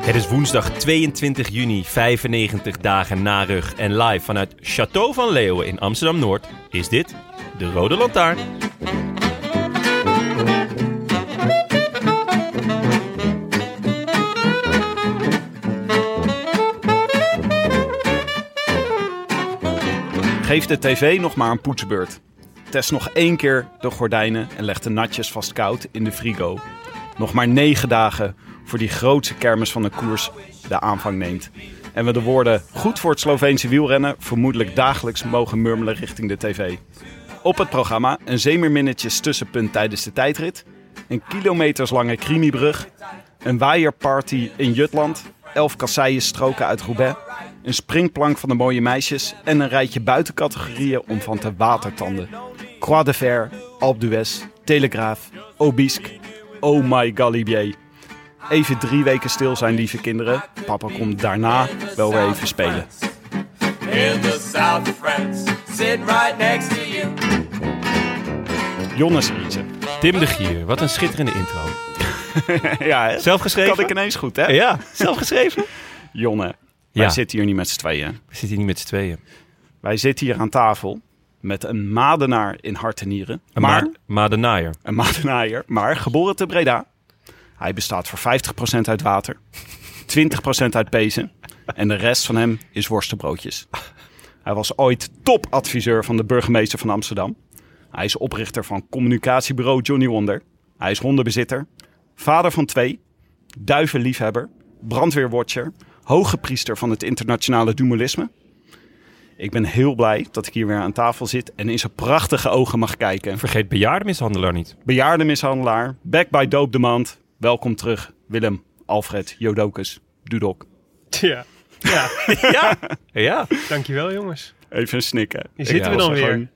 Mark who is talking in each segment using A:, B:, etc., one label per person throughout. A: Het is woensdag 22 juni, 95 dagen na rug. En live vanuit Château van Leeuwen in Amsterdam-Noord is dit de Rode Lantaarn.
B: Geef de tv nog maar een poetsbeurt. Test nog één keer de gordijnen en leg de natjes vast koud in de frigo. Nog maar negen dagen voor die grootste kermis van de koers de aanvang neemt. En we de woorden goed voor het Sloveense wielrennen vermoedelijk dagelijks mogen murmelen richting de tv. Op het programma een zeemerminnetjes tussenpunt tijdens de tijdrit. Een kilometerslange krimibrug. Een waaierparty in Jutland. Elf kasseien stroken uit Roubaix. Een springplank van de mooie meisjes. En een rijtje buitencategorieën om van te watertanden. Croix de Fer, Alpe d'Huez, Telegraaf, Obisque. Oh my galibier. Even drie weken stil zijn, lieve kinderen. Papa komt daarna wel weer even spelen.
C: in the south of France, sitting right next to you.
B: Jonas Riese.
A: Tim de Gier, wat een schitterende intro.
B: ja, hè?
A: Zelf geschreven?
B: Kan ik ineens goed, hè?
A: Ja, zelf geschreven.
B: Jonne, wij
A: Ja.
B: zitten hier niet met z'n tweeën.
A: We zitten hier niet met z'n tweeën.
B: Wij zitten hier aan tafel met een Madenaar in hart en nieren.
A: Een
B: maar,
A: Ma- Madenaaier.
B: een Madenaaier, maar geboren te Breda. Hij bestaat voor 50% uit water, 20% uit pezen en de rest van hem is worstenbroodjes. Hij was ooit topadviseur van de burgemeester van Amsterdam. Hij is oprichter van communicatiebureau Johnny Wonder. Hij is hondenbezitter, vader van twee, duivenliefhebber, brandweerwatcher, hoge priester van het internationale dualisme. Ik ben heel blij dat ik hier weer aan tafel zit en in zijn prachtige ogen mag kijken.
A: Vergeet bejaardenmishandelaar niet.
B: Bejaardenmishandelaar, back by dope demand. Welkom terug, Willem, Alfred, Jodokus, Dudok.
D: Ja. Ja,
A: Ja, ja.
D: dankjewel jongens.
B: Even snikken.
D: Hier zitten we
A: was
D: dan weer.
B: Gewoon-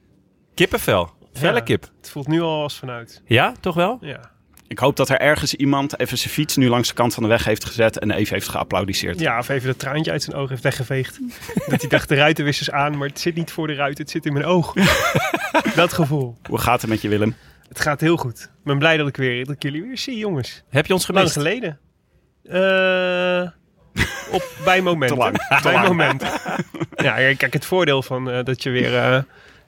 A: Kippenvel. Felle
D: Ja.
A: kip.
D: Het voelt nu al als vanuit.
A: Ja, toch wel?
D: Ja,
B: Ik hoop dat er ergens iemand even zijn fiets nu langs de kant van de weg heeft gezet en even heeft geapplaudiceerd.
D: ja of even dat traantje uit zijn oog heeft weggeveegd. dat hij dacht, de ruiten wissers aan, maar het zit niet voor de ruit, het zit in mijn oog. dat gevoel.
B: Hoe gaat het met je, Willem?
D: Het gaat heel goed. Ik ben blij dat ik, weer, dat ik jullie weer zie, jongens.
A: Heb je ons
D: Lang
A: gemist?
D: geleden. Eh, op, bij momenten.
B: Te lang,
D: bij momenten. Ja, kijk, het voordeel van eh, dat je weer... eh,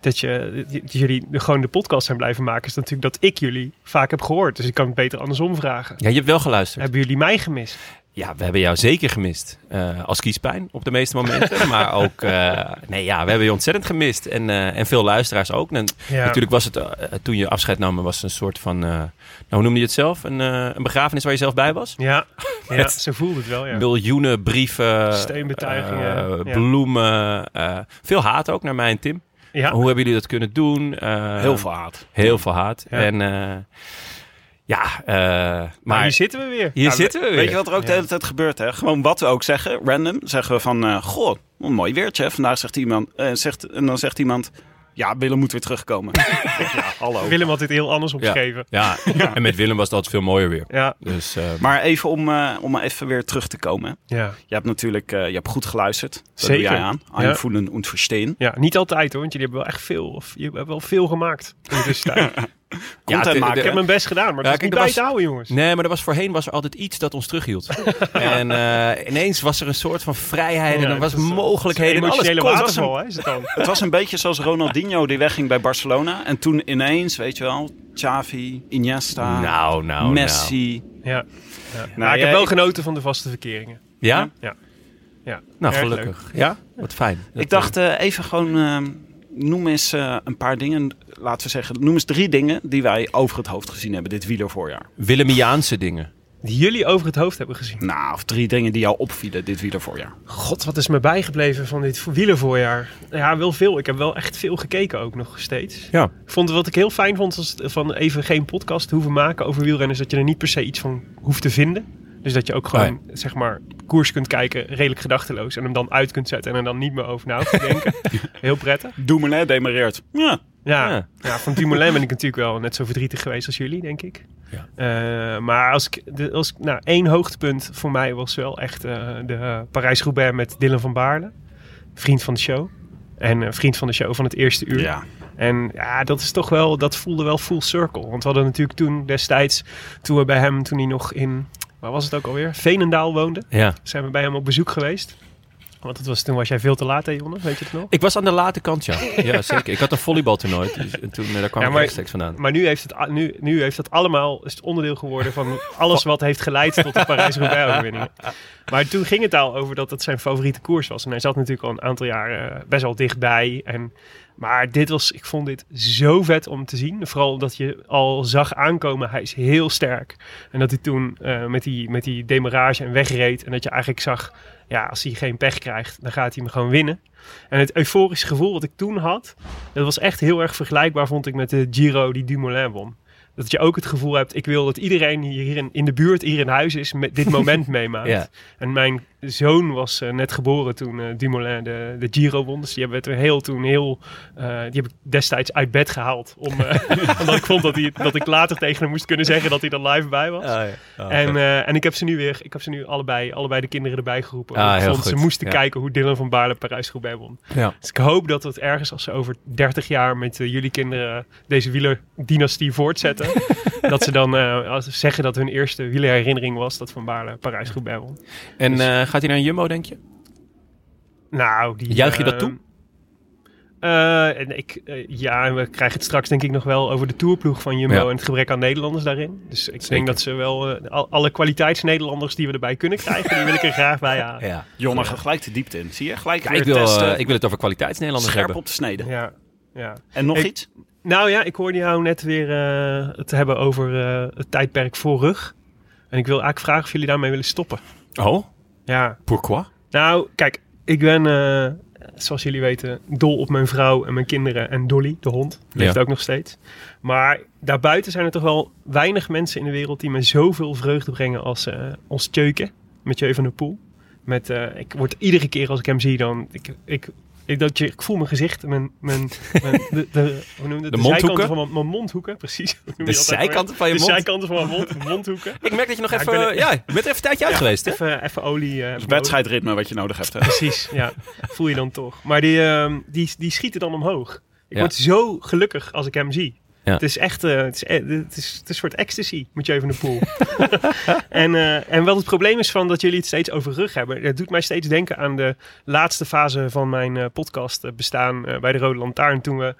D: dat, je, dat jullie gewoon de podcast zijn blijven maken... is natuurlijk dat ik jullie vaak heb gehoord. Dus ik kan het beter andersom vragen.
A: Ja, je hebt wel geluisterd.
D: Hebben jullie mij gemist?
A: Ja, we hebben jou zeker gemist. Eh, als kiespijn op de meeste momenten. maar ook, eh, nee ja, we hebben je ontzettend gemist. En, eh, en veel luisteraars ook. En
D: Ja.
A: Natuurlijk was het, eh, toen je afscheid nam, was het een soort van, eh, nou, hoe noemde je het zelf? Een, eh, een begrafenis waar je zelf bij was?
D: Ja, ja ze voelde het wel, ja.
A: Miljoenen brieven.
D: Steunbetuigingen,
A: eh,
D: ja.
A: Bloemen. eh, veel haat ook naar mij en Tim.
D: ja.
A: Hoe hebben jullie dat kunnen doen? Eh,
B: Heel veel haat.
A: Heel veel haat.
D: Ja.
A: En eh, ja, eh,
D: Maar
A: maar
D: hier zitten we weer.
A: hier zitten we weer.
B: Weet je wat er ook de hele tijd gebeurt, hè? Gewoon wat we ook zeggen, random, zeggen we van, eh, goh, wat een mooi weertje. hè. Vandaag zegt iemand, eh, zegt, en dan zegt iemand, ja, Willem moet weer terugkomen. ja, hallo.
D: Willem had dit heel anders
A: ja.
D: opgeschreven.
A: Ja. en met Willem was dat veel mooier weer.
D: Ja.
A: Dus, eh,
B: Maar even om, eh, om even weer terug te komen. hè.
D: Ja. ja.
B: Je hebt natuurlijk eh, je hebt goed geluisterd. Dat
D: Zeker.
B: doe jij aan.
D: Ja.
B: Aanvoelen en verstehen.
D: niet altijd hoor, want jullie hebben wel echt veel, of, jullie hebben wel veel gemaakt in de tussentijd.
B: Content
A: de-
B: maken.
A: de-
D: Ik heb mijn best gedaan, maar
A: Ja,
D: dat is
A: kijk,
D: niet
A: er
D: bij
A: was-
D: te houden, jongens.
A: Nee, maar er was voorheen was er altijd iets dat ons terughield. en eh, ineens was er een soort van vrijheid en
D: Ja,
A: er was
D: dat is, eh,
A: mogelijkheden. en alles
D: Emotionele
A: kon. Het was
D: waterval, hè, is het dan.
B: Het was een beetje zoals Ronaldinho die wegging bij Barcelona. En toen ineens, weet je wel, Xavi, Iniesta,
A: een- Nou, nou, nou.
B: Messi.
D: Ja. Ja. Maar
B: jij-
D: ik heb wel genoten van de vaste verkeringen.
A: Ja?
D: Ja. Ja,
A: Nou,
D: erg
A: gelukkig. Ja? Wat fijn. Dat,
B: Ik dacht eh, even gewoon, eh, noem eens eh, een paar dingen, laten we zeggen, noem eens drie dingen die wij over het hoofd gezien hebben dit wielervoorjaar.
A: eh, Willemiaanse dingen.
D: Die jullie over het hoofd hebben gezien.
B: Nou, of drie dingen die jou opvielen dit wielervoorjaar.
D: God, wat is me bijgebleven van dit wielervoorjaar. Ja, wel veel. Ik heb wel echt veel gekeken ook nog steeds.
A: Ja.
D: Ik vond wat ik heel fijn vond, was van even geen podcast te hoeven maken over wielrenners. Dat je er niet per se iets van hoeft te vinden. Dus dat je ook gewoon, zeg maar, koers kunt kijken, redelijk gedachteloos. En hem dan uit kunt zetten en er dan niet meer over na hoeft te denken. heel prettig.
B: Dumoulin demareert. Ja.
D: Ja,
A: Ja.
D: ja. van Dumoulin ben ik natuurlijk wel net zo verdrietig geweest als jullie, denk ik.
A: Ja.
D: Eh, maar als ik, de- als ik, nou, één hoogtepunt voor mij was wel echt eh, de eh, Parijs-Roubaix met Dylan van Baarle. Vriend van de show. En eh, vriend van de show van het eerste uur.
B: ja.
D: En ja, dat is toch wel, dat voelde wel full circle. Want we hadden natuurlijk toen destijds, toen we bij hem, toen hij nog in, waar was het ook alweer? Veenendaal woonde.
A: Ja.
D: Zijn we bij hem op bezoek geweest. Want het was, toen was jij veel te laat, hè Jonne? Weet je het nog?
A: Ik was aan de late kant, ja. ja zeker. Ik had een volleybaltoernooi. Dus, en toen, eh, daar kwam
D: Ja,
A: ik
D: maar-
A: rechtstreeks vandaan.
D: Maar nu heeft, het, a- nu, nu heeft dat allemaal is het onderdeel geworden van alles wat heeft geleid tot de Parijs-Roubaix-overwinning. Maar toen ging het al over dat het zijn favoriete koers was. En hij zat natuurlijk al een aantal jaren eh, best wel dichtbij. En, maar dit was, ik vond dit zo vet om te zien. Vooral omdat je al zag aankomen, hij is heel sterk. En dat hij toen eh, met, die, met die demarage en wegreed. En dat je eigenlijk zag, ja, als hij geen pech krijgt, dan gaat hij hem gewoon winnen. En het euforische gevoel wat ik toen had, dat was echt heel erg vergelijkbaar, vond ik, met de Giro die Dumoulin won. Dat je ook het gevoel hebt, ik wil dat iedereen hier in, in de buurt, hier in huis is, met dit moment meemaakt.
A: Ja.
D: En mijn zoon was eh, net geboren toen eh, Dumoulin de, de Giro won. Dus die hebben we heel, toen heel, eh, die heb ik destijds uit bed gehaald. Om, eh, omdat ik vond dat, hij dat ik later tegen hem moest kunnen zeggen dat hij er live bij was.
A: Ah, ja. Ah,
D: En,
A: oké.
D: eh, en ik heb ze nu weer, ik heb ze nu allebei, allebei de kinderen erbij geroepen.
A: Ah,
D: Want ik
A: heel
D: vond ze
A: goed,
D: moesten
A: ja.
D: kijken hoe Dylan van Baarle Parijs-Roubaix won.
A: ja.
D: Dus ik hoop dat het ergens, als ze over 30 jaar met eh, jullie kinderen deze wielerdynastie voortzetten, dat ze dan eh, als ze zeggen dat hun eerste wielerherinnering was dat van Baarle Parijs-Roubaix won.
A: En eh, gaat hij naar een Jumbo, denk je?
D: Nou, die...
A: Juich je dat
D: eh,
A: toe?
D: eh, en ik, eh, ja, en we krijgen het straks denk ik nog wel over de tourploeg van Jumbo
A: Ja.
D: en het gebrek aan Nederlanders daarin. Dus ik
A: Zeker.
D: denk dat ze wel eh, al- alle kwaliteits-Nederlanders die we erbij kunnen krijgen, die wil ik er graag bij halen.
A: Ja.
B: Jonne, gaat gelijk de diepte in. Zie je? Gelijk
A: ik,
B: weer
A: wil,
B: testen.
A: eh, ik wil het over kwaliteits-Nederlanders
B: Scherp
A: hebben.
B: op de snede.
D: Ja, ja.
B: En nog
D: Ik-
B: iets?
D: Nou ja, ik hoorde jou net weer eh, het hebben over eh, het tijdperk voor rug. En ik wil eigenlijk vragen of jullie daarmee willen stoppen.
A: Oh,
D: Ja,
A: pourquoi?
D: nou kijk, ik ben, eh, zoals jullie weten, dol op mijn vrouw en mijn kinderen en Dolly, de hond, leeft
A: Ja.
D: ook nog steeds. Maar daarbuiten zijn er toch wel weinig mensen in de wereld die me zoveel vreugde brengen als eh, ons Tjeuken, met Jeu van der Poel. Met, eh, ik word iedere keer als ik hem zie, dan, ik, ik, ik, dat je, ik voel mijn gezicht, mijn, mijn, mijn de, de, hoe noem je dat?
A: De
D: de zijkanten
A: mondhoeken?
D: van mijn, mijn mondhoeken, precies. Hoe noem je
A: De
D: dat ook alweer?
A: zijkanten van je
D: de
A: mond?
D: zijkanten van mijn mond, mondhoeken.
A: Ik merk dat je nog
D: Ja,
A: even...
D: ik ben
A: Ja,
D: er-
A: je bent er even een tijdje uit geweest, hè?
D: Even, even olie. eh,
A: Dus
B: Het
D: boven.
B: wedstrijdritme wat je nodig hebt. Hè?
D: Precies, ja. Voel je dan toch. Maar die, ehm, die, die schieten dan omhoog. Ik
A: Ja.
D: word zo gelukkig als ik hem zie.
A: Ja.
D: Het is echt eh, het is, eh, het is, het is een soort ecstasy met je even de pool. en, eh, en wat het probleem is van dat jullie het steeds over rug hebben. Dat doet mij steeds denken aan de laatste fase van mijn eh, podcast eh, bestaan eh, bij de Rode Lantaarn. Toen we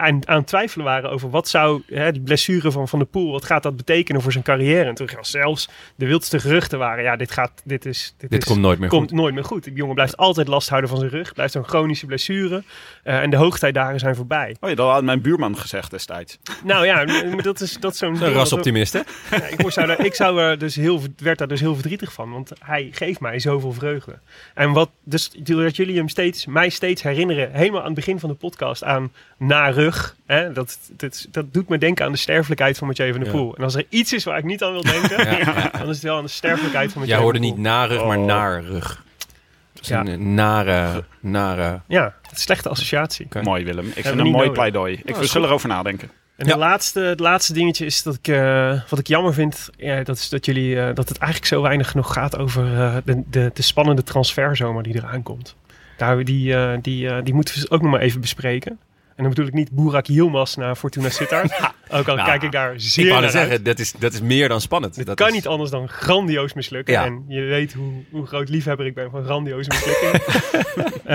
D: aan, aan het twijfelen waren over wat zou hè, die blessure van Van der Poel, wat gaat dat betekenen voor zijn carrière? En toen was zelfs de wildste geruchten waren, ja, dit, gaat, dit, is, dit,
A: Dit
D: is,
A: komt nooit meer
D: komt
A: goed.
D: nooit meer goed. Die jongen blijft altijd last houden van zijn rug. Blijft een chronische blessure. eh, en de hoogtijdagen zijn voorbij.
B: Oh ja, dat had mijn buurman gezegd destijds.
D: Nou ja, m- maar dat is, dat is zo'n...
A: Een rasoptimist, hè?
D: Ja, ik word- zou daar, ik zou er dus heel, werd daar dus heel verdrietig van. Want hij geeft mij zoveel vreugde. En wat, dus doordat jullie hem steeds, mij steeds herinneren... helemaal aan het begin van de podcast aan na rug. Hè, dat, dat, dat doet me denken aan de sterfelijkheid van Mathieu van der
A: Ja.
D: Poel. En als er iets is waar ik niet aan wil denken...
A: Ja, ja.
D: dan is het wel aan de sterfelijkheid van Mathieu
A: Jij hoorde
D: van der
A: niet
D: Poel.
A: narug, maar
B: Oh.
A: naarrug. Het was
D: Ja.
A: een nare, nare...
D: Ja, het is slechte associatie.
A: Ja.
B: Mooi Willem. Ik
D: we
B: vind
D: niet
B: een mooi
D: nodig.
B: pleidooi. Ik wil zullen erover nadenken.
D: En
A: Ja.
D: de laatste, het laatste dingetje is dat ik, eh, wat ik jammer vind, ja, dat is dat, jullie, eh, dat het eigenlijk zo weinig nog gaat over eh, de, de, de spannende transferzomer die eraan komt. Daar, die, eh, die, eh, die moeten we ook nog maar even bespreken. En dan bedoel ik niet Boerak Yilmaz naar Fortuna Sittard. ook al
A: nou,
D: kijk ik daar zeer
A: Ik wou
D: naar
A: net zeggen,
D: uit.
A: dat is, dat is meer dan spannend.
D: Dit
A: dat
D: kan
A: is-
D: niet anders dan grandioos mislukken.
A: Ja.
D: En je weet hoe, hoe groot liefhebber ik ben van grandioze mislukkingen. Eh,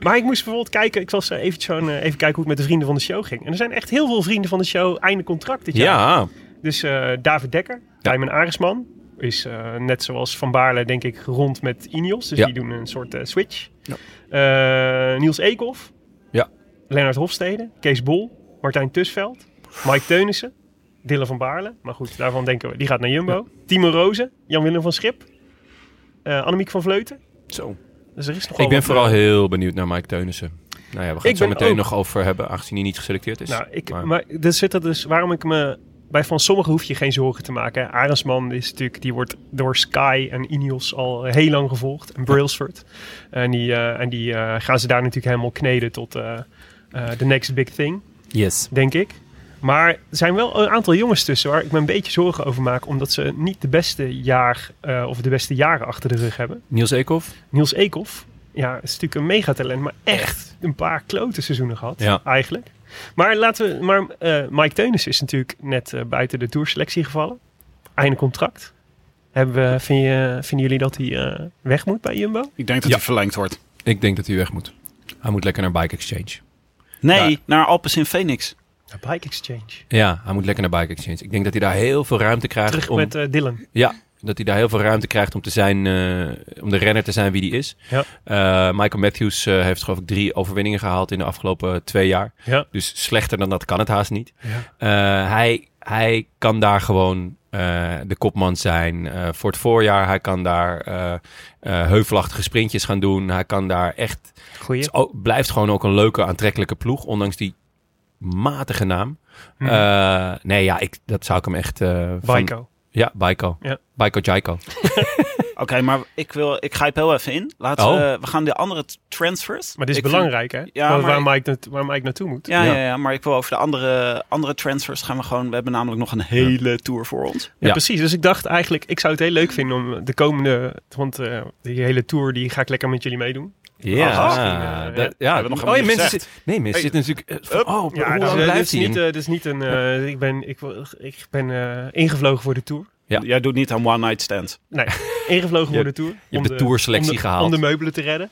D: maar ik moest bijvoorbeeld kijken, ik was eh, even, zo'n, eh, even kijken hoe het met de vrienden van de show ging. En er zijn echt heel veel vrienden van de show einde contract dit jaar.
A: Ja,
D: Dus eh, David Dekker, Tijmen Aresman, is eh, net zoals Van Baarle, denk ik, gerond met Ineos. Dus
A: Ja.
D: die doen een soort eh, switch. Eh, Niels Eekhoff.
A: Ja.
D: Lennart Hofstede. Kees Bol. Martijn Tusveld. Mike Teunissen. Dylan van Baarle. Maar goed, daarvan denken we, die gaat naar Jumbo. Timo Rozen. Jan-Willem van Schip. eh Annemiek van Vleuten.
B: Zo.
D: Dus er is nogal
A: Ik ben
D: wat,
A: vooral
D: eh,
A: heel benieuwd naar Mike Teunissen. Nou ja, we gaan
D: Ik
A: het zo
D: ben
A: meteen
D: ook-
A: nog over hebben, aangezien hij niet geselecteerd is.
D: Nou, ik,
A: Maar-
D: maar, er zit er dus, waarom ik me... Bij van sommigen hoef je geen zorgen te maken. hè. Arendsman is natuurlijk, die wordt door Sky en Ineos al heel lang gevolgd. En Brailsford. En die, eh, en die eh, gaan ze daar natuurlijk helemaal kneden tot eh, eh, the next big thing,
E: Yes.
D: denk ik. Maar er zijn wel een aantal jongens tussen waar ik me een beetje zorgen over maak. Omdat ze niet de beste jaar eh, of de beste jaren achter de rug hebben.
A: Niels Eekhoff?
D: Niels Eekhoff. Ja, is natuurlijk een megatalent, maar echt een paar klote seizoenen gehad,
A: Ja.
D: eigenlijk. Maar, laten we, maar eh, Mike Teunissen is natuurlijk net eh, buiten de tourselectie gevallen. Einde contract. Hebben we, vind je, vinden jullie dat hij eh, weg moet bij Jumbo?
B: Ik denk dat
A: Ja.
B: hij verlengd wordt.
A: Ik denk dat hij weg moet. Hij moet lekker naar Bike Exchange.
B: Nee,
A: Ja.
B: naar Alpes in Phoenix.
D: Bike Exchange.
A: Ja, hij moet lekker naar Bike Exchange. Ik denk dat hij daar heel veel ruimte krijgt.
D: Terug
A: om...
D: met eh, Dylan.
A: Ja, dat hij daar heel veel ruimte krijgt om, te zijn, eh, om de renner te zijn wie die is.
D: Ja.
A: Eh, Michael Matthews eh, heeft geloof ik drie overwinningen gehaald in de afgelopen twee jaar.
D: Ja.
A: Dus slechter dan dat kan het haast niet. Eh, hij, hij kan daar gewoon eh, de kopman zijn eh, voor het voorjaar. Hij kan daar eh eh, heuvelachtige sprintjes gaan doen. Hij kan daar echt...
D: Goeie.
A: Het is ook- blijft gewoon ook een leuke, aantrekkelijke ploeg. Ondanks die matige naam.
D: Mhm.
A: Eh, nee, ja, ik, dat zou ik hem echt... eh, van,
D: Baiko.
A: ja, Baiko.
D: Ja.
A: Baiko Jaiko.
B: Oké, maar ik, wil, ik grijp heel even in. Laten
A: Oh.
B: we, we gaan de andere t- transfers.
D: Maar dit is
B: Ik vind-
D: belangrijk, hè?
B: Ja,
D: waar,
B: maar
D: waar
B: ik-
D: Mike naartoe- waar Mike naartoe moet.
B: ja,
A: Ja.
B: ja. Ja, maar ik wil over de andere, andere transfers gaan we gewoon... We hebben namelijk nog een hele tour voor ons.
D: Ja,
A: Ja.
D: precies. Dus ik dacht eigenlijk, ik zou het heel leuk vinden om de komende... Want eh, die hele tour, die ga ik lekker met jullie meedoen.
A: Ja,
D: Aha.
A: dat, ja.
B: Hebben we nog
A: oh, ja,
B: helemaal niet
A: mensen
B: gezegd.
A: zitten, nee, mensen zitten natuurlijk... eh, van, oh,
D: Ja,
A: hoe
D: dat
A: lang
D: is,
A: blijft hij
D: niet,
A: in?
D: eh, dit is niet een. eh, ik ben, ik, wil- ik ben eh, ingevlogen voor de tour.
A: Ja.
B: Jij doet niet aan One Night Stand.
D: Nee, ingevlogen
A: Je-
D: voor de tour. Je
A: hebt de tourselectie
D: om de,
A: gehaald.
D: Om de meubelen te redden.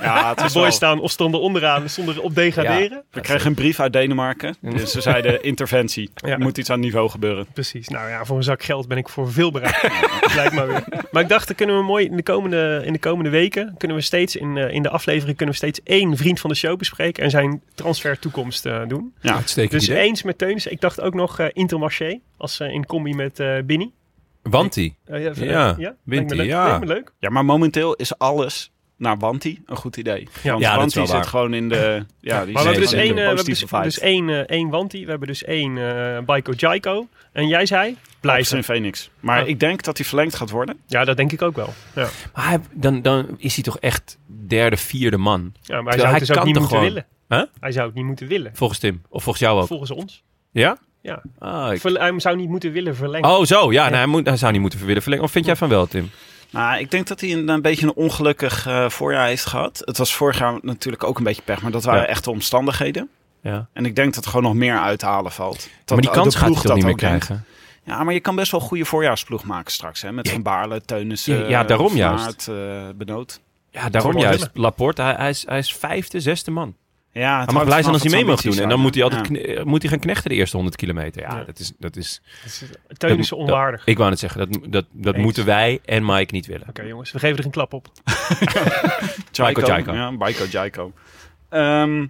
B: Ja, het
D: De
B: is
D: boys
B: wel...
D: staan of stonden onderaan zonder op degraderen.
B: We kregen een brief uit Denemarken. Dus ze zeiden interventie.
D: Ja.
B: Er moet iets aan niveau gebeuren.
D: Precies. Nou ja, voor een zak geld ben ik voor veel bereid. Lijkt maar weer. Maar ik dacht, dan kunnen we mooi in de komende, in de komende weken. kunnen we steeds in, eh, in de aflevering. kunnen we steeds één vriend van de show bespreken. en zijn transfer toekomst eh, doen.
A: Uitstekend
D: Dus
A: idee.
D: eens met Teunissen. Ik dacht ook nog eh, Intermarché. als eh, in combi met eh Binny.
A: Want hij.
D: Eh, ja,
A: Ja,
D: ja,
A: wint
D: lijkt
A: hij,
D: me leuk.
A: ja.
D: Lijkt me leuk.
B: Ja, maar momenteel is alles naar Wanti een goed idee.
D: Ja,
B: Want
A: ja, dat is
B: Wanti
A: wel
B: zit
A: waar.
B: gewoon in de... Ja, die
D: Maar we
B: zit
D: hebben dus
B: gewoon in
D: één,
B: de
D: eh, we hebben
B: positieve
D: dus,
B: vibe.
D: dus één, eh, één Wanti, we hebben dus één eh Baiko Jaiko. En jij zei,
B: Blijft
D: blijven.
B: in Phoenix. Maar
A: Oh.
D: Ja.
B: ik denk dat hij verlengd gaat worden.
D: Ja, dat denk ik ook wel. Ja,
A: Maar hij- dan, dan is hij toch echt derde, vierde man.
D: ja maar hij
A: Terwijl
D: zou
A: hij
D: het dus ook
A: kan
D: niet
A: toch
D: moeten
A: gewoon-
D: willen.
A: Huh?
D: Hij zou het niet moeten willen,
A: Volgens Tim. Of volgens jou ook.
D: volgens ons.
A: ja?
D: Ja.
A: Ah, ik-
D: Verl- hij zou niet moeten willen verlengen.
A: Oh, zo. Ja, nou, hij, moet, hij zou niet moeten willen verlengen. Of vind jij van wel, Tim?
B: Nou, ik denk dat hij een, een beetje een ongelukkig eh, voorjaar heeft gehad. Het was vorig jaar natuurlijk ook een beetje pech, maar dat waren
A: Ja.
B: echte omstandigheden.
A: Ja.
B: En ik denk dat er gewoon nog meer uit te halen valt. Dat
A: maar die
B: de
A: kans gaat hij
B: ploeg
A: toch niet
B: dat
A: meer
B: ook denkt.
A: krijgen?
B: Ja, maar je kan best wel een goede voorjaarsploeg maken straks. Hè? Met Van Baarle, Teunissen,
A: Ja, ja, daarom
B: Van
A: juist.
B: Aert, eh, Benoot.
A: Ja, daarom
D: wel
A: juist.
D: willen.
A: Laporte, hij, hij, is, hij is vijfde, zesde man.
B: Ja,
A: Hij mag blij zijn als hij mee mag doen. En dan moet hij, altijd
B: Ja.
A: kne- eh, moet hij gaan knechten de eerste 100 kilometer. Ja,
D: Ja.
A: dat is... Dat is
D: Teunissen
A: dat-
D: onwaardig.
A: Ik wou net zeggen, dat, dat, dat
D: Eens.
A: moeten wij en Mike niet willen.
D: Oké jongens, we geven er een klap op.
A: Baiko
B: Jaiko,
A: Jaiko.
B: Ja, Baiko Jaiko. Ehm,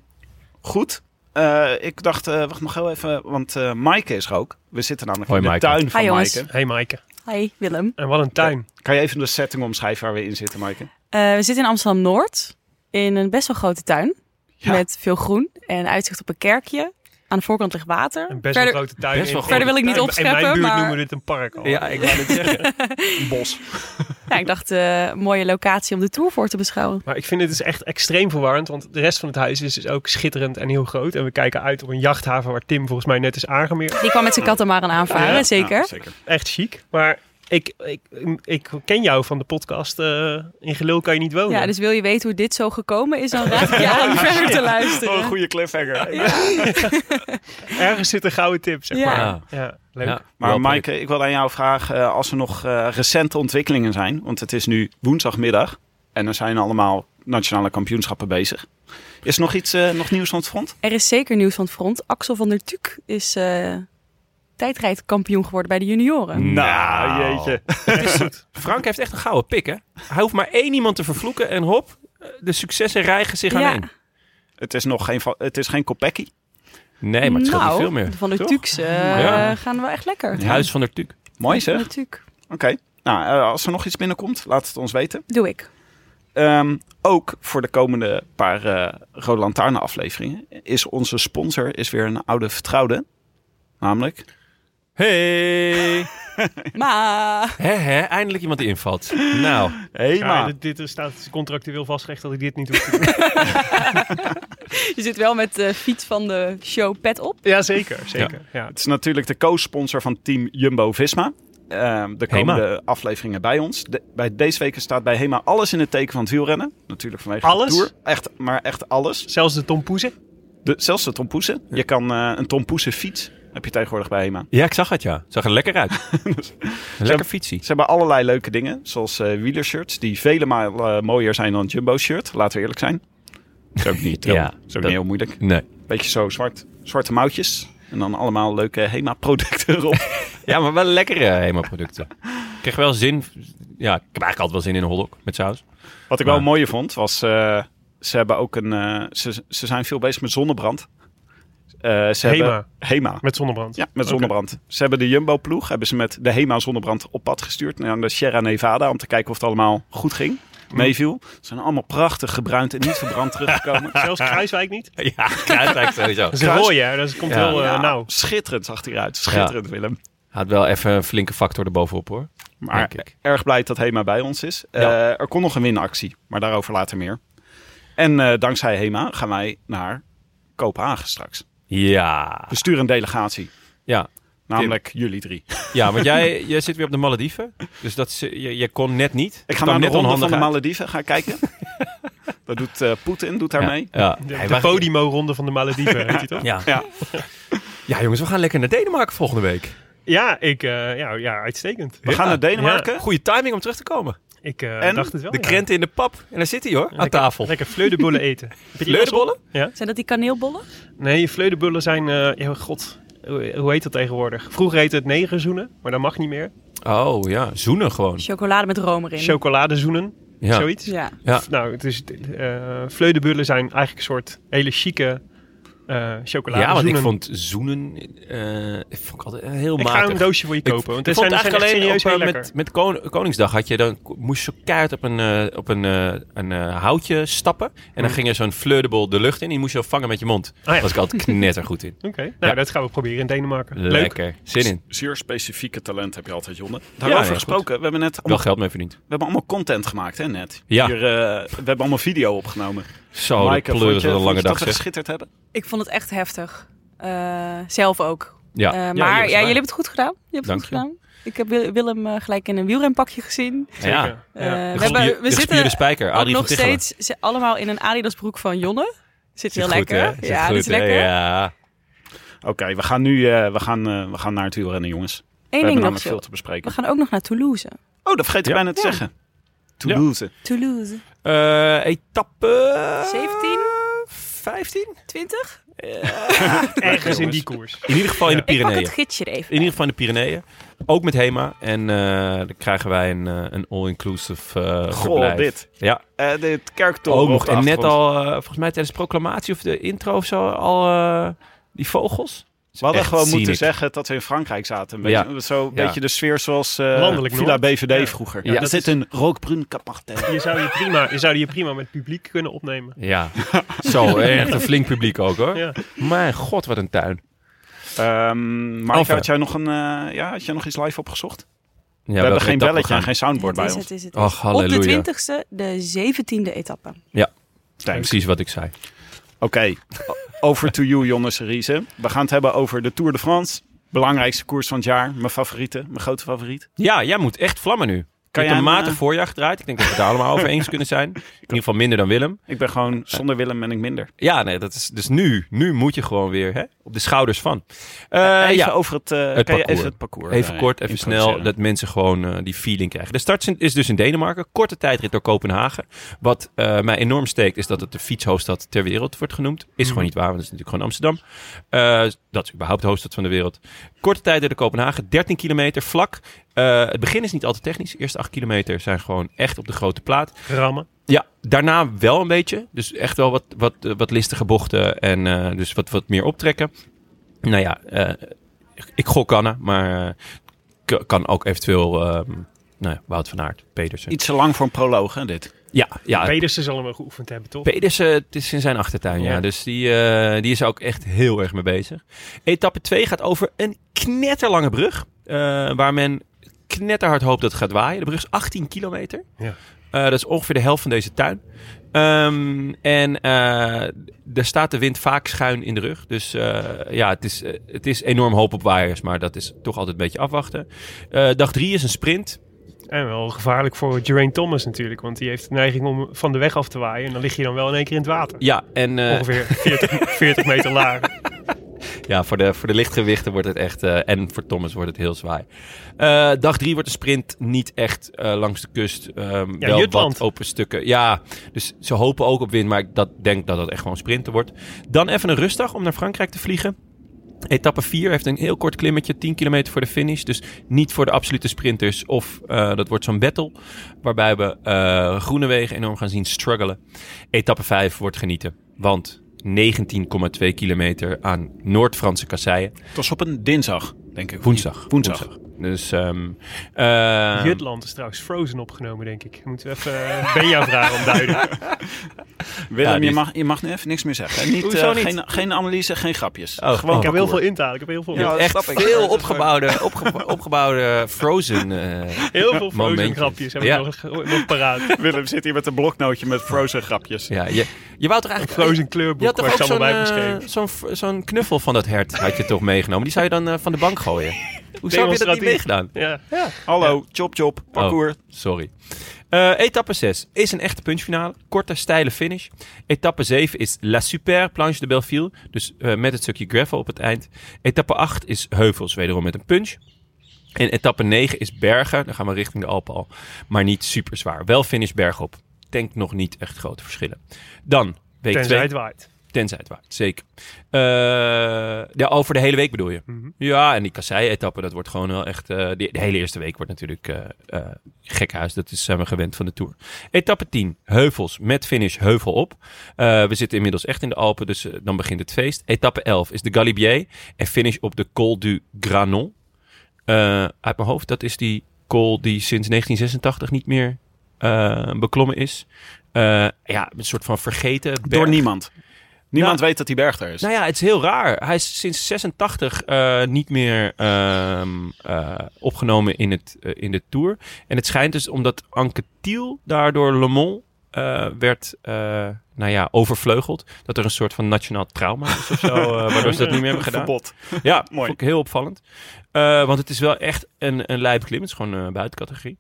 B: goed. Eh, ik dacht, eh, wacht nog heel even, want eh Maaike is er ook. We zitten namelijk
A: Hoi,
B: in de
A: Maaike.
B: tuin van
F: Hi, jongens.
B: Maaike.
D: Hey Maaike.
F: Hi, Willem.
D: En wat een tuin.
B: Kan je even de setting omschrijven waar we in zitten, Maaike?
F: Eh, we zitten in Amsterdam-Noord in een best wel grote tuin.
B: Ja.
F: Met veel groen en uitzicht op een kerkje. Aan de voorkant ligt water.
D: Een best wel
F: Verder-
D: grote tuin.
A: best wel
D: In-
F: Verder wil ik niet
D: in- In mijn
F: opscheppen,
D: buurt
F: maar-
D: noemen we dit een park al.
A: ik wou net zeggen.
B: Bos.
F: Ja, ik dacht, eh, mooie locatie om de tour voor te beschouwen.
D: Maar ik vind het dus echt extreem verwarrend, want de rest van het huis is dus ook schitterend en heel groot. En we kijken uit op een jachthaven waar Tim volgens mij net is aangemeerd.
F: Die kwam met zijn katamaran aanvaren,
D: Ja,
F: zeker.
B: Ja, zeker.
D: Echt chic. Maar ik, ik, ik ken jou van de podcast eh, In Gelul kan je niet wonen.
F: Ja, dus wil je weten hoe dit zo gekomen is, dan raad ik je aan verder te luisteren.
B: goede cliffhanger.
D: Ergens zit een gouden tip, zeg
F: Ja.
D: maar.
A: Ja.
D: Ja, leuk.
A: Ja,
B: Maar
A: wel
B: Maaike, ik wil aan jou vragen eh, als er nog eh, recente ontwikkelingen zijn. Want het is nu woensdagmiddag en er zijn allemaal nationale kampioenschappen bezig. Is er nog iets, eh, nog nieuws aan het front?
F: Er is zeker nieuws van het front. Axel van der Tuuk is eh, tijdrijdkampioen geworden bij de junioren.
A: Nou,
B: jeetje.
A: Frank heeft echt een gouden pik, hè? Hij hoeft maar één iemand te vervloeken en hop, de successen rijgen zich aan heen.
B: Het is nog geen, va- het is geen kopecky.
A: Nee, maar het scheelt
F: nou,
A: niet veel meer.
F: Van de
A: Toch?
F: Tuks eh,
A: Ja.
F: gaan wel echt lekker.
A: Het huis van de Tuuk.
B: Mooi zeg. Oké.
F: Natuurlijk.
B: Nou, eh, als er nog iets binnenkomt, laat het ons weten.
F: Doe ik.
B: Ehm, ook voor de komende paar eh Rode Lantaarn afleveringen is onze sponsor is weer een oude vertrouwde. Namelijk,
A: Hey!
F: Maar
A: hè, hè, eindelijk iemand die invalt. Nou,
D: Ja,
B: Hema.
D: dit, dit is- staat contractueel vastgelegd dat ik dit niet hoef te doen.
F: je zit wel met de fiets van de show pet op.
D: ja, zeker. zeker. Ja.
B: Het is natuurlijk de co-sponsor van team Jumbo-Visma. Ehm, de
A: Hema.
B: komende afleveringen bij ons. De- bij deze week staat bij Hema alles in het teken van het wielrennen. Natuurlijk vanwege
D: Alles?
B: de Tour. Echt, maar echt alles.
D: Zelfs de Tom Poezen.
B: De, zelfs de tompoesen. Je kan eh, een tompoesen fiets heb je tegenwoordig bij Hema.
A: ja, ik zag het, ja. Zag er lekker uit. lekker fietsie.
B: Ze hebben allerlei leuke dingen, zoals eh wielershirts, die vele malen eh, mooier zijn dan het Jumbo-shirt. Laten we eerlijk zijn. Dat is ook niet,
A: Ja,
B: ja, is ook
A: dat-
B: niet heel moeilijk.
A: Nee.
B: Beetje zo zwart, zwarte mouwtjes. En dan allemaal leuke Hema-producten erop.
A: Ja, maar wel lekkere
B: eh,
A: Hema-producten. Ik kreeg wel zin... Ja, ik heb eigenlijk altijd wel zin in een hotdog met saus.
B: Wat ik wel
A: Maar-
B: mooier vond, was eh, ze hebben ook een... eh, ze, ze zijn veel bezig met zonnebrand. Eh, ze
D: Hema.
B: Hebben, Hema.
D: Met zonnebrand.
B: Ja, met zonnebrand. Ze hebben de Jumbo-ploeg hebben ze met de Hema zonnebrand op pad gestuurd naar de Sierra Nevada om te kijken of het allemaal goed ging.
A: Mhm.
B: Meeviel. Ze zijn allemaal prachtig gebruind en niet verbrand teruggekomen.
D: Zelfs Kruiswijk niet.
A: Ja, kruidwijk sowieso.
D: Dat is een
B: Kruis-
D: rooie, hè. Dat komt
A: Ja.
D: heel eh,
B: Ja,
A: nou.
D: nauw.
B: Schitterend zag hij eruit. Schitterend, Willem.
A: Had wel even een flinke factor erbovenop, hoor.
B: Maar
A: Denk ik.
B: erg blij dat Hema bij ons is.
A: Ja.
B: Eh, er kon nog een winactie, maar daarover later meer. En eh, dankzij Hema gaan wij naar Kopenhagen straks.
A: Ja.
B: We sturen een delegatie,
A: Ja.
B: namelijk jullie drie.
A: Ja, want jij, jij zit weer op de Malediven. Dus dat is, je, je kon net niet.
B: Ik ga
A: Kwam
B: naar de
A: net
B: ronde van de
A: onhandig uit.
B: Malediven gaan kijken. dat doet eh, Poetin, doet daar mee.
A: Ja, ja.
D: De,
A: Hey,
D: de
A: wij-
D: Podimo-ronde van de Malediven, weet je toch?
A: Ja.
B: Ja.
A: ja, jongens, we gaan lekker naar Denemarken volgende week.
D: Ja, ik, eh, ja, ja, uitstekend.
B: We gaan naar Denemarken.
A: Goede timing om terug te komen.
D: Ik eh,
B: En
D: dacht het wel.
A: De
D: ja.
A: krenten in de pap. En daar zit hij hoor, aan
D: Lekker-
A: tafel.
D: Lekker fleudebollen eten.
A: Leurenbollen?
F: Zijn dat die kaneelbollen?
D: Nee, fleudebollen zijn... eh, ja, god, hoe hoe heet dat tegenwoordig? Vroeger heette het negerzoenen, maar dat mag niet meer.
A: Oh ja, zoenen gewoon.
F: Chocolade met room erin.
D: Chocoladezoenen,
A: Ja.
D: zoiets.
F: ja.
A: Ja.
D: Nou, het is, eh fleudebollen zijn eigenlijk een soort hele chique eh chocoladezoenen.
A: ja, want ik vond zoenen eh, ik vond ik altijd eh, heel
D: Ik
A: matig.
D: ga een doosje voor je kopen, want
A: ik
D: het
A: vond het
D: zijn,
A: eigenlijk
D: zijn echt
A: alleen
D: serieus
A: op,
D: heel
A: eh,
D: lekker.
A: met, met Kon- Koningsdag had je dan moest je keihard op een, eh, op een, eh, een eh, houtje stappen. En dan ging er zo'n flirtable de lucht in. Die moest je vangen met je mond.
D: Hmm. Oh ja.
A: was ik altijd knettergoed in.
D: Oké, nou,
A: Ja.
D: dat gaan we proberen in Denemarken. Leuk.
A: Lekker. Zin in.
B: Zeer specifieke talent heb je altijd, Jonne.
A: Ja,
B: Daarover
A: ja,
B: gesproken, we hebben net
A: Wel
B: allemaal,
A: geld mee verdiend.
B: we hebben allemaal content gemaakt, hè, net.
A: Ja.
B: Hier, eh, we hebben allemaal video opgenomen.
A: Zo, de
B: Maaike, vond
A: pleuris
B: je-
A: wat een
B: vond
A: lange
B: je
A: dag
B: dat we
A: zeg.
B: geschitterd hebben?
F: Ik vond het echt heftig. Eh, zelf ook.
A: Ja.
F: Eh,
A: Ja,
F: maar ja,
A: jongens, wij-
F: jullie hebben het goed gedaan. Je hebt het
A: Dank
F: goed
A: je.
F: gedaan. Ik heb Wil- Willem eh, gelijk in een wielrenpakje gezien.
A: Ja.
D: Zeker. Ja.
F: Eh,
A: De
F: we hebben, we
A: gespierde
F: zitten
A: spijker.
F: ook
A: Adrie
F: nog
A: van Tichelen.
F: steeds ze- allemaal in een Adidas broek van Jonne. Zit
A: Zit
F: heel
A: goed,
F: lekker.
A: hè? Zit
F: ja, dat is
A: goed, hè?
F: lekker.
A: Ja.
B: Oké, we gaan nu eh, we gaan, eh, we gaan naar het wielrennen, jongens. we
F: Eén
B: hebben
F: ding nog,
B: namelijk
F: Sil.
B: veel te
F: We
B: bespreken.
F: gaan ook nog naar Toulouse.
B: Oh, dat vergeet ik
A: Ja.
B: bijna te zeggen. Toulouse.
F: Toulouse.
A: Eh, etappe...
F: 17?
A: 15?
F: 20?
D: Ergens in die koers.
A: In ieder geval in de
F: Ik pak
A: Pyreneeën.
F: het gidsje er even.
A: In ieder geval in de Pyreneeën. Ook met HEMA. En eh, dan krijgen wij een, eh, een all-inclusive eh
B: Goh,
A: verblijf.
B: dit.
A: Ja,
B: Eh dit kerktoren.
A: ook nog.
B: op de
A: En net
B: achtergrond.
A: al, eh, volgens mij tijdens de proclamatie of de intro of zo, al eh, die vogels.
B: We hadden
A: Echt
B: gewoon moeten
A: scenic.
B: zeggen dat we in Frankrijk zaten. Een
A: Ja.
B: beetje, Zo een
A: Ja.
B: beetje de sfeer zoals eh,
D: Landelijk
B: Villa
D: Noord.
B: BVD
D: Ja.
B: vroeger.
A: Ja,
B: Ja, er
A: dat
B: zit
D: is-
B: een rookbrun kapartel.
D: Je zou je prima, je zou je prima met publiek kunnen opnemen.
A: Ja, zo. Echt een flink publiek ook hoor.
D: Ja.
A: Mijn god, wat een tuin.
B: Ehm maar
A: Alpha.
B: had jij, nog een, eh, ja, had jij nog iets live opgezocht?
A: Ja,
B: we hebben geen belletje en
A: aan
B: geen soundboard bij
F: Het is,
B: ons.
F: het is, het is.
A: Och, halleluja.
F: Op de 20ste, de 17e etappe.
B: Thanks.
A: Precies wat ik zei.
B: Oké, o- over to you, Jonas Riese. We gaan het hebben over de Tour de France. Belangrijkste koers van het jaar. Mijn favoriete, mijn grote favoriet.
A: Ja, jij moet echt vlammen nu. Kan
B: Kan
A: je
B: jij
A: een
B: hem,
A: matig
B: eh,
A: voorjaar gedraaid. Ik denk dat we het daar allemaal over eens kunnen zijn. In ieder geval minder dan Willem.
B: Ik ben gewoon, zonder Willem ben ik minder.
A: Ja, nee, dat is, dus nu, nu moet je gewoon weer hè, op de schouders van. Eh,
B: even
A: ja,
B: over eh, het, eh, kan je
A: parcours.
B: Even, het parcours
A: even
B: daarin
A: kort, even
B: introduceren?
A: snel, dat mensen gewoon eh, die feeling krijgen. De start is- is dus in Denemarken, korte tijdrit door Kopenhagen. Wat eh, mij enorm steekt is dat het de fietshoofdstad ter wereld wordt genoemd. Is
B: Mhm.
A: gewoon niet waar, want het is natuurlijk gewoon Amsterdam. Eh, dat is überhaupt de hoofdstad van de wereld. Korte tijdrit door Kopenhagen, 13 kilometer, vlak. Eh, het begin is niet altijd technisch. De eerste 8 kilometer zijn gewoon echt op de grote plaat.
D: Rammen.
A: Ja, daarna wel een beetje. Dus echt wel wat, wat, eh, wat listige bochten en eh, dus wat, wat meer optrekken. Nou ja, eh, ik gok Anna, maar eh, k- kan ook eventueel ehm, nou ja, Wout van Aert, Pedersen.
B: Iets te lang voor een proloog, hè, dit.
A: ja, ja,
D: Pedersen zal hem wel geoefend hebben, toch?
A: Pedersen, het is in zijn achtertuin, ja.
D: Ja.
A: Dus die, eh, die is er ook echt heel erg mee bezig. Etappe 2 gaat over een knetterlange brug. eh, waar men knetterhard hoopt dat het gaat waaien. De brug is 18 kilometer.
D: Ja.
A: Eh, dat is ongeveer de helft van deze tuin. Ehm, en eh daar staat de wind vaak schuin in de rug. Dus eh, ja, het is, eh, het is enorm hoop op waaiers. Maar dat is toch altijd een beetje afwachten. Eh, dag 3 is een sprint.
D: En wel gevaarlijk voor Geraint Thomas natuurlijk. Want die heeft de neiging om van de weg af te waaien. En dan lig je dan wel in één keer in het water.
A: Ja, en eh,
D: Ongeveer 40, 40 meter laag.
A: Ja, voor de, voor de lichtgewichten wordt het echt... eh, en voor Thomas wordt het heel zwaar. Eh, dag drie wordt de sprint niet echt eh, langs de kust. ehm,
D: Ja,
A: wel
D: Jutland.
A: wat open stukken. Ja, dus ze hopen ook op wind. Maar ik dat, denk dat dat echt gewoon sprinten wordt. Dan even een rustdag om naar Frankrijk te vliegen. Etappe 4 heeft een heel kort klimmetje, 10 kilometer voor de finish. Dus niet voor de absolute sprinters. Of eh, dat wordt zo'n battle. Waarbij we eh Groenewegen enorm gaan zien struggelen. Etappe 5 wordt genieten. Want 19,2 kilometer aan Noord-Franse kasseien.
B: Het was op een dinsdag, denk ik.
A: Woensdag.
B: Woensdag.
A: Dus, ehm, ehm,
D: Jutland is trouwens Frozen opgenomen, denk ik. Moeten we even eh, Benja vragen om duiden.
B: Willem,
A: Ja, die-
B: je, mag, je mag nu even niks meer zeggen. hè? Niet,
A: Hoezo
B: eh,
A: niet?
B: Geen, geen analyse, geen grapjes.
A: oh,
D: Gewoon,
A: oh,
D: ik heb heel
A: cool.
D: veel in te halen. Ik heb heel veel,
B: Ja, dat
A: Echt
B: snap ik.
A: veel
B: Dat is
A: opgebouwde, opge- opgebouwde Frozen. eh,
D: heel veel Frozen
A: Momentjes.
D: grapjes heb ik
A: Ja.
D: nog, nog paraat.
B: Willem zit hier met een bloknootje met frozen grapjes.
A: ja, je, je wou toch eigenlijk...
D: Frozen
A: Je had
D: kleurboek waar
A: toch
D: ik ze
A: ook
D: allemaal
A: zo'n,
D: bij heb
A: eh,
D: geschreven.
A: zo'n, v- zo'n knuffel van dat hert had je toch meegenomen? Die zou je dan eh, van de bank gooien. Hoezo heb je dat niet
D: Demonstratief.
A: meegedaan?
D: Ja.
B: Hallo, chop chop,
A: Oh.
B: parcours.
A: Sorry. Eh, etappe 6 is een echte punchfinale. Korte, steile finish. Etappe 7 is La Super Planche de Belleville. Dus eh, met het stukje gravel op het eind. Etappe 8 is heuvels, wederom met een punch. En etappe 9 is bergen. Dan gaan we richting de Alpen al. Maar niet super zwaar. Wel finish bergop. Denk nog niet echt grote verschillen. Dan week
D: Tenzij
A: 2.
D: het waait.
A: Tenzij het waait, zeker. Eh, ja, over de hele week bedoel je?
D: Mhm.
A: Ja, en die kassei-etappe, dat wordt gewoon wel echt... eh, die- de hele eerste week wordt natuurlijk eh eh, gekhuis. Dat is, zijn we gewend van de Tour. Etappe 10, heuvels met finish heuvel op. Eh, we zitten inmiddels echt in de Alpen, dus eh, dan begint het feest. Etappe 11 is de Galibier en finish op de Col du Granon. Eh, uit mijn hoofd, dat is die col die sinds 1986 niet meer eh, beklommen is. Eh, ja, een soort van vergeten
B: Door
A: berg.
B: niemand. Niemand weet dat die berg er is.
A: Nou ja, het is heel raar. Hij is sinds 86 eh, niet meer ehm, eh, opgenomen in, het, eh, in de Tour. En het schijnt dus omdat Anke Thiel daardoor Le Mans eh, werd eh, nou ja, overvleugeld. Dat er een soort van nationaal trauma is of zo. eh, waardoor ze dat niet meer hebben gedaan. Eh,
B: Verbod.
A: Ja,
B: Mooi.
A: mooi. Vond ik heel opvallend. Eh, want het is wel echt een, een lijp klim. Het is gewoon eh buitencategorie.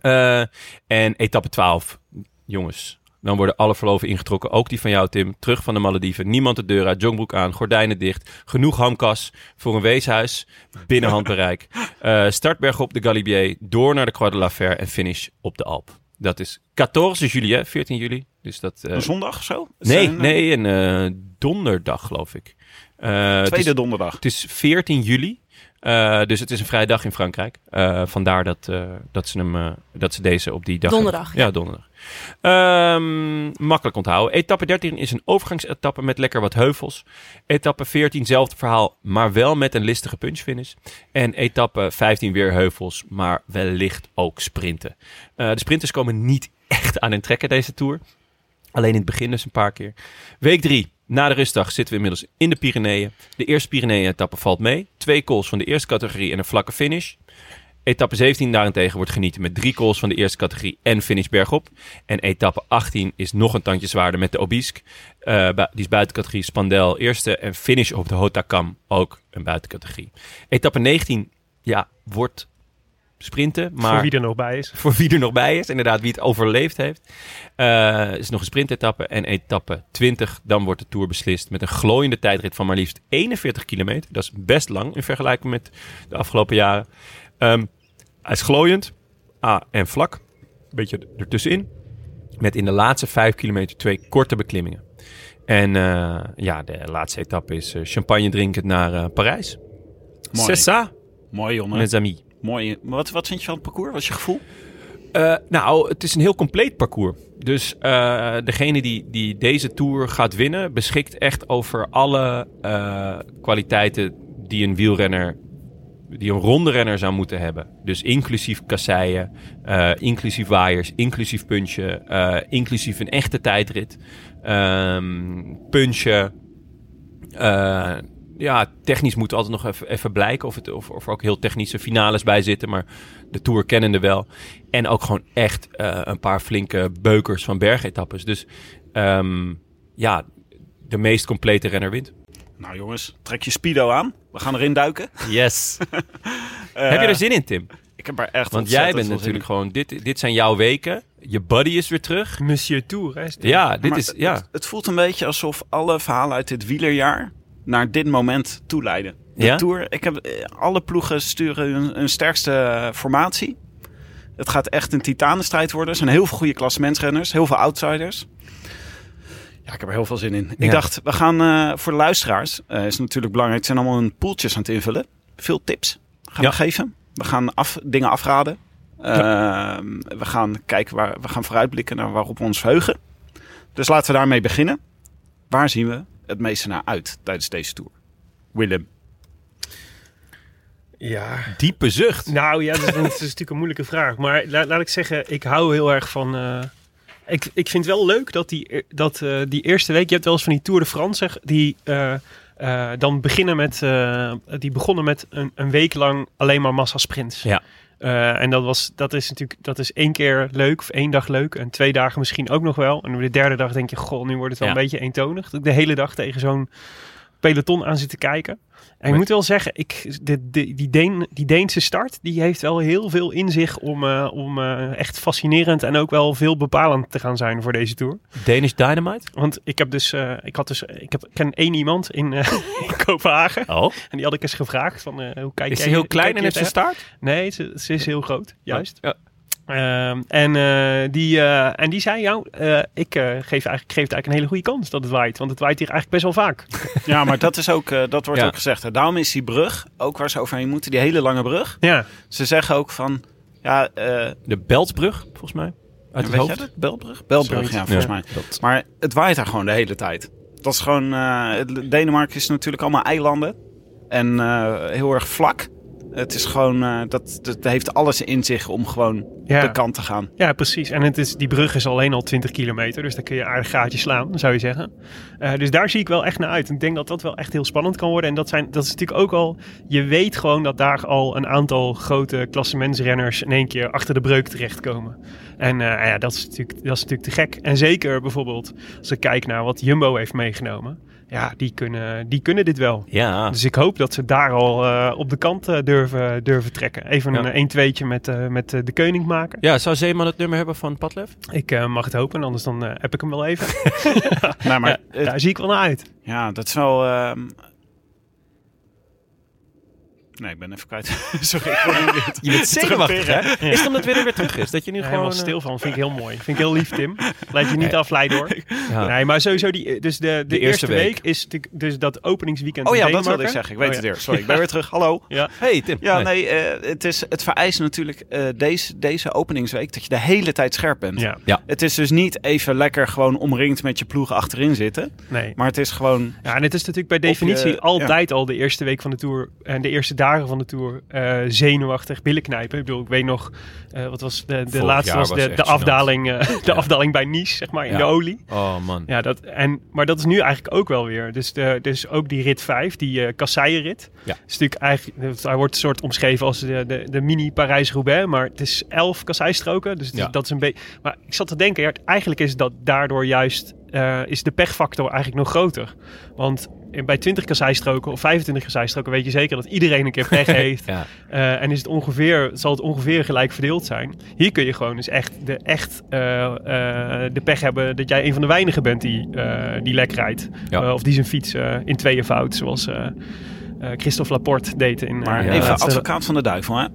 A: Eh, en etappe 12. Jongens, dan worden alle verloven ingetrokken. Ook die van jou, Tim. Terug van de Malediven. Niemand de deur uit. Jongbroek aan. Gordijnen dicht. Genoeg hamkas voor een weeshuis. Binnen handbereik. Eh, startberg op de Galibier. Door naar de Croix de la Fer. En finish op de Alp. Dat is 14 juli, hè? 14 juli. Dus dat... eh,
B: Een zondag of zo? Het
A: nee,
B: is een,
A: nee, een eh, donderdag, geloof ik. Eh, het is-
B: Tweede donderdag.
A: het is 14 juli. eh, dus het is een vrije dag in Frankrijk. Eh, vandaar dat, eh, dat, ze hem, eh, dat ze deze op die dag...
F: Donderdag,
A: Ja, donderdag. Ehm, makkelijk onthouden. Etappe 13 is een overgangsetappe met lekker wat heuvels. Etappe 14, zelfde verhaal, maar wel met een listige punchfinish. En etappe 15 weer heuvels, maar wellicht ook sprinten. Eh, de sprinters komen niet echt aan hun trekken deze Tour. Alleen in het begin dus een paar keer. Week 3, na de rustdag, zitten we inmiddels in de Pyreneeën. De eerste Pyreneeën-etappe valt mee. Twee calls van de eerste categorie en een vlakke finish. Etappe 17 daarentegen wordt genieten met drie calls van de eerste categorie en finish bergop. En etappe 18 is nog een tandje zwaarder met de Obisque. Eh, bui- die is buiten categorie Spandel eerste en finish op de Hotakam ook een buitencategorie. Etappe 19, ja, wordt sprinten.
D: Voor
A: Maar
D: wie er nog bij is.
A: voor wie er nog bij is. Inderdaad, wie het overleefd heeft. Eh is nog een sprintetappe en etappe 20. Dan wordt de Tour beslist met een glooiende tijdrit van maar liefst 41 kilometer. Dat is best lang in vergelijking met de afgelopen jaren. Ehm, hij is glooiend ah, en vlak. Een beetje ertussenin. Met in de laatste 5 kilometer twee korte beklimmingen. En eh, ja, de laatste etappe is eh, champagne drinkend naar eh, Parijs.
B: Mooi.
A: C'est ça,
B: Mooi, jongen.
A: mes amis.
B: Mooi. Maar Wat, wat vind je van het parcours? Wat is je gevoel?
A: Eh, nou, het is een heel compleet parcours. Dus eh, degene die, die deze Tour gaat winnen, beschikt echt over alle eh, kwaliteiten die een wielrenner, die een rondrenner zou moeten hebben. Dus inclusief kasseien, eh, inclusief waaiers, inclusief punchen, eh, inclusief een echte tijdrit, ehm punchen. Eh, ja, technisch moet altijd nog even, even blijken of, het, of, of er ook heel technische finales bij zitten. Maar de Tour kennende wel. En ook gewoon echt eh, een paar flinke beukers van bergetappes. Dus ehm, ja, de meest complete renner wint.
B: Nou jongens, trek je speedo aan. We gaan erin duiken.
A: Yes. Heb je er zin in, Tim?
B: Ik heb er echt
A: Want jij bent
B: Eh, ontzettend veel zin
A: natuurlijk gewoon... Dit, dit zijn jouw weken. Je buddy is weer terug.
D: Monsieur Tour, hè? is dit.
A: Ja,
B: in.
A: dit
B: Maar
A: is... Ja.
B: het, het voelt een beetje alsof alle verhalen uit dit wielerjaar naar dit moment toeleiden. De
A: Ja?
B: Tour, ik heb, eh, alle ploegen sturen hun, hun sterkste eh, formatie. Het gaat echt een titanenstrijd worden. Er zijn heel veel goede klassementsrenners, heel veel outsiders. Ja, ik heb er heel veel zin in.
A: Ja.
B: Ik dacht, we gaan eh, voor de luisteraars, eh, is natuurlijk belangrijk, het zijn allemaal hun poeltjes aan het invullen. Veel tips gaan
A: Ja.
B: we geven. We gaan af, dingen afraden. Ehm, we gaan kijken waar we gaan vooruitblikken naar waarop we ons verheugen. Dus laten we daarmee beginnen. Waar zien we het meeste naar uit tijdens deze tour? Willem.
D: ja.
A: Diepe zucht.
D: Nou ja, dat is, dat is natuurlijk een moeilijke vraag. Maar la- laat ik zeggen, ik hou heel erg van... eh, ik, ik vind wel leuk dat, die, e- dat eh, die eerste week... Je hebt wel eens van die Tour de France, zeg, die eh, eh, dan beginnen met... eh, die begonnen met een, een week lang alleen maar massasprints.
A: Ja.
D: Eh, en dat, was, dat is natuurlijk dat is één keer leuk, of één dag leuk. En twee dagen misschien ook nog wel. En op de derde dag denk je, goh, nu wordt het wel
A: Ja.
D: een beetje eentonig. Dat ik de hele dag tegen zo'n peloton aan zit te kijken. En ik moet wel zeggen, ik, de, de- die, Deen, die Deense start, die heeft wel heel veel in zich om, eh, om eh, echt fascinerend en ook wel veel bepalend te gaan zijn voor deze Tour.
A: Danish Dynamite.
D: Want ik heb dus, eh, ik had dus, ik heb, ik ken één iemand in, eh, in Kopenhagen.
A: Oh,
D: En die had ik eens gevraagd van, eh, hoe kijk
A: is
D: jij-
A: hij heel
D: hoe
A: klein
D: kijk
A: en
D: je
A: heeft ze
D: tegen-
A: staart?
D: Nee, ze, ze is heel groot, juist.
A: Ja.
D: Ehm, en, eh, die, eh, en die zei, jou, eh, ik eh, geef, eigenlijk, ik geef het eigenlijk een hele goede kans dat het waait. Want het waait hier eigenlijk best wel vaak.
B: Ja, maar dat, is ook, eh, dat wordt
A: Ja.
B: ook gezegd. Hè. Daarom is die brug, ook waar ze overheen moeten, die hele lange brug.
D: Ja,
B: Ze zeggen ook van, ja, eh
A: De Beltbrug, volgens mij. Uit het
B: weet jij
A: hoofd.
B: dat? Belbrug? Belbrug,
D: Zoiets.
B: ja, volgens
A: Ja.
B: mij.
A: Dat.
B: Maar het waait daar gewoon de hele tijd. Dat is gewoon, eh, het- Denemarken is natuurlijk allemaal eilanden. En eh, heel erg vlak. Het is gewoon, eh, dat, dat heeft alles in zich om gewoon de
D: ja.
B: kant te gaan.
D: ja precies. En het is, die brug is alleen al 20 kilometer. Dus daar kun je aardig gaatje slaan, zou je zeggen. Eh, dus daar zie ik wel echt naar uit. Ik denk dat dat wel echt heel spannend kan worden. En dat, zijn, dat is natuurlijk ook al... Je weet gewoon dat daar al een aantal grote klassementsrenners... in één keer achter de breuk terechtkomen. En eh, ja, dat is, natuurlijk, dat is natuurlijk te gek. En zeker bijvoorbeeld als ik kijk naar wat Jumbo heeft meegenomen. Ja, die kunnen, die kunnen dit wel.
A: Ja.
D: Dus ik hoop dat ze daar al eh, op de kant eh, durven, durven trekken. Even
A: Ja.
D: een 1 tweetje met, eh, met eh, de koning maken.
A: Ja, zou Zeeman het nummer hebben van Padlef?
D: Ik eh, mag het hopen, anders dan eh, heb ik hem wel even.
B: Nou, maar
D: Ja, daar zie ik wel naar uit.
B: Ja, dat is wel. ehm, Nee, ik ben even kwijt. Sorry. ik hoor niet dit.
A: Je bent zenuwachtig, hè? Is het omdat Willem weer terug is? Dat je nu
D: Daar
A: gewoon... eh,
D: helemaal stil van. Vind ik heel mooi. Vind ik heel lief, Tim. Laat je niet afleiden hoor.
A: eh, ja.
D: Nee, maar sowieso, die, dus de, de, eerste, week,
A: week.
D: is natuurlijk dus dat openingsweekend.
B: Oh
D: in
B: ja, dat wilde ik
D: Denemarken.
B: zeggen. Ik weet
D: Oh
B: het
D: ja.
B: weer. Sorry, ik ben weer terug. Hallo.
A: Hey, Tim.
B: Ja, nee, eh, het, is, het vereist natuurlijk eh, deze, deze openingsweek dat je de hele tijd scherp bent.
D: Ja,
B: Het is dus niet even lekker gewoon omringd met je ploeg achterin zitten.
D: nee.
B: Maar het is gewoon.
D: Ja, en het is natuurlijk bij
B: Op je- eh,
D: definitie
B: ja.
D: altijd al de eerste week van de Tour en de eerste dagen van de Tour eh, zenuwachtig billen knijpen. Ik bedoel, ik weet nog, eh, wat was de, de
A: Vorig
D: laatste
A: jaar
D: was
A: was
D: de,
A: echt
D: de,
A: gênant.
D: afdaling, eh, de afdaling bij Nice, zeg maar, in
A: Ja.
D: de olie.
A: Oh, man.
D: Ja, dat, en, maar dat is nu eigenlijk ook wel weer. Dus, de, dus ook die rit 5, die eh kasseienrit.
A: Ja.
D: Is natuurlijk eigenlijk, hij wordt een soort omschreven als de, de, de mini Parijs-Roubaix. Maar het is elf kasseistroken. Dus het is-
A: Ja.
D: dat is een beetje. Maar ik zat te denken, ja, eigenlijk is dat daardoor juist eh, is de pechfactor eigenlijk nog groter. Want in- bij 20 kasseistroken of 25 kasseistroken weet je zeker dat iedereen een keer pech heeft.
A: Ja.
D: Eh, en is het ongeveer, zal het ongeveer gelijk verdeeld zijn. Hier kun je gewoon dus echt de, echt, eh, eh, de pech hebben dat jij een van de weinigen bent die, eh, die lek rijdt.
A: Ja.
D: Eh, of die zijn fiets eh, in tweeën fout, zoals eh, eh, Christophe Laporte deed. In, eh,
B: Maar
D: de
B: even
D: laatste-
B: advocaat van de duivel, hè.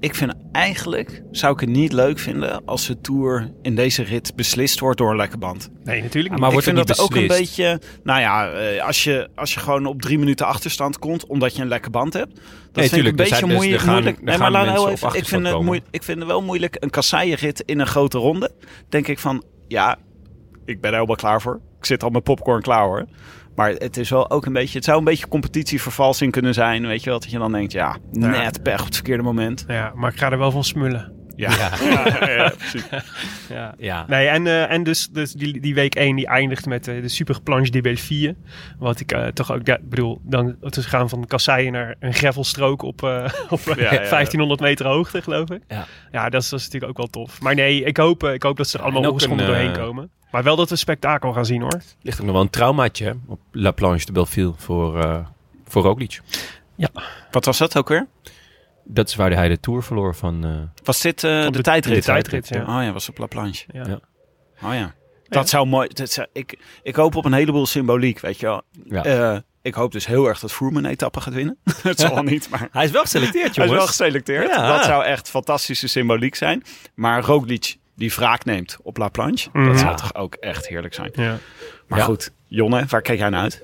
B: Ik vind eigenlijk, zou ik het niet leuk vinden als de Tour in deze rit beslist wordt door een lekke band.
D: Nee, natuurlijk niet.
A: Maar
B: ik
A: wordt
B: vind
A: het
B: dat
A: niet
B: ook een
A: beslist?
B: beetje, nou ja, eh, als je, als je gewoon op drie minuten achterstand komt omdat je een lekke band hebt. Dat vind
A: tuurlijk,
B: ik
A: er
B: een beetje
A: zijn- dus er
B: moeilijk.
A: gaan-
B: moeilijk.
A: er
B: Nee, maar
A: gaan
B: laat heel
A: mensen op
B: even, ik
A: achterstand
B: vind, het
A: komen.
B: moeilijk, ik vind het wel moeilijk, een kasseienrit in een grote ronde. Denk ik van, ja, ik ben er helemaal klaar voor. Ik zit al mijn popcorn klaar hoor. Maar het is wel ook een beetje, het zou een beetje competitievervalsing kunnen zijn. Weet je wel, dat je dan denkt, ja, net pech op het verkeerde moment.
D: Nou ja, maar ik ga er wel van smullen.
B: Ja, precies.
D: Ja.
A: Ja.
D: Nee, en, eh, en dus, dus die, die week 1 die eindigt met eh, de super planche die bij 4. Wat ik eh, toch ook, ja, ik bedoel, dan het is gaan van kasseien naar een gravelstrook op, eh, op eh,
B: ja.
D: 1500 meter hoogte, geloof ik.
A: Ja.
D: dat, is, dat is natuurlijk ook wel tof. Maar nee, ik hoop, eh, ik hoop dat ze er allemaal
A: en ook
D: ongeschonden
A: een, eh,
D: doorheen komen. Maar wel dat we spektakel gaan zien hoor.
A: Ligt ook nog wel een traumaatje hè, op La Planche de Belleville voor, eh voor Roglic.
B: Wat was dat ook weer?
A: Dat is waar hij de Tour verloor van... eh,
B: Was dit eh,
D: Op
B: de, tijdrit?
D: De tijdrit, ja.
B: Oh ja, was op La Planche.
D: Ja.
A: Ja.
B: Oh ja. Dat zou mooi... Dat zou, ik, ik hoop op een heleboel symboliek, weet je wel.
A: ja.
B: Eh, ik hoop dus heel erg dat Froome een etappe gaat winnen. Het zal wel niet, maar...
A: hij is wel geselecteerd,
B: Hij is wel geselecteerd.
A: Ja.
B: Dat zou echt fantastische symboliek zijn. Maar Roglic die wraak neemt op La Planche,
D: Mhm.
B: dat zou toch ook echt heerlijk zijn.
D: Ja.
B: Maar
A: Ja.
B: goed, Jonne, waar kijk jij naar uit?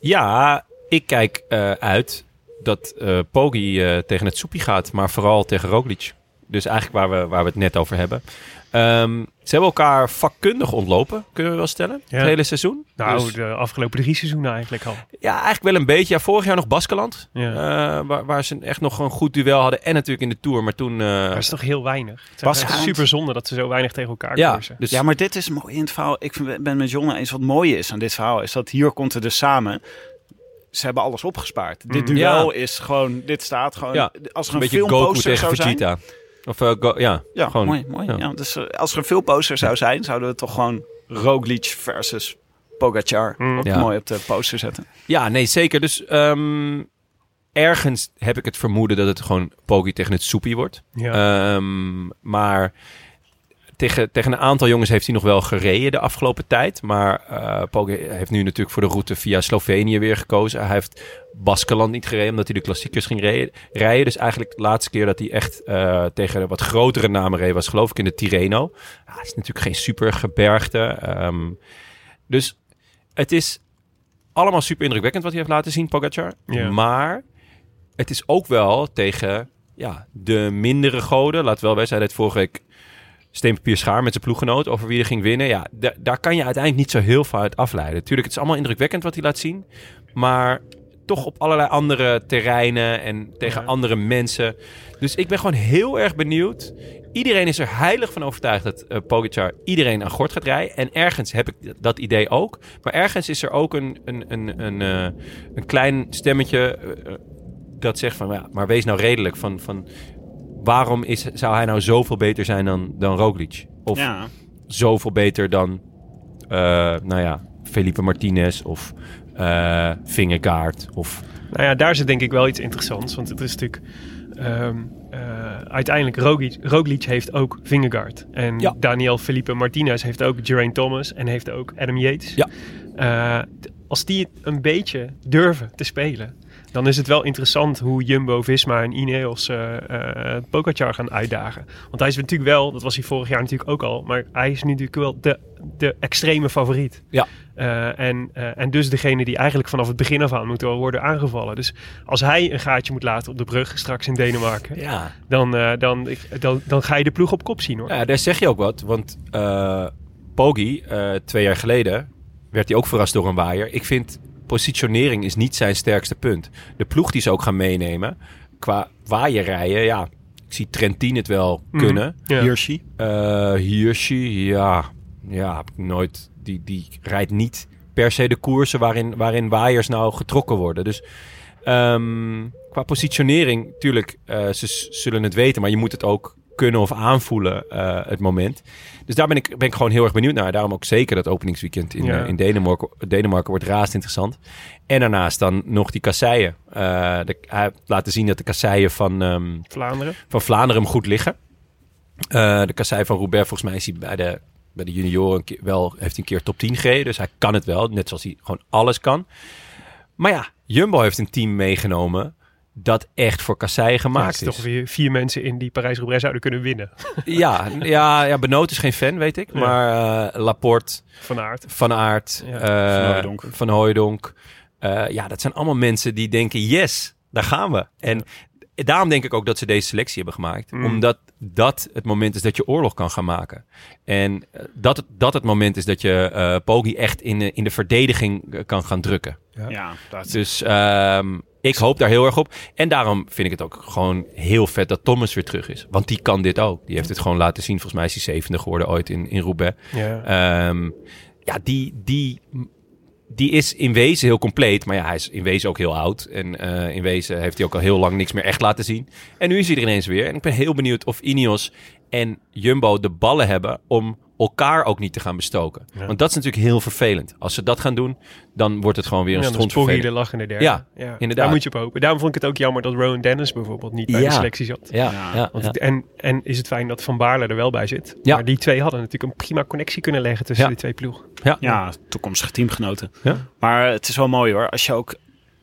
A: Ja, ik kijk eh, uit dat eh Poggi eh, tegen het soepie gaat, maar vooral tegen Roglic. Dus eigenlijk waar we, waar we het net over hebben. Ehm, ze hebben elkaar vakkundig ontlopen, kunnen we wel stellen,
D: Ja.
A: het hele seizoen.
D: Nou,
A: Dus-
D: de afgelopen drie seizoenen eigenlijk al.
A: ja, eigenlijk wel een beetje. Ja, vorig jaar nog Baskeland,
D: Ja.
A: eh, waar, waar ze echt nog een goed duel hadden. En natuurlijk in de Tour, maar toen... eh,
D: dat is toch heel weinig. Het
B: Bas
D: is echt
B: Gaand.
D: super zonde dat ze zo weinig tegen elkaar
A: ja,
D: koersen.
A: dus,
B: Ja, maar dit is mooi in het verhaal. Ik vind- ben met Jonne eens wat mooi is aan dit verhaal. Is dat hier komt het dus samen. Ze hebben alles opgespaard. Dit
D: Mm.
B: duel is gewoon... Dit staat gewoon...
A: Mhm. Ja,
B: Als er
A: een
B: een,
A: beetje Goku
B: filmposter
A: tegen
B: zou zijn...
A: Vegeta. Of eh, Go- ja,
B: Ja,
A: gewoon.
B: mooi. mooi.
A: ja.
B: Ja. dus eh, als er een filmposter zou zijn... zouden we toch gewoon Roglic versus Pogacar...
D: Mm.
A: Ja.
B: mooi op de poster zetten.
A: Ja, nee, zeker. Dus ehm, ergens heb ik het vermoeden dat het gewoon Poggi tegen het soepie wordt.
D: Ja.
A: Ehm, maar tegen, tegen een aantal jongens heeft hij nog wel gereden de afgelopen tijd. Maar eh Poggi heeft nu natuurlijk voor de route via Slovenië weer gekozen. Hij heeft Baskeland niet gereden, omdat hij de klassiekers ging re- rijden. Dus eigenlijk de laatste keer dat hij echt eh, tegen de wat grotere namen reed... was geloof ik in de Tirreno. Ja, het is natuurlijk geen supergebergte. ehm, dus het is allemaal super indrukwekkend wat hij heeft laten zien, Pogacar.
D: Ja.
A: Maar het is ook wel tegen ja, de mindere goden. Laat wel wij zijn het vorige week steen, papier, schaar met zijn ploeggenoot over wie er ging winnen. Ja, da- daar kan je uiteindelijk niet zo heel veel uit afleiden. Tuurlijk, het is allemaal indrukwekkend wat hij laat zien. Maar toch op allerlei andere terreinen en tegen
D: Ja.
A: andere mensen. Dus ik ben gewoon heel erg benieuwd. Iedereen is er heilig van overtuigd dat eh, Pogacar iedereen aan gort gaat rijden. En ergens heb ik dat idee ook. Maar ergens is er ook een, een, een, een, eh, een klein stemmetje eh, eh, dat zegt van... Ja, maar wees nou redelijk van... van Waarom is, zou hij nou zoveel beter zijn dan, dan Roglic? Of
B: Ja.
A: zoveel beter dan, eh, nou ja, Felipe Martinez of eh Vingegaard of...
D: Nou ja, daar zit denk ik wel iets interessants. Want het is natuurlijk... ehm, eh, uiteindelijk, Roglic, Roglic heeft ook Vingegaard. En
A: Ja.
D: Daniel Felipe Martinez heeft ook Geraint Thomas. En heeft ook Adam Yates.
A: Ja.
D: Eh, t- als die het een beetje durven te spelen... dan is het wel interessant hoe Jumbo, Visma en Ineos eh eh, Pogacar gaan uitdagen. Want hij is natuurlijk wel... Dat was hij vorig jaar natuurlijk ook al. Maar hij is nu natuurlijk wel de, de extreme favoriet.
A: Ja.
D: Eh, en, eh, en dus degene die eigenlijk vanaf het begin af aan moet worden aangevallen. Dus als hij een gaatje moet laten op de brug straks in Denemarken,
A: Ja.
D: dan, eh, dan, dan, dan ga je de ploeg op kop zien hoor.
A: ja, daar zeg je ook wat, want eh Poggi, eh, twee jaar geleden, werd hij ook verrast door een waaier. Ik vind, positionering is niet zijn sterkste punt. De ploeg die ze ook gaan meenemen, qua waaierrijden, ja, ik zie Trentin het wel kunnen.
D: Ja.
B: Hirschi.
A: Eh, Hirschi, ja. Ja, heb ik nooit. Die, die rijdt niet per se de koersen waarin, waarin waaiers nou getrokken worden. Dus ehm, qua positionering, tuurlijk, eh, ze s- zullen het weten, maar je moet het ook kunnen of aanvoelen eh, het moment. Dus daar ben ik, ben ik gewoon heel erg benieuwd naar. Daarom ook zeker dat openingsweekend in,
D: Ja.
A: eh, in Denemarken, Denemarken wordt raast interessant. En daarnaast dan nog die kasseien. Eh, de, hij heeft laten zien dat de kasseien van... ehm,
D: Vlaanderen.
A: van Vlaanderen hem goed liggen. Eh, de kassei van Roubaix, volgens mij is hij bij de, bij de junioren een keer- wel, heeft hij een keer top 10 gereden. Dus hij kan het wel, net zoals hij gewoon alles kan. Maar ja, Jumbo heeft een team meegenomen dat echt voor kassei
D: Maar
A: gemaakt
D: er toch
A: is.
D: weer vier mensen in die Parijs-Roubaix zouden kunnen winnen.
A: Ja, ja, ja, Benoot is geen fan, weet ik.
D: Ja.
A: Maar eh, Laporte,
D: Van Aert.
A: Van Aert,
D: Ja,
A: eh,
B: Van Hooijdonk.
A: Van Hooijdonk. Eh, ja, dat zijn allemaal mensen die denken, yes, daar gaan we. En daarom denk ik ook dat ze deze selectie hebben gemaakt.
D: Mm.
A: Omdat dat het moment is dat je oorlog kan gaan maken. En eh, dat het, dat het moment is dat je eh Poggi echt in, eh, in de verdediging eh, kan gaan drukken.
B: Ja, dat is
A: Dus ehm, ik hoop daar heel erg op. En daarom vind ik het ook gewoon heel vet dat Thomas weer terug is. Want die kan dit ook. Die heeft het gewoon laten zien. Volgens mij is hij zevende geworden ooit in, in Roubaix.
D: Ja.
A: Ehm, ja, die, die, die is in wezen heel compleet. Maar ja, hij is in wezen ook heel oud. En eh, in wezen heeft hij ook al heel lang niks meer echt laten zien. En nu is hij er ineens weer. En ik ben heel benieuwd of Ineos en Jumbo de ballen hebben om elkaar ook niet te gaan bestoken. Want dat is natuurlijk heel vervelend. Als ze dat gaan doen, dan wordt het gewoon weer een
D: Ja, dan is Poggi
A: strontvervelend.
D: de lachende derde.
A: Ja, inderdaad.
D: Daar moet je op hopen. Daarom vond ik het ook jammer dat Rowan Dennis bijvoorbeeld niet bij
A: Ja.
D: de selectie zat.
A: Ja,
B: Ja,
A: ja,
D: Want
A: ja.
D: het- en, en is het fijn dat Van Baarle er wel bij zit.
A: Ja.
D: Maar die twee hadden natuurlijk een prima connectie kunnen leggen tussen
A: Ja.
D: die twee ploegen.
B: ja, toekomstige teamgenoten.
A: Ja.
B: Maar het is wel mooi hoor. Als je ook,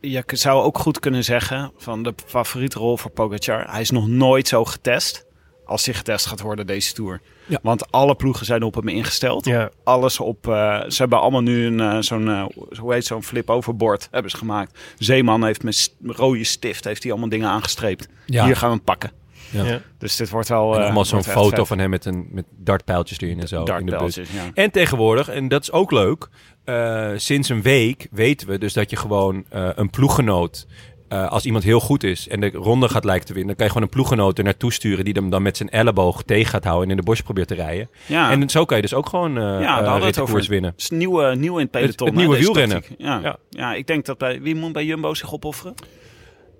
B: je k- zou ook goed kunnen zeggen van de favoriete rol voor Pogacar. Hij is nog nooit zo getest als hij getest gaat worden deze Tour.
A: Ja.
B: Want alle ploegen zijn op hem ingesteld.
D: Ja,
B: Alles op, eh, ze hebben allemaal nu een, eh, zo'n, eh, hoe heet zo'n flip overboard hebben ze gemaakt. Zeeman heeft met st- rode stift, heeft hij allemaal dingen aangestreept.
A: Ja.
B: Hier gaan we hem pakken.
A: Ja.
D: Ja.
B: Dus dit wordt wel...
A: En
B: eh,
A: nogmaals zo'n
B: wordt echt
A: foto
B: vet.
A: van hem met, een, met dartpijltjes erin en zo. in de bus. Eh,
B: Dartpijltjes, ja.
A: En tegenwoordig, en dat is ook leuk, eh, sinds een week weten we dus dat je gewoon eh, een ploeggenoot, eh, als iemand heel goed is en de ronde gaat lijken te winnen, dan kan je gewoon een ploeggenoot er naartoe sturen die hem dan met zijn elleboog tegen gaat houden en in de bos probeert te rijden.
B: Ja.
A: En zo kan je dus ook gewoon eh
B: Ja, daar
A: eh,
B: hadden we het
A: rittenkoers
B: over.
A: winnen.
B: Het is nieuw, eh, nieuw in het peloton.
A: Het- het nieuwe
B: hè, deze
A: wielrennen.
B: tactiek. Ja.
A: Ja.
B: Ja. ik denk dat bij... Wie moet bij Jumbo zich opofferen?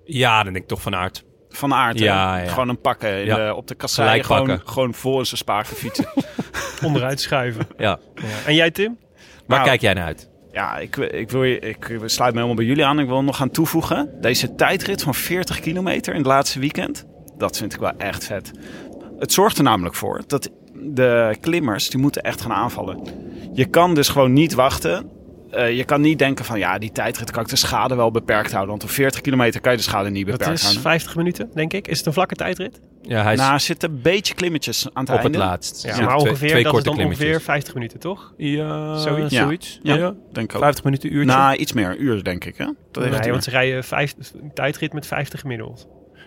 A: Ja, dan denk ik toch van aard.
B: Van Aert. hè?
A: Ja, ja.
B: Gewoon een pakken. in
A: Ja.
B: de- op de kassei.
A: Gelijk
B: Gewoon,
A: pakken.
B: gewoon voor zijn spaken fietsen.
D: onderuit schuiven.
A: Ja.
D: Ja. En jij Tim?
A: Waar
B: Nou,
A: kijk jij naar uit?
B: ja, ik, wil- ik, wil, je- ik sluit me helemaal bij jullie aan. Ik wil nog aan toevoegen. Deze tijdrit van 40 kilometer in het laatste weekend. Dat vind ik wel echt vet. Het zorgt er namelijk voor dat de klimmers, die moeten echt gaan aanvallen. Je kan dus gewoon niet wachten. Eh, je kan niet denken van, ja, die tijdrit kan ik de schade wel beperkt houden. Want op 40 kilometer kan je de schade niet beperkt
D: Dat is
B: houden.
D: 50 minuten, denk ik. Is het een vlakke tijdrit?
A: Ja, hij is
B: Nou, er zitten een beetje klimmetjes aan het
A: op
B: einde.
A: het laatst.
D: Ja,
A: Ja,
D: maar
A: twee-
D: ongeveer,
A: twee
D: dat is
A: korte
D: dan
A: klimmetjes. Eh,
D: ongeveer 50 minuten, toch?
B: Eh,
A: Ja,
D: Zoiets.
B: Ja.
A: zoiets.
B: Ja,
A: Ja.
B: denk ik ook.
A: 50 minuten uurtje.
B: Na iets meer, een uur denk ik, hè? Dat heeft
D: Nee,
B: een
D: want
B: uur.
D: ze rijden vijf, een tijdrit met 50 gemiddeld.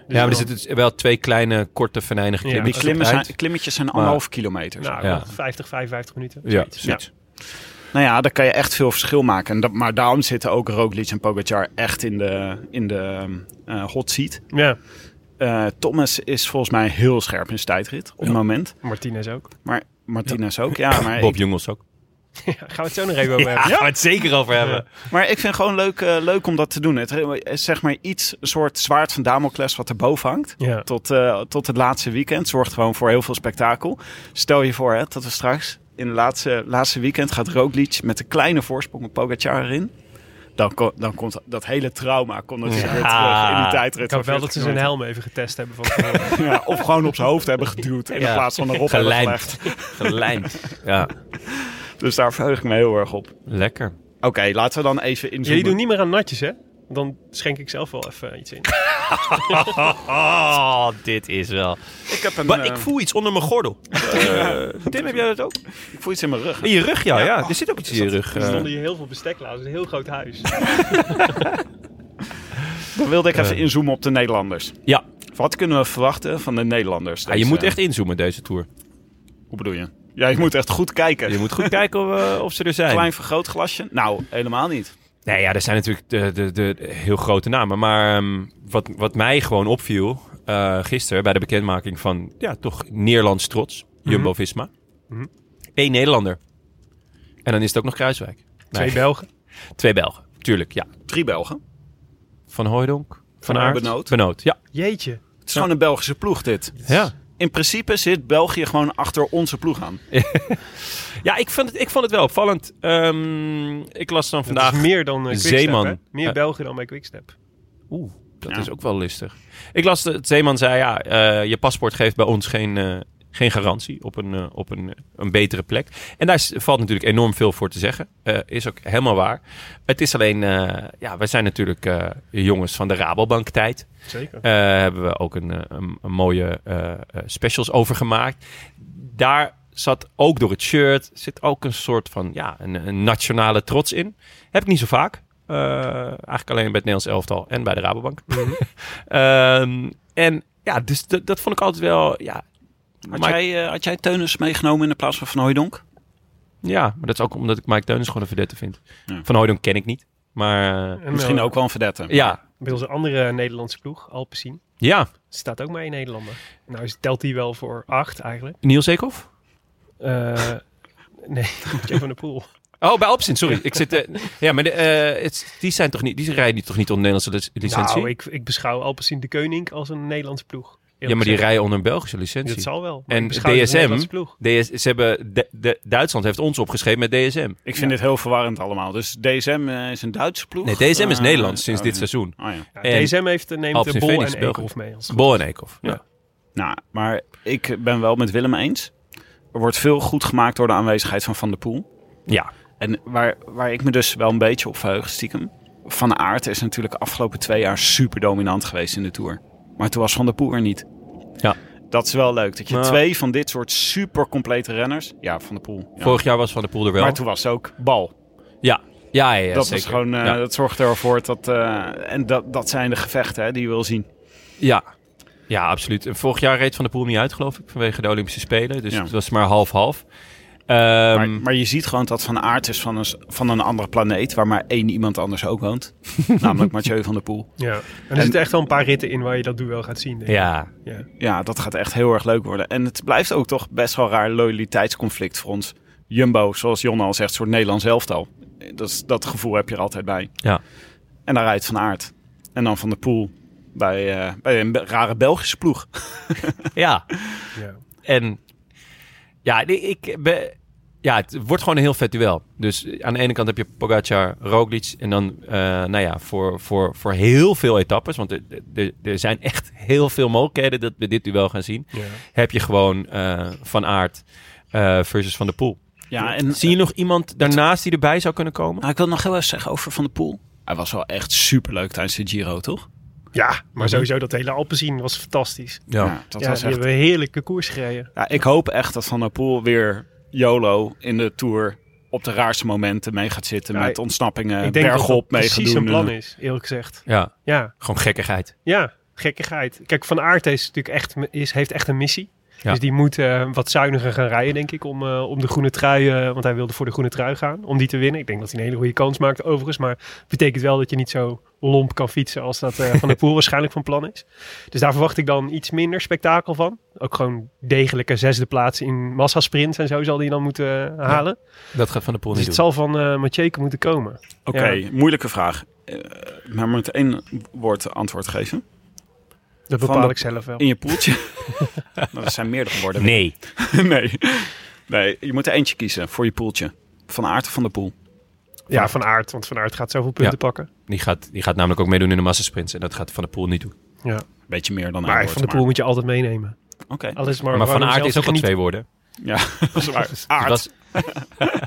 D: Dus
A: ja, maar er
D: dan-
A: zitten wel twee kleine, korte, venijnige
D: Ja,
A: klimmetjes.
B: Die klimmers
A: eruit.
B: zijn, klimmetjes zijn anderhalf kilometer.
D: Nou,
A: Ja.
D: nog 50, 55 minuten.
A: Ja,
D: zoiets.
A: zoiets.
B: Nou ja, daar kan je echt veel verschil maken. En dat, maar daarom zitten ook Roglic en Pogacar echt in de, in de eh, hot seat.
D: Ja,
B: Eh, Thomas is volgens mij heel scherp in zijn tijdrit op het moment.
D: Martinez ook.
B: Maar Martinez ook, ja. Maar,
A: Bob
B: ik,
A: Jungels ook.
D: Ja, gaan we het zo nog even over hebben.
A: gaan we het zeker over hebben.
B: maar ik vind het gewoon leuk, eh, leuk om dat te doen. Het eh, is zeg maar iets, een soort zwaard van Damocles wat erboven hangt.
D: Ja.
B: Tot, eh, tot het laatste weekend. Zorgt gewoon voor heel veel spektakel. Stel je voor hè, dat we straks in het laatste, laatste weekend gaat Roglic met een kleine voorsprong op Pogacar erin. Dan, ko- dan komt dat hele trauma komt natuurlijk weer terug in die tijdrit.
D: Ik hoop
B: van
D: wel dat ze
B: 40
D: zijn
B: kilometer.
D: helm even getest hebben van tevoren.
B: Ja, of gewoon op zijn hoofd hebben geduwd in
A: Ja.
B: plaats van erop hebben
A: Gelijmd.
B: gelegd.
A: Gelijmd. Ja,
B: Dus daar verheug ik me heel erg op.
A: lekker.
B: Oké, laten we dan even inzoomen.
D: Jullie doen niet meer aan natjes, hè? Dan schenk ik zelf wel even iets in.
A: Eh. Oh, dit is wel.
B: Ik heb een,
A: Maar
B: eh,
A: ik voel iets onder mijn gordel. Tim, heb jij dat ook?
B: ik voel iets in mijn rug.
A: In je rug, ja. ja. Er zit ook iets in je rug.
D: Er
A: eh.
D: stonden hier heel veel besteklaars. Het is een heel groot huis.
B: Dan wilde ik even inzoomen op de Nederlanders.
A: eh. ja,
B: Wat kunnen we verwachten van de Nederlanders?
A: Ja, je
B: deze-
A: moet echt inzoomen deze tour.
B: Hoe bedoel je? Ja, je moet echt goed kijken.
A: Je moet goed kijken of, eh, of ze er zijn.
B: Klein vergrootglasje? Nou, helemaal niet.
A: Nee, ja, er zijn natuurlijk de, de, de heel grote namen. Maar ehm, wat, wat mij gewoon opviel eh gisteren bij de bekendmaking van, ja, toch Nederlands trots,
D: Mhm.
A: Jumbo-Visma. Eén Nederlander. En dan is het ook nog Kruiswijk. Nee,
D: Twee Belgen.
A: twee Belgen, tuurlijk, ja.
B: Drie Belgen.
A: Van Hooijdonk, Van
B: Aert,
A: Aert,
B: Benoot.
A: ja.
D: Jeetje.
B: Het is gewoon een Belgische ploeg dit.
A: Ja,
B: in principe zit België gewoon achter onze ploeg aan.
A: Ja, ik vond het, ik vond het wel opvallend. Ehm, ik las dan
D: Vandaag
A: vandaag...
D: meer dan eh, Quickstep,
A: Zeeman.
D: hè? Meer
A: Eh.
D: Belgen dan bij Quickstep.
A: Oeh, dat
B: Ja.
A: is ook wel lustig. Ik las dat Zeeman zei, ja, eh, je paspoort geeft bij ons geen, eh, geen garantie op, een, eh, op een, een betere plek. En daar is- valt natuurlijk enorm veel voor te zeggen. Eh, is ook helemaal waar. Het is alleen, eh, ja, wij zijn natuurlijk eh, jongens van de Rabobank tijd.
D: Zeker.
A: Eh, hebben we ook een, eh, een, een mooie eh, eh, specials over gemaakt. Daar zat ook door het shirt zit ook een soort van ja, een, een nationale trots in. Heb ik niet zo vaak. Eh, eigenlijk alleen bij het Nederlands elftal en bij de Rabobank. Ehm, en ja, dus dat- dat vond ik altijd wel. Ja,
B: Had,
A: Mike-
B: jij, eh, had jij Teunus meegenomen in de plaats van Van Hooijdonk?
A: ja, maar dat is ook omdat ik Mike Teunis gewoon een verdette vind.
B: Ja.
A: Van Hooydonk ken ik niet. Maar eh,
D: En,
B: Misschien
D: eh,
B: ook wel een verdette.
A: ja,
D: Bij onze andere Nederlandse ploeg, Alpecin,
A: ja.
D: staat ook maar één Nederlander. Nou, is- telt die wel voor acht eigenlijk.
A: Niels Eekhoff?
D: Eh, nee, Jay van der Poel.
A: Oh, bij Alpsin, sorry. Ik zit, eh, ja, maar de, eh, het, die, zijn toch niet, die rijden niet- toch niet onder Nederlandse lic- licentie?
D: Nou, ik, ik beschouw Alpecin de Koning als een Nederlandse ploeg.
A: ja, maar die rijden onder een Belgische licentie.
D: Dat zal wel. maar
A: En
D: ik beschouw het als een
A: DSM?
D: Nederlandse ploeg.
A: DS, ze hebben de, de- Duitsland heeft ons opgeschreven met DSM.
B: Ik vind dit heel verwarrend allemaal. Dus DSM eh, is een Duitse ploeg?
A: Nee, DSM is
B: Eh,
A: Nederlands sinds
B: oh,
A: dit
B: ja.
A: seizoen.
B: Oh, ja.
D: Ja,
A: En-
D: DSM heeft, eh, neemt de
A: Alpecin
D: Bol
A: Phoenix
D: en
A: België.
D: Eekhoff mee. Als
A: Bol en Eekhoff. Ja.
B: Nou, maar ik ben wel met Willem eens. Er wordt veel goed gemaakt door de aanwezigheid van Van der Poel.
A: Ja.
B: En waar, waar ik me dus wel een beetje op verheug, stiekem. Van Aert is natuurlijk de afgelopen twee jaar super dominant geweest in de Tour. Maar toen was Van der Poel er niet.
A: Ja.
B: Dat is wel leuk. Dat je
A: Maar-
B: twee van dit soort super complete renners... Ja, Van der Poel. ja.
A: Vorig jaar was Van der Poel er wel.
B: Maar toen was ze ook bal.
A: Ja. Ja, ja, ja,
B: dat,
A: zeker.
B: is gewoon, eh,
A: ja.
B: dat zorgt ervoor dat... eh, en dat, dat zijn de gevechten hè, die je wil zien.
A: ja. Ja, absoluut. En vorig jaar reed Van der Poel niet uit, geloof ik, vanwege de Olympische Spelen. Dus
B: Ja.
A: het was maar half-half.
B: Maar,
A: Ehm,
B: maar je ziet gewoon dat Van Aert is van een, s- van een andere planeet... waar maar één iemand anders ook woont. namelijk Mathieu van der Poel.
D: Ja. En er zitten echt wel een paar ritten in waar je dat duel gaat zien. denk ik.
A: ja.
D: Ja.
B: Ja, dat gaat echt heel erg leuk worden. En het blijft ook toch best wel raar loyaliteitsconflict voor ons. Jumbo, zoals Jon al zegt, soort Nederlands elftal. Dat, is- dat gevoel heb je er altijd bij.
A: Ja.
B: En daar rijdt Van Aert. En dan Van der Poel bij, eh, bij een be- rare Belgische ploeg.
A: ja.
D: Ja.
A: En ja, nee, ik ben, ja, het wordt gewoon een heel vet duel. Dus aan de ene kant heb je Pogacar, Roglic. En dan, eh, nou ja, voor, voor, voor heel veel etappes. Want er, er, er zijn echt heel veel mogelijkheden dat we dit duel gaan zien.
D: Ja.
A: Heb je gewoon eh, Van Aert eh, versus Van der Poel.
B: Ja, en
A: Zie je nog iemand daarnaast die erbij zou kunnen komen?
B: Nou, ik wil nog heel even zeggen over Van der Poel. Hij was wel echt superleuk tijdens de Giro, toch?
D: Ja, maar sowieso dat hele Alpecin was fantastisch.
B: dat
D: ja,
B: was
D: die
B: echt...
D: hebben een heerlijke koers gereden.
B: ja, ik hoop echt dat Van der Poel weer YOLO in de Tour op de raarste momenten mee gaat zitten.
D: Ja,
B: met ontsnappingen,
D: ik denk dat dat
B: bergop mee gaat
D: precies
B: doen.
D: zijn plan is, eerlijk gezegd.
A: Ja,
D: Ja,
A: gewoon gekkigheid.
D: ja, gekkigheid. Kijk, Van Aert is natuurlijk echt, is, heeft echt een missie.
A: Ja.
D: Dus die moet eh, wat zuiniger gaan rijden, denk ik, om, eh, om de groene trui... eh, want hij wilde voor de groene trui gaan, om die te winnen. Ik denk dat hij een hele goede kans maakt overigens. Maar het betekent wel dat je niet zo lomp kan fietsen als dat eh, Van der Poel waarschijnlijk van plan is. Dus daar verwacht ik dan iets minder spektakel van. Ook gewoon degelijke zesde plaats in massasprints en zo zal hij dan moeten eh, halen.
A: Dat gaat Van der Poel
D: Dus
A: niet
D: het
A: doen.
D: zal van eh Matjeke moeten komen.
B: Oké, moeilijke vraag. Eh, maar met één woord antwoord geven.
D: Dat
B: Van
D: bepaal
B: de-
D: ik zelf wel.
B: In je poeltje. nou, dat zijn meerdere woorden.
A: Nee.
B: nee. Nee, je moet er eentje kiezen voor je poeltje. Van Aert of Van der Poel?
D: Ja, Van Aert, want Van Aert gaat zoveel punten pakken.
A: Die gaat, die gaat namelijk ook meedoen in de massasprints. En dat gaat Van der Poel niet doen.
D: Ja.
B: Beetje meer dan één
D: Maar
B: woord.
D: Van de Poel moet je altijd meenemen.
B: maar- Oké.
D: Alles maar
A: Maar Van
D: waarom
A: Aert
D: zelf
A: is ook al
D: genieten.
A: twee woorden.
B: Ja, dat is waar. Aert.
A: Dat is-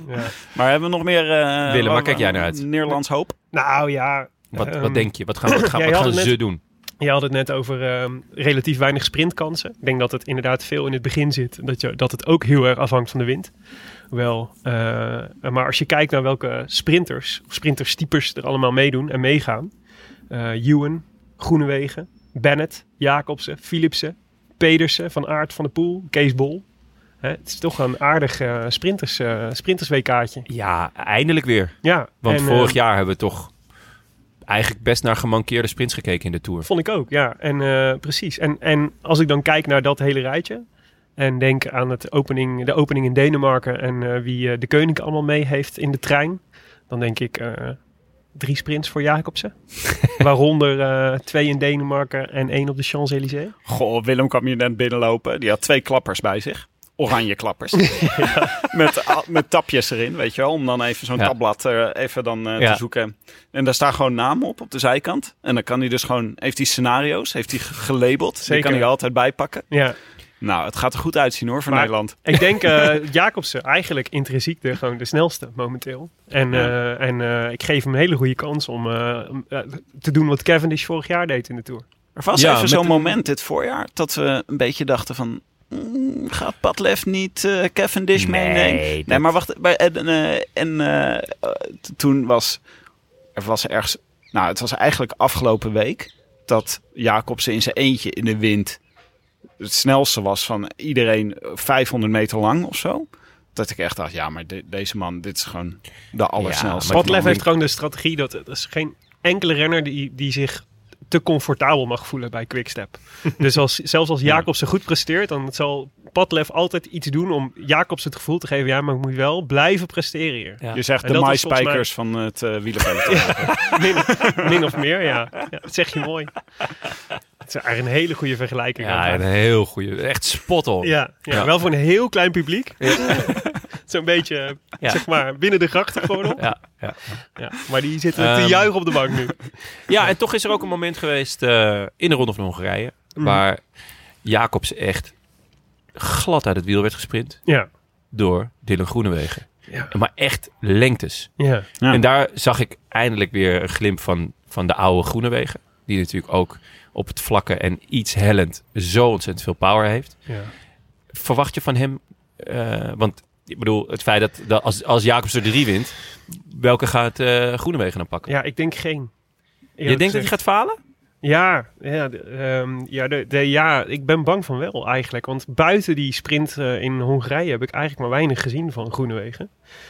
D: Ja.
B: Maar hebben we nog meer... eh,
A: Willem, waar
B: wa-
A: kijk jij naar uit?
B: Nederlands hoop?
D: Nou ja,
A: Wat,
D: Ehm,
A: wat denk je? Wat gaan, wat gaan,
D: jij
A: wat
D: had
A: gaan
D: het
A: ze
D: net-
A: doen?
D: je had het net over ehm, relatief weinig sprintkansen. Ik denk dat het inderdaad veel in het begin zit. Dat, je, dat het ook heel erg afhangt van de wind. Wel, eh, maar als je kijkt naar welke sprinters, of sprinterstypers er allemaal meedoen en meegaan. eh Ewan, Groenewegen, Bennett, Jacobsen, Philipsen, Pedersen, Van Aert, Van der Poel, Kees Bol. Hè, het is toch een aardig eh, sprinters, eh, sprinters-WK'tje.
A: Ja, eindelijk weer.
D: Ja,
A: Want
D: en,
A: vorig
D: eh,
A: jaar hebben we toch eigenlijk best naar gemankeerde sprints gekeken in de Tour.
D: Vond ik ook, ja. En eh, precies. En, en als ik dan kijk naar dat hele rijtje. En denk aan het opening, de opening in Denemarken en eh, wie eh, de koning allemaal mee heeft in de trein. Dan denk ik, eh, drie sprints voor Jacobsen. Waaronder eh, twee in Denemarken en één op de Champs-Élysées.
B: Goh, Willem kwam hier net binnenlopen. Die had twee klappers bij zich. Oranje klappers. met, a- met tapjes erin, weet je wel. Om dan even zo'n
A: Ja.
B: tabblad eh, even dan eh,
A: Ja.
B: te zoeken. En daar staan gewoon namen op, op de zijkant. En dan kan hij dus gewoon... Heeft hij scenario's? Heeft hij ge- gelabeld? Zeker. Die
D: Zeker.
B: kan hij altijd bijpakken.
D: Ja,
B: Nou, het gaat er goed uitzien hoor, voor
D: Maar-
B: Nederland.
D: ik denk eh Jacobsen eigenlijk intrinsiek de, gewoon de snelste momenteel. En,
B: Ja.
D: eh, en eh, ik geef hem een hele goede kans om eh, om, eh, te doen wat Cavendish vorig jaar deed in de Tour.
B: Er was
A: Ja,
B: even
A: met
B: zo'n
A: de-
B: moment dit voorjaar... dat we een beetje dachten van... mm, gaat Padlef niet eh, Cavendish meenemen?
A: Nee,
B: Nee,
A: dat-
B: maar wacht. Bij, en eh, en eh, eh, t- toen was er was ergens. Nou, het was eigenlijk afgelopen week dat Jacobsen in zijn eentje in de wind het snelste was van iedereen eh, 500 meter lang of zo. Dat ik echt dacht, ja, maar de- deze man, dit is gewoon de allersnelste.
A: maar
D: Padlef
A: die-
D: heeft gewoon de strategie dat er is geen enkele renner die, die zich te comfortabel mag voelen bij Quickstep. dus als, zelfs als Jacobsen goed presteert, dan zal Padlef altijd iets doen om Jacobsen het gevoel te geven, ja, maar ik moet wel blijven presteren hier.
A: Ja.
B: Je zegt
D: En
B: de
D: dat is volgens mij-
B: MySpikers van het eh wielerpeloton.
D: min, min of meer, ja. ja. Dat zeg je mooi. Het is eigenlijk een hele goede vergelijking.
A: Ja,
D: ja,
A: een heel goede. Echt spot on.
D: ja,
A: Ja.
D: wel voor een heel klein publiek. Zo'n beetje,
A: Ja.
D: zeg maar, binnen de grachten gewoon op.
A: Ja, ja.
D: Ja. Maar die zitten te
A: Ehm.
D: juichen op de bank nu.
A: ja, en toch is er ook een moment geweest eh, in de Ronde van Hongarije...
D: Mhm.
A: waar Jacobs echt glad uit het wiel werd gesprint
D: Ja,
A: door Dylan Groenewegen.
D: Ja.
A: Maar echt lengtes.
D: ja.
B: Ja.
A: En daar zag ik eindelijk weer een glimp van, van de oude Groenewegen. Die natuurlijk ook op het vlakke en iets hellend zo ontzettend veel power heeft.
D: ja.
A: Verwacht je van hem... eh, want ik bedoel, het feit dat, dat als, als Jacobs er drie wint... welke gaat eh Groenewegen dan pakken?
D: Ja, ik denk geen.
A: je denkt dat hij
D: gaat
A: gaat falen?
D: Ja, ja, de- ehm, ja, de, de- ja, ik ben bang van wel eigenlijk. Want buiten die sprint eh, in Hongarije heb ik eigenlijk maar weinig gezien van Groenewegen.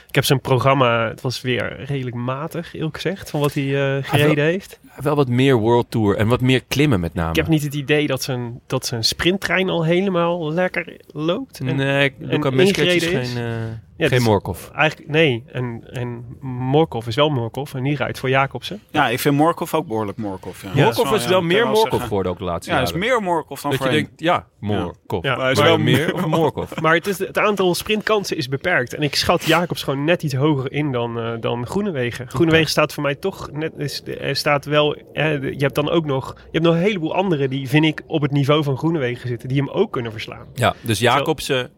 D: Ik heb zijn programma, het was weer redelijk matig, eerlijk gezegd, van wat hij
A: Ah,
D: eh, gereden heeft.
A: Wel wat meer World Tour en wat meer klimmen met name.
D: Ik heb niet het idee dat zijn, dat zijn sprinttrein al helemaal lekker loopt. En
A: Nee, ik- Luca
D: en
A: Mescrec eh, is
D: ingereden
A: geen,
D: is.
A: eh,
D: Ja,
A: geen
D: dus-
A: Morkov.
D: Eigenlijk, nee. En, en Morkov is wel Morkov en die rijdt voor Jacobsen.
B: Ja, ik vind Morkov ook behoorlijk Morkov. Ja.
A: Morkov
B: Ja,
A: is wel
B: ja,
A: meer
B: kan
A: Morkov
B: zeggen.
A: geworden ook de laatste
B: Ja, hij is
A: jaren.
B: meer Morkov dan
A: dat je
B: voorheen.
A: denkt, ja, Morkov.
D: Ja.
B: Maar hij is
A: Maar
B: wel
A: meer of Morkov?
D: Maar het, is, het aantal sprintkansen is beperkt. En ik schat Jacobs gewoon net iets hoger in dan, eh, dan Groenewegen. Groenewegen staat voor mij toch net. Is, eh, staat wel, eh, de- je hebt dan ook nog. Je hebt nog een heleboel anderen die, vind ik, op het niveau van Groenewegen zitten. Die hem ook kunnen verslaan.
A: Ja, dus Jacobsen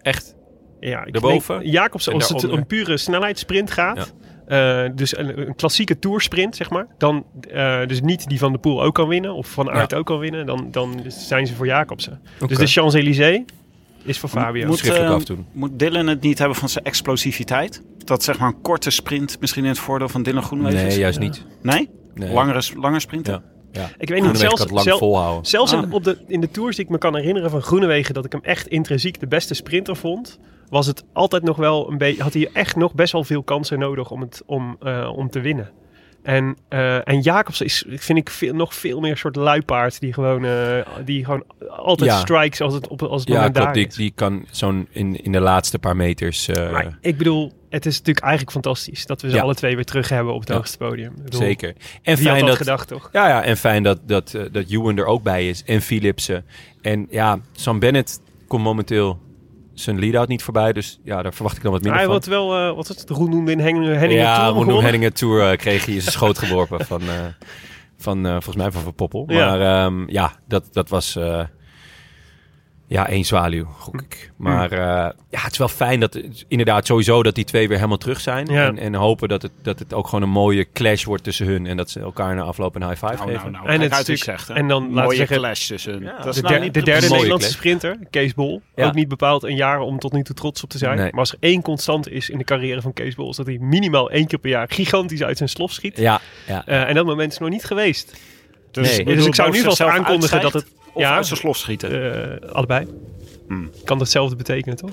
A: echt
D: Ja, ik
A: Daarboven
D: denk Jacobsen,
A: en
D: als het
A: daaronder.
D: een pure snelheidssprint gaat. eh, dus een, een klassieke toursprint, zeg maar. Dan, eh, dus niet die Van de Poel ook kan winnen. Of Van Aert ook kan winnen. Dan, dan zijn ze voor Jacobsen. Dus de Champs-Élysées is voor Fabio.
B: Moet,
A: schriftelijk
B: eh,
A: afdoen.
B: Moet Dylan het niet hebben van zijn explosiviteit? Dat zeg maar een korte sprint misschien in het voordeel van Dylan Groenewegen is?
A: Nee, juist niet.
B: Nee?
A: Nee.
B: Langere, lange sprinten?
A: Ja. Ja.
D: Ik weet niet,
A: Groenewegen
D: zelfs,
A: kan het lang
D: zelf-
A: volhouden.
D: zelfs in,
B: Ah.
D: op de, in de tours die ik me kan herinneren van Groenewegen, dat ik hem echt intrinsiek de beste sprinter vond, was het altijd nog wel een beetje, had hij echt nog best wel veel kansen nodig om, het, om, eh, om te winnen. En, eh en Jacobs is, vind ik, veel, nog veel meer een soort luipaard die gewoon, eh, die gewoon altijd
A: Ja.
D: strikes als het, op, als het
A: Ja,
D: moment
A: klopt.
D: daar
A: Die,
D: is.
A: die kan zo'n in, in de laatste paar meters. eh,
D: Maar ik bedoel, het is natuurlijk eigenlijk fantastisch dat we ze
A: Ja.
D: alle twee weer terug hebben op het
A: Ja.
D: hoogste podium. Ik bedoel,
A: zeker. En
D: Wie had
A: fijn
D: dat,
A: dat,
D: gedacht, toch?
A: ja, ja, en fijn dat, dat, eh, dat Ewan er ook bij is. En Philipsen. En ja, Sam Bennett komt momenteel zijn lead-out niet voorbij. Dus ja, daar verwacht ik dan wat minder
D: Hij
A: van.
D: had wel, eh, wat is het, Roenoen in Henningen Henningen
A: ja,
D: Tour
A: Roenoem
D: gewonnen.
A: Henningen Tour eh, kreeg hij in zijn schoot geworpen van, eh, van eh, volgens mij van Van Poppel.
D: Ja.
A: Maar ehm, ja, dat, dat was eh, ja, één zwaluw, gok ik.
D: Mm.
A: Maar eh, ja, het is wel fijn dat inderdaad sowieso dat die twee weer helemaal terug zijn.
D: Ja.
A: En, en hopen dat het, dat het ook gewoon een mooie clash wordt tussen hun. En dat ze elkaar na afloop een high five
B: Nou,
A: geven.
B: nou, nou.
D: En
B: En
D: het
B: het
D: is
B: uit is
D: natuurlijk-
B: zegt, hè?
D: en dan, laten we
B: Mooie
D: zeggen,
B: clash tussen. dat
D: De,
B: is nou
D: der-
B: niet
D: de derde
A: precies.
B: precies.
A: Mooie clash.
D: Nederlandse sprinter, Kees Bol.
A: Ja.
D: Ook niet bepaald een jaar om tot nu toe trots op te zijn.
A: Nee.
D: Maar als er één constant is in de carrière van Kees Bol... is dat hij minimaal één keer per jaar gigantisch uit zijn slof schiet.
A: Ja, ja.
D: Eh, en dat moment is nog niet geweest.
B: Dus,
A: Nee.
B: bedoel,
D: Dus ik zou
B: boven
D: nu vast
B: zichzelf
D: aankondigen dat het...
B: uitstijgt Of
D: ja,
B: uit zijn slof schieten.
D: eh, allebei.
B: Hmm.
D: Kan datzelfde betekenen, toch?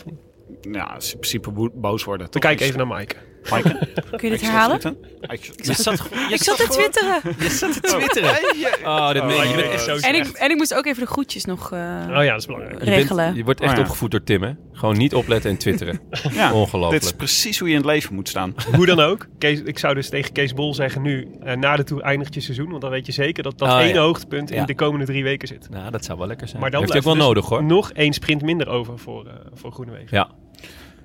B: ja, in principe bo- boos worden.
D: We
B: toch?
D: kijken
B: Dus-
D: even naar Mike.
B: Maaike?
F: Kun je dit herhalen?
A: Je zat, je
F: Ik zat te twitteren.
A: Je zat te twitteren. Oh, dit meen je.
D: je
A: Je
D: bent
A: bent
D: echt zo
F: En ik, en ik moest ook even de groetjes nog eh,
D: Oh ja, dat is belangrijk.
A: Je bent-
F: regelen.
A: je wordt echt
B: Oh ja.
A: opgevoed door Tim, hè? Gewoon niet opletten en twitteren.
B: Ja, dit
A: Ongelooflijk.
B: is precies hoe je in het leven moet staan.
D: Hoe dan ook. Kees, ik zou dus tegen Kees Bol zeggen nu, eh, na de Tour eindigt je seizoen. Want dan weet je zeker dat dat
A: Oh,
D: ene
A: ja.
D: hoogtepunt in
A: Ja.
D: de komende drie weken zit.
A: Nou, dat zou wel lekker zijn.
D: Maar dan
A: Heeft hij ook wel
D: blijft er
A: nodig,
D: dus
A: hoor.
D: nog één sprint minder over voor, eh voor Groenewegen.
A: Ja.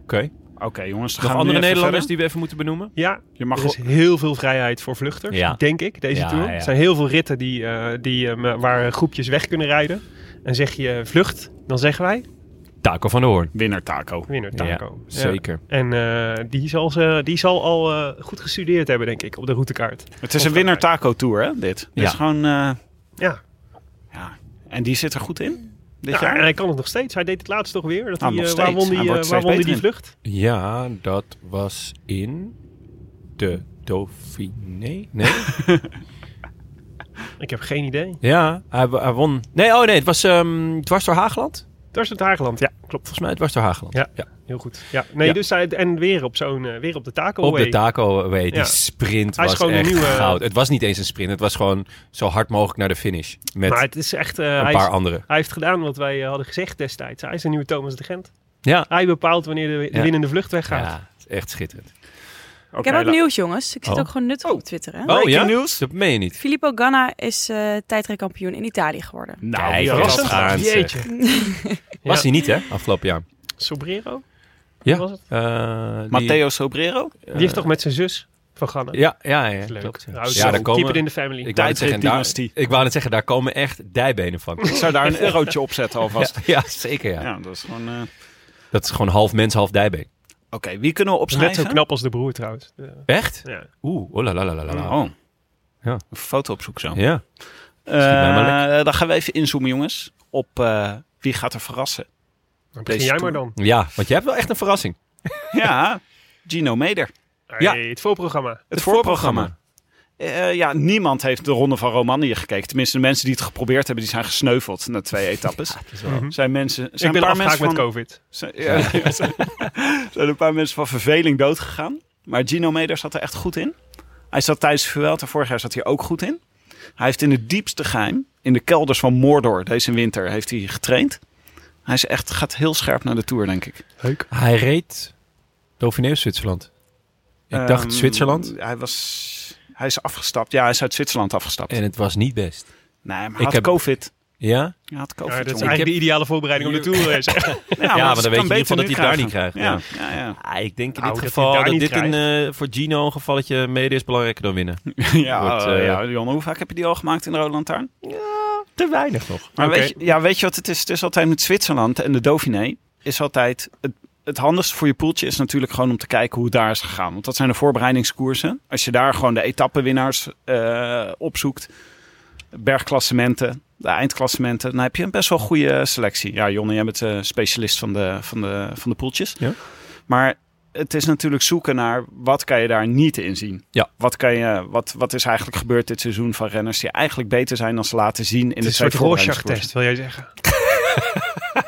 A: Oké.
B: Oké jongens, dan
A: Nog
B: gaan
A: andere
B: we nu even
A: Nederlanders
B: verder.
A: die we even moeten benoemen?
D: Ja,
B: Je mag
D: er is heel veel vrijheid voor vluchters,
A: Ja.
D: denk ik, deze
A: Ja,
D: tour.
A: ja.
D: Er zijn heel veel ritten die, eh, die, eh, waar groepjes weg kunnen rijden. En zeg je vlucht, dan zeggen wij
A: Taco van der Hoorn.
B: Winnaar Taco.
D: winnaar Taco. Ja.
A: Zeker.
D: En eh, die, zal ze, die zal al eh, goed gestudeerd hebben, denk ik, op de routekaart.
B: Het is een winnaar Taco Tour, hè, dit. Het
A: Ja.
B: is gewoon... eh,
D: Ja,
B: ja. En die zit er goed in? Dit
D: Ja, en
B: jaar?
D: hij kan het nog steeds. Hij deed het laatst toch weer. Dat
B: Ah,
D: hij,
B: nog
D: eh, waar
B: steeds.
D: won
B: Hij
D: die,
B: wordt
D: eh, waar
B: steeds
D: won die, die
B: beter
D: vlucht?
A: Ja, dat was in de Dauphiné. Nee?
D: Ik heb geen idee.
A: ja, hij, hij won. Nee, oh nee, het was ehm dwars door Haageland.
D: Daar is het Hageland. Ja, klopt.
A: Volgens mij dwars door Haageland.
D: Ja. Heel goed. Ja. Nee,
A: Ja.
D: Dus hij, en weer op, zo'n, eh, weer op de taco.
A: Op de
D: way.
A: taco, weet je, die
D: Ja.
A: sprint
D: Hij is
A: was
D: gewoon een
A: echt
D: nieuwe-
A: goud. Het was niet eens een sprint, het was gewoon zo hard mogelijk naar de finish. Met
D: Maar het is echt... eh,
A: een
D: hij,
A: paar
D: is-
A: anderen.
D: hij heeft gedaan wat wij eh, hadden gezegd destijds. Hij is de nieuwe Thomas de Gent.
A: Ja.
D: Hij bepaalt wanneer de, de
A: Ja.
D: winnende vlucht weggaat.
A: ja, het is echt schitterend.
F: ik heb ook
B: la-
F: nieuws, jongens. Ik zit
A: Oh.
F: ook gewoon nuttig op Twitter. Hè?
A: Oh ja?
B: nieuws?
A: Dat meen je niet.
F: Filippo Ganna is eh tijdrijkampioen in Italië geworden.
B: Nou,
A: Kijk,
B: ja,
A: dat
B: dat-
A: gaat. gaand, zeg.
D: Jeetje.
A: Was
D: Ja.
A: hij niet, hè, afgelopen jaar.
D: Sobrero?
A: Ja.
D: Was het?
A: Eh, die-
B: Matteo Sobrero?
D: Die heeft toch met zijn zus van Ganna?
A: Ja, ja, ja.
D: Leuk.
A: klopt. Ja,
D: Nou,
A: daar komen...
D: Keep it in the family.
A: Ik wou, net zeggen, daar,
B: Tijdrit-dynastie.
A: ik wou net zeggen, daar komen echt dijbenen van.
B: Ik zou daar een eurotje op zetten
A: Ja,
B: alvast.
A: ja, zeker ja.
B: Ja, dat is gewoon... eh, Oké,
A: Dat is gewoon half mens, half dijbeen.
B: wie kunnen we
D: is net zo
B: opschrijven?
D: knap als de broer trouwens. Eh, Ja.
A: Echt?
D: Ja.
A: Oeh, oh nou. la la la la la.
B: Oh.
A: Ja.
B: Een foto op zoek zo.
A: Ja.
B: Eh,
A: mij maar
B: dan gaan we even inzoomen, jongens. Op eh, wie gaat er verrassen.
D: Dan begin
B: Deze
D: jij maar
B: tour.
D: dan.
A: ja, want je hebt wel echt een verrassing.
B: Ja, Gino Meder.
A: Ja.
D: Hey, het voorprogramma.
B: Het, voorprogramma. Eh, ja, niemand heeft de Ronde van Romanië gekeken. Tenminste, de mensen die het geprobeerd hebben, die zijn gesneuveld na twee etappes. Zijn mensen... Zijn
D: ik
B: een
D: ben
B: paar
D: afgehaakt
B: mensen
D: met
B: van,
D: COVID.
B: zijn, ja, ja, zijn- zijn een paar mensen van verveling doodgegaan. Maar Gino Meder zat er echt goed in. Hij zat tijdens de Vuelta vorig jaar zat hij ook goed in. Hij heeft in het diepste geheim, in de kelders van Mordor deze winter, heeft hij getraind. Hij is echt, gaat heel scherp naar de Tour, denk ik.
D: Leuk.
A: Hij reed Dauphiné of Zwitserland. Ik dacht
B: Ehm,
A: Zwitserland.
B: Hij, was, hij is afgestapt. Ja, hij is uit Zwitserland afgestapt.
A: En het was niet best.
B: nee, maar hij
A: ik
B: had
A: heb-
B: COVID.
A: Ja?
B: Hij had
D: Ja,
B: COVID.
D: dat is
B: jongen.
D: eigenlijk de ideale voorbereiding op de Tour. eh, zeg.
B: ja,
A: maar
B: het
A: dan
B: kan
A: weet je in ieder
B: beter
A: geval dat hij
B: nu
A: het daar
B: krijgen.
A: niet krijgt,
B: Ja, ja,
A: Ah, ik denk in
D: Nou,
A: dit
D: dat
A: geval
D: hij
A: dat,
D: daar niet
A: dit een, eh, voor Gino een gevalletje mede is belangrijker dan winnen.
B: ja. ja,
A: Wordt,
B: eh,
A: eh,
B: ja, Jon, hoe vaak heb je die al gemaakt in de Rode Lantaarn?
A: Te weinig nog.
B: Maar
D: Oké.
B: weet, je, ja, weet je wat het is? Het is altijd met Zwitserland en de Dauphiné is altijd... Het, het handigste voor je poeltje is natuurlijk gewoon om te kijken hoe het daar is gegaan. Want dat zijn de voorbereidingskoersen. Als je daar gewoon de etappenwinnaars eh, opzoekt, bergklassementen, de eindklassementen, dan heb je een best wel goede selectie. Ja, Jonne, jij bent eh, specialist van de, van de, van de poeltjes.
A: Ja.
B: Maar het is natuurlijk zoeken naar wat kan je daar niet in zien.
A: Ja.
B: Wat, kan je, wat, wat is eigenlijk gebeurd dit seizoen van renners die eigenlijk beter zijn dan ze laten zien in
D: Het
B: de
D: is
B: twee
D: een soort
B: voorbereidingskoersen?
D: Rorschach-test, wil jij zeggen.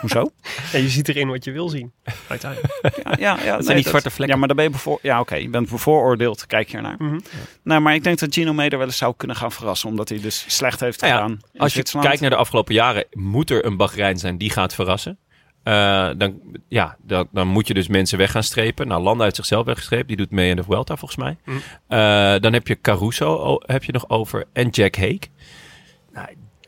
B: Hoezo?
D: Ja, je ziet erin wat je wil zien. Uiteindelijk.
B: Ja, ja, nee, dat
A: die zwarte vlekken.
B: Ja, maar dan ben je bevoor... Ja, oké, je bent bevooroordeeld. Kijk hiernaar.
D: Mhm.
B: Nou, maar ik denk dat Gino Meder wel eens zou kunnen gaan verrassen, omdat hij dus slecht heeft
A: Nou ja,
B: gedaan. in
A: Als je
B: Zwitserland.
A: kijkt naar de afgelopen jaren, moet er een Bahrein zijn die gaat verrassen. Eh, dan, ja, dan, dan moet je dus mensen weg gaan strepen. Nou, Landa heeft zichzelf weggestreept. Die doet mee in de Vuelta, volgens mij.
D: Mm.
A: Eh, dan heb je Caruso o- heb je nog over. En Jack Hake.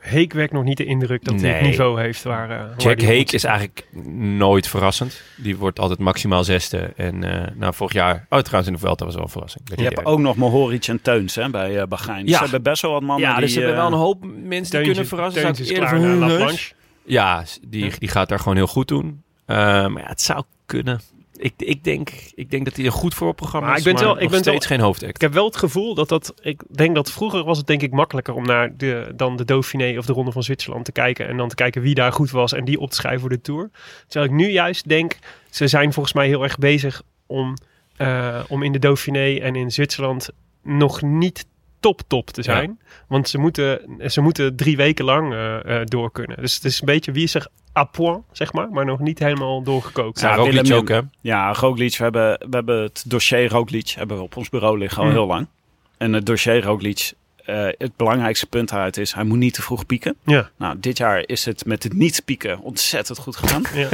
D: Heek wekt nog niet de indruk dat hij het
A: Nee.
D: niveau heeft waar... eh, waar
A: Jack
D: die moet
A: Hake is eigenlijk nooit verrassend. Die wordt altijd maximaal zesde. En eh, nou, vorig jaar... Oh, trouwens in de Vuelta was wel een verrassing. eh,
B: Je hebt ook nog Mohoric en Teuns hè, bij eh Bahrein. Dus
A: Ja.
B: ze hebben best wel wat mannen
A: Ja,
B: die...
A: dus er hebben
B: eh,
A: wel een hoop mensen die
D: Teuntje-
A: kunnen verrassen.
D: Teuntje
A: Zou
D: is
A: ik eerder
D: klaar naar
A: voor-
D: La Planche.
A: Ja, s- die, die gaat daar gewoon heel goed doen. Eh, maar ja, het zou kunnen. Ik, ik, denk, ik denk dat hij een goed voorprogramma
D: Maar
A: is,
D: ik ben
A: maar
D: wel-
A: nog
D: ik ben
A: steeds geen
D: Ik
A: hoofdact.
D: heb wel het gevoel dat dat... Ik denk dat vroeger was het denk ik makkelijker om naar de, dan de Dauphiné of de Ronde van Zwitserland te kijken. En dan te kijken wie daar goed was en die op te schrijven voor de Tour. Terwijl ik nu juist denk, ze zijn volgens mij heel erg bezig om, eh, om in de Dauphiné en in Zwitserland nog niet top top te zijn. Want ze moeten, ze moeten drie weken lang eh, eh, door kunnen. Dus het is een beetje wie is er à point, zeg maar. Maar nog niet helemaal doorgekookt.
B: Ja,
A: Ja, Roglic
B: Willem-
A: ook, hè?
B: Ja, Roglic, we hebben, we hebben het dossier Roglic hebben we op ons bureau liggen al
A: Mhm.
D: Hmm.
B: heel lang. En het dossier Roglic, eh, het belangrijkste punt daaruit is, hij moet niet te vroeg pieken.
D: Ja.
B: Nou, dit jaar is het met het niet pieken ontzettend goed gedaan.
D: Ja.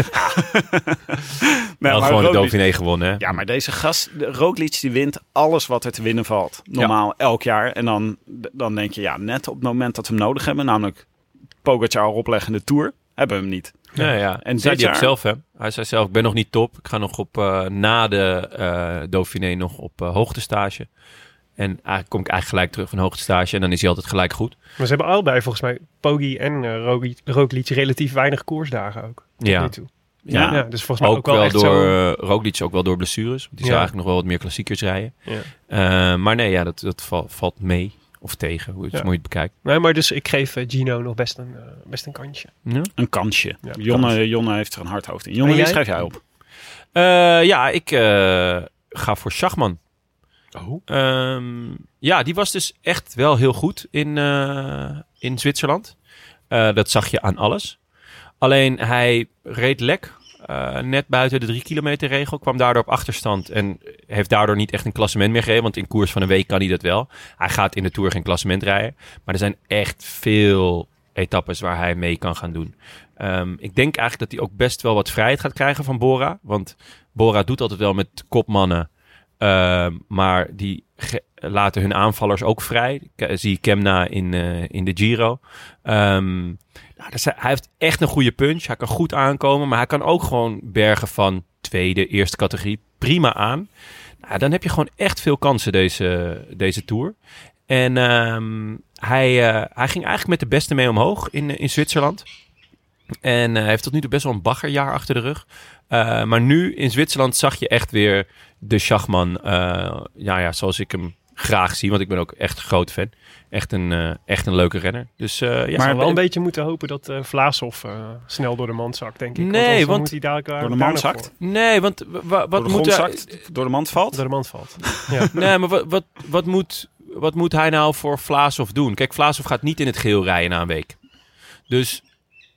A: Hij
B: Nee,
A: had
B: maar
A: gewoon de
B: Roglic-
A: Dauphiné gewonnen, hè?
B: Ja, maar deze gast, de Roglic, die wint alles wat er te winnen valt. Normaal elk jaar. En dan, dan denk je, ja, net op het moment dat we hem nodig hebben, namelijk Pogacar opleggen in de Tour, hebben we hem niet.
A: Ja, ja.
B: En
A: En zei
B: dit
A: hij ook
B: jaar-
A: zelf, hè? Hij zei zelf, ik ben nog niet top. Ik ga nog op, eh, na de eh Dauphiné nog op eh, hoogtestage. En eigenlijk kom ik eigenlijk gelijk terug van hoogtestage. En dan is hij altijd gelijk goed.
D: Maar ze hebben allebei volgens mij, Poggi en eh Roglic, Roglic, relatief weinig koersdagen ook. tot
A: Ja.
D: nu toe.
B: Ja.
D: Ja. dus volgens mij
A: Ook,
D: ook, wel,
A: wel,
D: echt
A: door
D: zo.
A: eh, Roglic, ook wel door blessures. Want die
D: Ja.
A: zou eigenlijk nog wel wat meer klassiekers rijden.
D: Ja.
A: Eh, maar nee, ja, dat, dat val- valt mee. Of tegen, hoe je het,
D: Ja.
A: hoe je het bekijkt.
D: Nee, maar dus ik geef eh, Gino nog best een, eh, best een kantje.
A: Ja.
B: Een kansje.
D: Ja,
B: Jonne, Jonne heeft er een hard hoofd in. Jonne,
D: En
B: wie
D: jij?
B: schrijf jij op?
A: Eh, ja, ik eh, ga voor Schachman.
D: Oh.
A: Ehm, ja, die was dus echt wel heel goed in, eh, in Zwitserland. Eh, dat zag je aan alles. Alleen hij reed lek. eh, net buiten de drie kilometer regel. Kwam daardoor op achterstand. En heeft daardoor niet echt een klassement meer gereden. Want in koers van een week kan hij dat wel. Hij gaat in de Tour geen klassement rijden. Maar er zijn echt veel etappes waar hij mee kan gaan doen. Ehm, ik denk eigenlijk dat hij ook best wel wat vrijheid gaat krijgen van Bora. Want Bora doet altijd wel met kopmannen. Ehm, maar die ge- laten hun aanvallers ook vrij. K- zie ik Kemna in, eh, in de Giro. Ehm, nou, dat zijn- hij heeft echt een goede punch. Hij kan goed aankomen. Maar hij kan ook gewoon bergen van tweede, eerste categorie prima aan. Nou, dan heb je gewoon echt veel kansen deze, deze Tour. En ehm, hij, eh, hij ging eigenlijk met de beste mee omhoog in, eh, in Zwitserland. En eh, heeft tot nu toe best wel een baggerjaar achter de rug. Eh, maar nu in Zwitserland zag je echt weer de Schachman. eh ja, ja, zoals ik hem graag zie. Want ik ben ook echt een groot fan. Echt een, eh, echt een leuke renner. Dus, eh, ja,
D: maar wel
A: eh,
D: een beetje moeten hopen dat eh Vlaashoff eh, snel door de mand zakt, denk ik.
A: Nee,
D: anders dan
A: want-
D: moet hij dadelijk waar-
B: Door de
D: daar
B: mand
D: nog
B: zakt?
D: voor.
A: Nee, want wa- wa- wat
B: Door de grond
A: moet hij...
B: zakt, door de mand valt.
D: Door de mand valt. Ja.
A: Nee, maar wat, wat, wat, moet, wat moet hij nou voor Vlaashoff doen? Kijk, Vlaashoff gaat niet in het geel rijden na een week. Dus,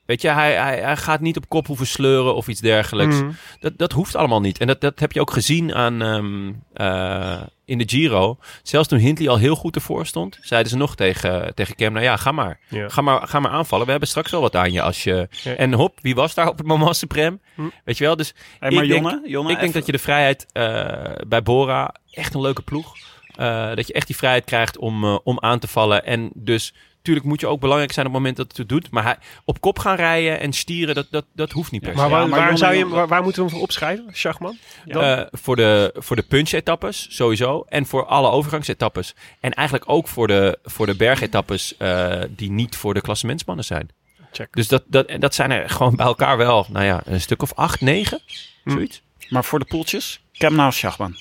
A: weet je, hij, hij, hij gaat niet op kop hoeven sleuren of iets dergelijks.
D: Mm.
A: Dat, dat hoeft allemaal niet. En dat, dat heb je ook gezien aan, ehm, eh, in de Giro. Zelfs toen Hindley al heel goed ervoor stond, zeiden ze nog tegen, tegen Kemna, ja, ga maar.
D: Ja.
A: Ga maar, ga maar aanvallen. We hebben straks wel wat aan je als je...
D: Ja.
A: En hop, wie was daar op het moment Supreme?
D: Hm.
A: Weet je wel, dus
B: Hey, maar
A: Ik denk-
B: Jonne, Jonne
A: ik denk
B: even-
A: dat je de vrijheid eh, bij Bora, echt een leuke ploeg, eh, dat je echt die vrijheid krijgt om, eh, om aan te vallen. En dus, tuurlijk moet je ook belangrijk zijn op het moment dat het het doet. Maar hij, op kop gaan rijden en stieren, dat, dat, dat hoeft niet per se.
D: Maar, waar,
B: maar
D: waar
B: jongen,
D: zou je, hem-
B: jongen.
D: waar, waar moeten we hem voor opschrijven, Schachman?
A: Eh, voor de, voor de punch-etappes sowieso. En voor alle overgangsetappes. En eigenlijk ook voor de, voor de bergetappes eh, die niet voor de klassementsmannen zijn.
D: Check.
A: Dus dat, dat, en dat zijn er gewoon bij elkaar wel, nou ja, een stuk of acht, negen,
D: Hm.
A: zoiets.
B: Maar voor de poeltjes, Kemna of Schachman?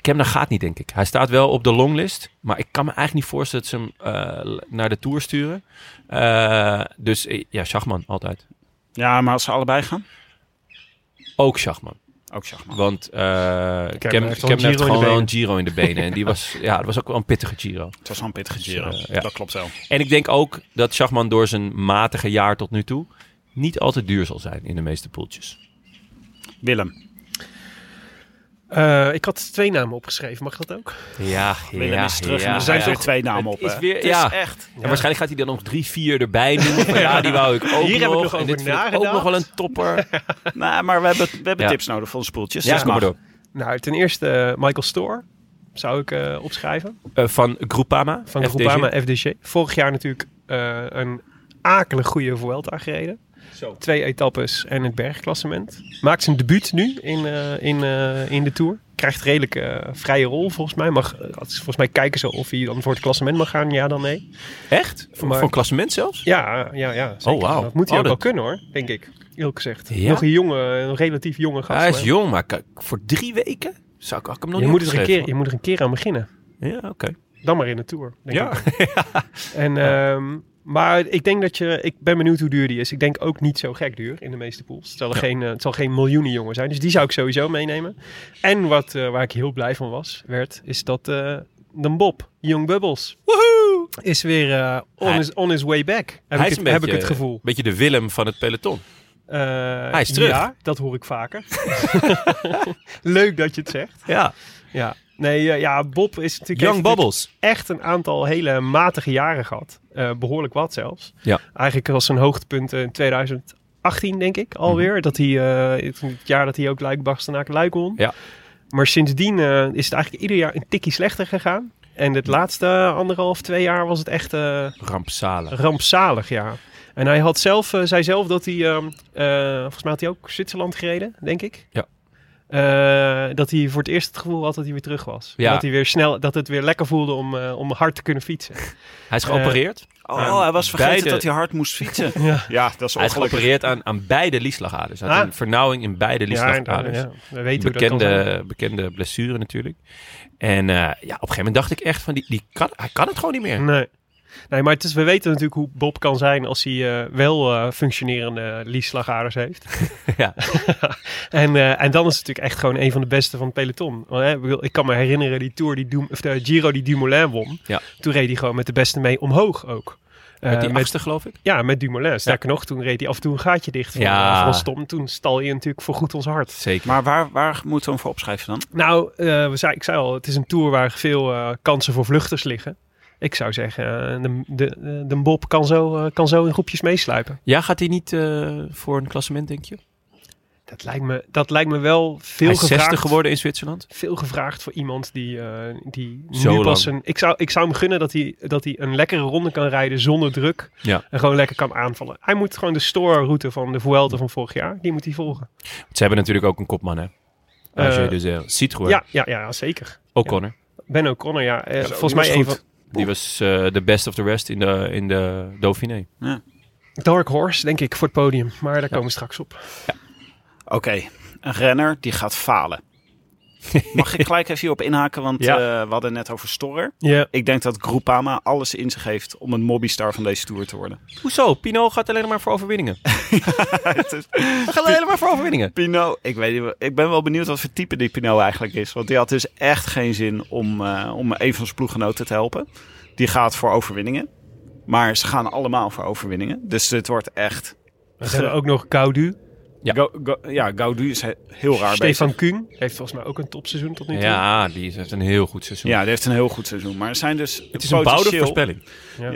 A: Kemna gaat niet, denk ik. Hij staat wel op de longlist. Maar ik kan me eigenlijk niet voorstellen dat ze hem eh, naar de Tour sturen. Eh, dus eh, ja, Schachman altijd.
B: Ja, maar als ze allebei gaan,
A: Ook Schachman.
B: ook Schachman.
A: Want eh Kemna Kem,
D: heeft
A: Kemna
D: al een Giro in
A: heeft
D: de
A: gewoon wel
D: benen.
A: een Giro in de benen. En die was, ja, dat was ook wel een pittige Giro.
B: Het was wel een pittige Giro.
A: Dus, eh, ja.
B: Dat klopt wel.
A: En ik denk ook dat Schachman door zijn matige jaar tot nu toe... niet altijd duur zal zijn in de meeste poeltjes.
B: Willem.
D: Eh, ik had twee namen opgeschreven, mag dat ook?
A: Ja,
B: Willem is terug en er
D: zijn
B: zijn
D: toch-
B: weer twee namen op.
A: Het is
B: hè?
A: weer-
B: Het
A: ja.
B: is echt.
A: En waarschijnlijk gaat hij dan nog drie, vier erbij noemen. Van, ja, die wou ik ook
D: Hier heb ik
A: nog.
D: nog
A: en
D: over
A: dit vind ik ook
D: nagedacht.
A: nog wel een topper.
B: Nou, maar we hebben, we hebben
A: Ja.
B: tips nodig voor onze poeltjes.
A: Ja,
B: dus
A: kom maar
B: mag.
A: door.
D: Nou, ten eerste eh, Michael Store zou ik eh, opschrijven.
A: Eh, van Groupama.
D: Van
A: FDG.
D: Groupama FDG. Vorig jaar natuurlijk eh, een akelig goede Vuelta gereden. Twee etappes en het bergklassement. Maakt zijn debuut nu in, eh, in, eh, in de Tour. Krijgt redelijk eh, vrije rol volgens mij. Mag, eh, volgens mij kijken ze of hij dan voor het klassement mag gaan. Ja dan nee.
A: Echt? Voor,
D: Maar-
A: voor een klassement zelfs?
D: Ja, ja, ja. zeker.
A: Oh, wauw.
D: Dat moet hij
A: Oh,
D: ook
A: dat-
D: wel kunnen hoor, denk ik. Eerlijk gezegd.
A: Ja?
D: Nog een jonge, een relatief jonge gast.
A: hij is
D: maar
A: jong, maar kijk, voor drie weken zou ik, had ik hem nog
D: je
A: niet
D: moet, er een
A: opgeschreven,
D: keer, je moet er een keer aan beginnen.
A: hoor. Ja, oké.
D: dan maar in de Tour. Denk
A: Ja.
D: Ik. en, ehm, maar ik denk dat je... Ik ben benieuwd hoe duur die is. Ik denk ook niet zo gek duur in de meeste pools. Het zal, er geen, eh, het zal geen miljoenen jongen zijn. Dus die zou ik sowieso meenemen. En wat, eh, waar ik heel blij van was, werd, is dat eh, dan Bob. Young Bubbles
A: Woehoe!
D: is weer eh, on,
A: Hij-
D: his, on his way back. Heb, ik,
A: Hij is
D: het,
A: een
D: heb ik
A: beetje-
D: het gevoel.
A: beetje de Willem van het peloton.
D: Eh,
A: Hij is terug.
D: Ja, dat hoor ik vaker. Leuk dat je het zegt.
A: Ja.
D: Ja. Nee, eh, ja, Bob is natuurlijk...
A: Young
D: heeft natuurlijk-
A: Bubbles.
D: echt een aantal hele matige jaren gehad. Eh, behoorlijk wat zelfs.
A: Ja.
D: Eigenlijk was zijn hoogtepunt eh, in 2018, denk ik, alweer.
A: Mhm.
D: Dat hij, eh, het het jaar dat hij ook Luik Bastenaak Luik won.
A: Ja.
D: Maar sindsdien eh, is het eigenlijk ieder jaar een tikkie slechter gegaan. En het laatste anderhalf, twee jaar was het echt eh,
A: Rampzalig.
D: rampzalig, ja. En hij had zelf, eh, zei zelf dat hij, ehm, eh, volgens mij had hij ook Zwitserland gereden, denk ik.
A: Ja.
D: Eh, dat hij voor het eerst het gevoel had dat hij weer terug was.
A: Ja.
D: Dat hij weer snel, dat het weer lekker voelde om, eh, om hard te kunnen fietsen.
A: Hij is geopereerd.
B: Oh, hij was vergeten
A: beide-
B: dat hij hard moest fietsen.
D: Ja.
B: ja, dat is
A: hij is
B: ongelukkig.
A: geopereerd aan, aan beide lieslagaders. Hij had
D: Ah.
A: een vernauwing in beide
D: en, eh,
A: lieslagaders.
D: ja, we weten hoe dat kan zijn.
A: bekende, bekende blessure natuurlijk. En eh, ja, op een gegeven moment dacht ik echt van, die, die kan, hij kan het gewoon niet meer.
D: Nee. Nee, maar het is, we weten natuurlijk hoe Bob kan zijn als hij eh, wel eh, functionerende lieslagaders heeft.
A: Ja.
D: en, eh, en dan is het natuurlijk echt gewoon een van de beste van het peloton. Want, hè, ik bedoel, ik kan me herinneren die Tour die Doem, of de Giro die Dumoulin won.
A: Ja.
D: Toen reed hij gewoon met de beste mee omhoog ook. Eh,
A: Met die
D: met-
A: achtste geloof ik.
D: ja, met Dumoulin. Sterker nog, toen reed hij af en toe een gaatje dicht van, eh,
A: Ja.
D: van Stom. Toen stal hij natuurlijk voor goed ons hart.
A: Zeker.
B: Maar waar, waar moeten we hem voor opschrijven dan?
D: Nou, eh, we zei, ik zei al, het is een tour waar veel eh, kansen voor vluchters liggen. Ik zou zeggen, eh, de, de, de- de Bob kan zo, eh, kan zo in groepjes meesluipen.
A: Ja, gaat hij niet eh, voor een klassement, denk je?
D: Dat lijkt me, dat lijkt me wel veel
A: hij is
D: gevraagd.
A: 60 geworden in Zwitserland.
D: Veel gevraagd voor iemand die, eh, die
A: Zo
D: nu
A: lang.
D: pas een... Ik zou, ik zou hem gunnen dat hij, dat hij een lekkere ronde kan rijden zonder druk.
A: Ja.
D: En gewoon lekker kan aanvallen. Hij moet gewoon de store-route van de Vuelta van vorig jaar, die moet hij volgen.
A: Ze hebben natuurlijk ook een kopman, hè? Als je
D: Eh,
A: dus eh, ziet gewoon.
D: Ja, ja, ja, zeker.
A: O'Connor.
D: Ben O'Connor, ja. eh,
B: Ja,
D: volgens
B: die was
D: mij een
B: goed.
D: van-
A: Die was eh, de best of the rest in de, in de Dauphiné.
D: Dark Horse, denk ik, voor het podium. Maar daar komen we straks op.
B: Oké, een renner die gaat falen. Mag ik gelijk even hierop inhaken? Want
D: Ja.
B: eh, we hadden net over Storer.
D: Ja,
B: Ik denk dat Groupama alles in zich heeft om een mobbystar van deze Tour te worden.
A: Hoezo? Pino gaat alleen maar voor overwinningen.
B: Het is-
A: Hij gaat alleen maar voor overwinningen.
B: Pino, ik, weet, niet wel- ik ben wel benieuwd wat voor type die Pino eigenlijk is. Want die had dus echt geen zin om, eh, om een van zijn ploeggenoten te helpen. Die gaat voor overwinningen. Maar ze gaan allemaal voor overwinningen. Dus dit wordt echt...
D: we hebben ook nog Gaudu.
A: Ja.
B: Go, go- ja, Gaudu is he- heel raar
D: Stefan
B: bezig.
D: Kuhn heeft volgens mij ook een topseizoen tot nu toe.
A: Ja, die heeft een heel goed seizoen.
B: Ja, die heeft een heel goed seizoen. Maar er zijn dus
A: Het is een bouwde
B: potentieel-
A: voorspelling.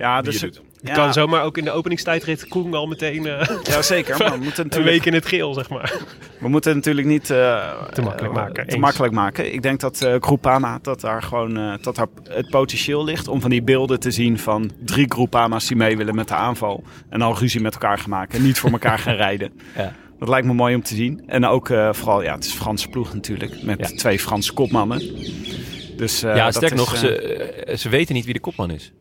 B: Ja,
A: die
B: dus
A: je
B: het
D: Het kan zomaar ook in de openingstijdrit Koen al meteen eh,
B: Ja, zeker. Maar we moeten
D: een
B: natuurlijk,
D: week in het geel, zeg maar.
B: we moeten natuurlijk niet eh,
D: Te makkelijk
B: eh,
D: maken,
B: Te
D: eens.
B: makkelijk maken. Ik denk dat eh Groupama, dat daar gewoon eh, dat daar het potentieel ligt om van die beelden te zien van drie Groupama's die mee willen met de aanval. En al ruzie met elkaar gaan maken. En niet voor elkaar gaan rijden.
A: Ja.
B: Dat lijkt me mooi om te zien. En ook eh, vooral, ja, het is Franse ploeg natuurlijk. Met
A: Ja.
B: twee Franse kopmannen. Dus, eh,
A: ja,
B: dat
A: sterk
B: is,
A: nog,
B: eh,
A: ze, eh, ze weten niet wie de kopman is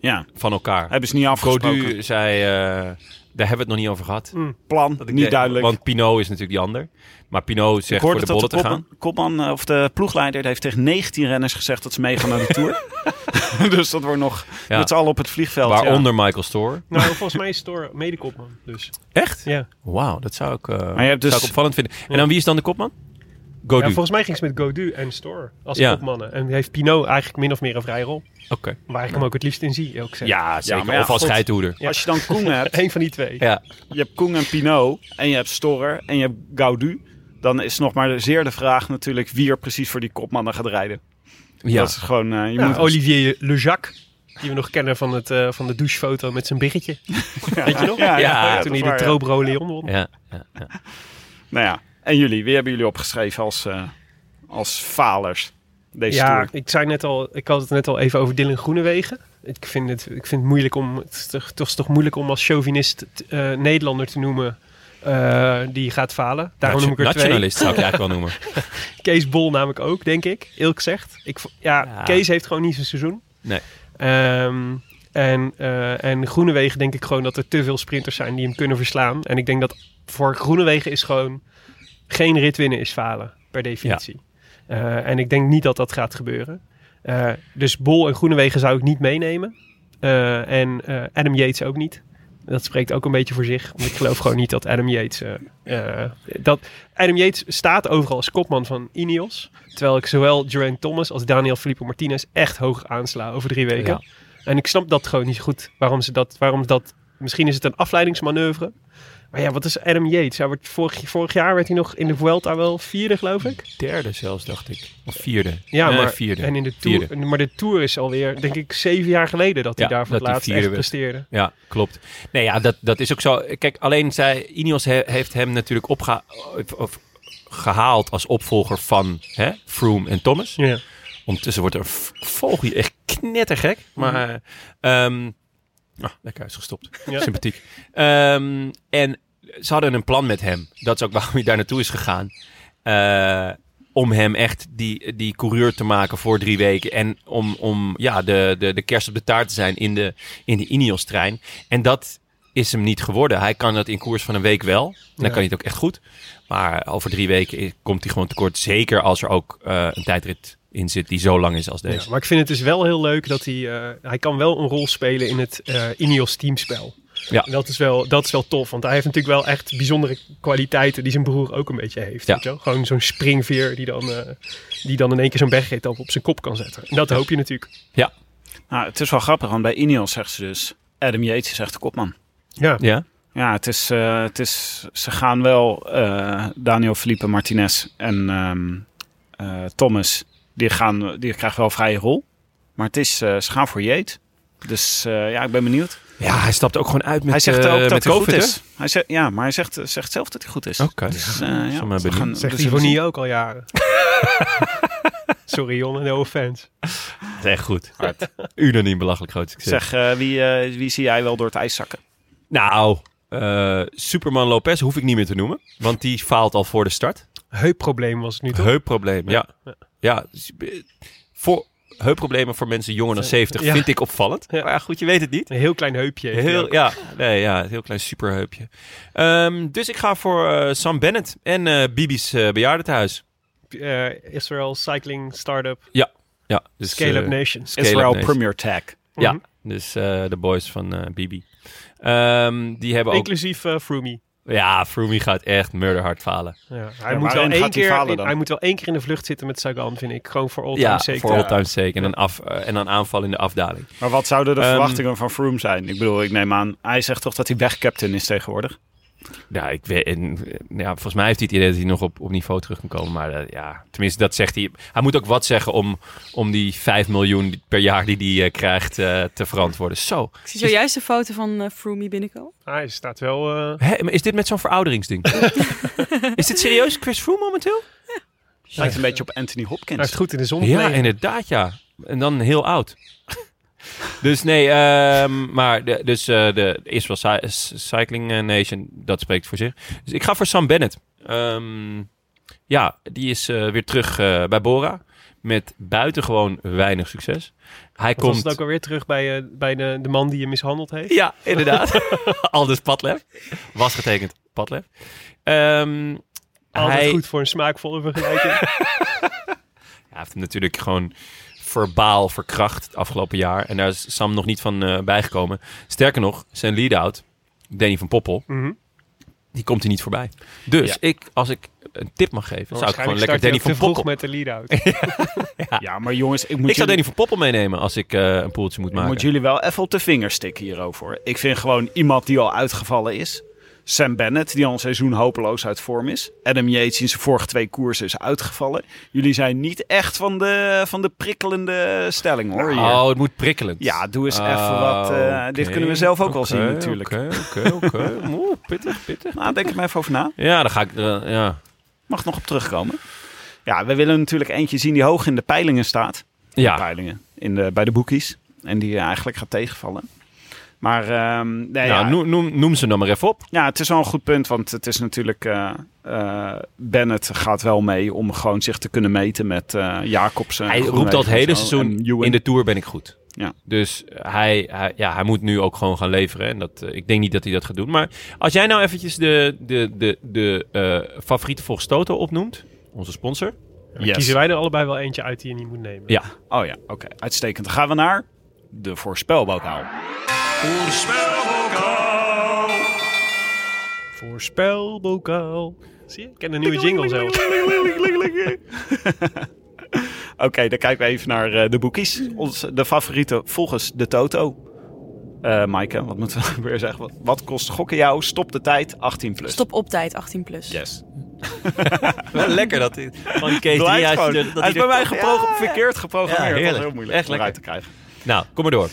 B: ja,
A: van elkaar.
B: hebben ze niet afgesproken.
A: Godu zei, eh, daar hebben we het nog niet over gehad.
B: Plan, niet
A: Nee,
B: duidelijk.
A: Want Pino is natuurlijk die ander. Maar Pino
B: Ik
A: zegt voor
B: hoorde
A: de
B: dat de
A: bollen te
B: kopman,
A: gaan.
B: kopman, eh, of de ploegleider die heeft tegen 19 renners gezegd dat ze meegaan naar de Tour. dus dat wordt nog
A: Ja.
B: met z'n allen op het vliegveld. ja.
A: Waaronder Michael Store.
D: Nou, volgens mij is Thor medekopman. Dus.
A: Echt?
D: Ja.
A: Wauw, dat zou ik, eh,
B: je hebt dus-
A: zou ik opvallend vinden. En dan wie is dan de kopman?
D: ja,
A: Godu.
D: volgens mij ging ze met Godu en Store als
A: Ja.
D: kopmannen. En heeft Pinot eigenlijk min of meer een vrije rol.
A: Oké.
D: Waar ik hem ook het liefst in zie, ook zeggen.
A: Ja, zeker.
B: maar ja,
A: of als
B: goed.
A: scheidhoeder.
B: Als je dan Koen hebt,
D: Eén van die twee.
A: Ja.
B: je hebt Koen en Pinot en je hebt Storer en je hebt Gaudu. Dan is nog maar zeer de vraag natuurlijk wie er precies voor die kopmannen gaat rijden.
A: Ja.
B: Dat is gewoon, eh, je
D: Ja,
B: moet
D: Nou, Olivier Lejac, die we nog kennen van, het, eh, van de douchefoto met zijn biggetje. Weet je nog?
B: Ja, ja,
A: Ja,
B: dat
D: Toen
B: is
D: hij de
B: waar, ja.
D: Trobro Leon won.
A: Ja, ja, ja.
B: Nou ja, en jullie, wie hebben jullie opgeschreven als, eh, als falers deze
D: ja,
B: Tour?
D: ik zei net al, ik had het net al even over Dylan Groenewegen. Ik vind het, ik vind het moeilijk om, het is toch, toch is toch moeilijk om als chauvinist t- eh, Nederlander te noemen eh, die gaat falen. Daarom noem ik er twee.
A: Nationalist zou ik je eigenlijk wel noemen.
D: Kees Bol namelijk ook, denk ik. Ilk zegt. Ik, vo- ja,
A: Ja.
D: Kees heeft gewoon niet zijn seizoen.
A: Nee.
D: Ehm, en, eh en Groenewegen denk ik gewoon dat er te veel sprinters zijn die hem kunnen verslaan. En ik denk dat voor Groenewegen is gewoon geen rit winnen is falen, per definitie. Eh, en ik denk niet dat dat gaat gebeuren. Eh, dus Bol en Groenewegen zou ik niet meenemen. Eh, en eh, Adam Yates ook niet. Dat spreekt ook een beetje voor zich. Want ik geloof gewoon niet dat Adam Yates... eh, eh, dat Adam Yates staat overal als kopman van Ineos. Terwijl ik zowel Geraint Thomas als Daniel Filippo Martinez echt hoog aansla over drie weken.
A: Ja.
D: En ik snap dat gewoon niet zo goed. Waarom ze dat... Waarom dat misschien is het een afleidingsmanoeuvre. Maar ja, wat is Adam Yates? Hij wordt vorig, vorig jaar werd hij nog in de Vuelta wel vierde, geloof ik.
A: Derde zelfs, dacht ik. Of vierde.
D: Ja,
A: Nee,
D: maar,
A: vierde.
D: En in de tour,
A: Vierde.
D: maar de Tour is alweer, denk ik, zeven jaar geleden dat hij
A: Ja,
D: daar voor het
A: dat hij
D: laatst echt
A: vierde werd.
D: presteerde.
A: Ja, klopt. Nee, ja, dat, dat is ook zo. Kijk, alleen zij, Ineos he- heeft hem natuurlijk opgeha of, of gehaald als opvolger van hè, Froome en Thomas.
D: Ja.
A: Ondertussen wordt er een v- vogel echt knettergek. Maar ehm, ah, lekker uitgestopt.
D: Ja.
A: Sympathiek. Ehm, en ze hadden een plan met hem. Dat is ook waarom hij daar naartoe is gegaan. Eh, om hem echt die, die coureur te maken voor drie weken. En om, om ja, de, de, de kerst op de taart te zijn in de, in de Ineos-trein. En dat is hem niet geworden. Hij kan dat in koers van een week wel. Dan kan hij het ook echt goed. Maar over drie weken i- komt hij gewoon tekort. Zeker als er ook eh, een tijdrit in zit die zo lang is als deze.
D: Ja, maar ik vind het dus wel heel leuk dat hij... eh, hij kan wel een rol spelen in het eh Ineos teamspel.
A: Ja.
D: En Dat is, wel, dat is wel tof, want hij heeft natuurlijk wel echt bijzondere kwaliteiten die zijn broer ook een beetje heeft.
A: Ja.
D: weet je wel? Gewoon zo'n springveer die dan, eh, die dan in één keer zo'n bergrit op, op zijn kop kan zetten. En dat hoop je natuurlijk.
B: Nou, het is wel grappig, want bij Ineos zegt ze dus... Adam Yates is echt de kopman.
D: Ja,
A: Ja,
B: Ja, het is, eh, het is, ze gaan wel eh, Daniel Felipe Martinez en ehm, eh, Thomas. Die, gaan, die krijgen wel een vrije rol. Maar het is, eh, ze gaan voor Yates. Dus eh, ja, ik ben benieuwd.
A: ja hij stapt ook gewoon uit met,
B: hij zegt
A: eh,
B: ook dat
A: met
B: hij
A: COVID,
B: goed
A: hè?
B: is. Hij zegt, ja, maar hij zegt, zegt zelf dat hij goed is.
A: Oké.
B: Dus, eh, ja,
A: maar
B: we
A: benieuwd.
B: gaan-
D: zegt
B: we zullen
D: Ivonie
B: zien.
D: ook al jaren. Sorry Jonne, no offense.
A: Dat is echt goed. Unaniem belachelijk groot succes.
B: Zeg, eh, wie, eh, wie zie jij wel door het ijs zakken?
A: Nou, eh, Superman Lopez hoef ik niet meer te noemen. Want die faalt al voor de start.
D: Heupprobleem was het nu toch?
A: Heupproblemen, ja. Ja, dus, eh, voor heupproblemen voor mensen jonger dan 70
D: Ja.
A: vind ik opvallend.
D: Ja.
A: Maar ja, goed, je weet het niet.
D: Een heel klein heupje. heeft hij
A: Heel,
D: ook.
A: ja, nee, ja, een heel klein superheupje. Ehm, dus ik ga voor eh, Sam Bennett en eh, Bibi's eh bejaardentehuis.
D: Eh, Israel Cycling Startup
A: Ja, dus,
D: Scale-Up
A: eh,
D: Nations.
A: Scale-up
B: Israel
A: Nation.
B: Premier Tag.
A: Ja,
D: Mhm.
A: dus eh, de boys van eh, Bibi. Ehm, die hebben ook...
D: Inclusief eh Froomey.
A: Ja, Froomey gaat echt murderhard falen.
D: Ja, hij,
B: waarin
D: moet wel één
B: gaat hij
D: keer
B: falen
D: in,
B: dan?
D: hij moet wel één keer in de vlucht zitten met Sagan, vind ik. Gewoon voor all time
A: Ja,
D: zeker.
A: voor all time sake. En dan, af, eh, en dan aanval in de afdaling.
B: Maar wat zouden de
A: Ehm,
B: verwachtingen van Froome zijn? Ik bedoel, ik neem aan, hij zegt toch dat hij wegcaptain is tegenwoordig?
A: Nou, ik weet, en, eh, ja, volgens mij heeft hij het idee dat hij nog op, op niveau terug kan komen. Maar eh, ja, tenminste, dat zegt hij. Hij moet ook wat zeggen om, om die 5 miljoen per jaar die hij eh, krijgt eh, te verantwoorden. Zo.
F: Ik zie zojuist de foto van eh Froomey binnenkomen.
D: Hij staat wel... eh,
A: Hé, maar is dit met zo'n verouderingsding? is dit serieus Chris Froome momenteel?
B: Lijkt een beetje op Anthony
D: hij
B: Hopkins.
D: heeft goed in de zon
A: Ja,
D: gelegen.
A: inderdaad, ja. En dan heel oud. dus nee, ehm, maar de, dus, eh, de Israel Cy- Cycling eh, Nation, dat spreekt voor zich. Dus ik ga voor Sam Bennett. Ehm, ja, die is eh, weer terug eh, bij Bora. Met buitengewoon weinig succes. Hij
D: Want was
A: komt...
D: het ook alweer terug bij, eh, bij de, de man die je mishandeld heeft?
A: Ja, inderdaad. Aldus Padlef. Was getekend Padlef. Ehm,
D: Altijd
A: hij-
D: goed voor een smaakvolle vergelijking.
A: Hij heeft hem natuurlijk gewoon verbaal verkracht het afgelopen jaar. En daar is Sam nog niet van eh, bijgekomen. Sterker nog, zijn lead-out, Danny van Poppel,
D: Mhm.
A: die komt hij niet voorbij. Dus
B: Ja.
A: ik, als ik een tip mag geven, zou ik gewoon
D: Waarschijnlijk
A: lekker
D: start hij
A: Danny
D: ook te
A: van
D: vroeg
A: Poppel...
D: met de lead-out.
B: Ja, maar jongens, ik moet
A: Ik zou
B: jullie-
A: Danny van Poppel meenemen als ik eh, een poeltje moet
B: Ik
A: maken.
B: moet jullie wel even op de vinger stikken hierover. Ik vind gewoon iemand die al uitgevallen is. Sam Bennett, die al een seizoen hopeloos uit vorm is. Adam Yates in zijn vorige twee koersen is uitgevallen. Jullie zijn niet echt van de, van de prikkelende stelling hoor. hier.
A: Oh, het moet prikkelend.
B: Ja, doe eens
A: Oh,
B: even wat. eh,
A: oké,
B: Dit kunnen we zelf ook wel
A: oké,
B: zien natuurlijk.
A: Oké, oké, oké. Oeh, pittig, pittig.
B: Nou, denk er maar even over na.
A: Ja, dan ga ik... eh, ja.
B: Mag nog op terugkomen. Ja, we willen natuurlijk eentje zien die hoog in de peilingen staat.
A: ja,
B: Peilingen in de, bij de boekies. En die eh, eigenlijk gaat tegenvallen. Maar ehm, nee, ja,
A: nou, noem, noem, noem ze dan maar even op.
B: Ja, het is wel een goed punt, want het is natuurlijk... eh, eh, Bennett gaat wel mee om gewoon zich te kunnen meten met eh Jacobsen.
A: Hij roept
B: Groenewegen
A: dat
B: en
A: hele
B: zo.
A: seizoen,
B: En Ewan.
A: in de Tour ben ik goed.
B: Ja.
A: Dus hij, hij, ja, hij moet nu ook gewoon gaan leveren. En dat, eh, ik denk niet dat hij dat gaat doen. Maar als jij nou eventjes de, de, de, de eh favoriete volgens Toto opnoemt, onze sponsor.
B: Yes.
D: Kiezen wij er allebei wel eentje uit die je niet moet nemen.
A: Ja,
B: Oh ja, oké. Uitstekend. Dan gaan we naar de voorspelbokaal.
C: Voorspelbokaal.
D: Voorspelbokaal. Zie je? Ik ken een nieuwe jingle zelf.
B: Oké, dan kijken we even naar eh, de boekies. Ons, de favoriete volgens de Toto. Eh Maaike, wat moeten we weer zeggen? Wat, wat kost gokken jou? Stop de tijd, 18 plus.
F: Stop op tijd, 18 plus.
B: Yes.
G: Wel lekker dat hij van die Kees
B: Blijft
G: Driehuis...
B: gewoon.
G: er- Dat
B: Hij is bij
G: er-
B: mij gepro- verkeerd
G: Ja,
B: geprogrammeerd. dat is
G: heerlijk.
B: heel moeilijk
G: Echt
B: om eruit
G: lekker.
B: te krijgen.
A: Nou, kom maar door.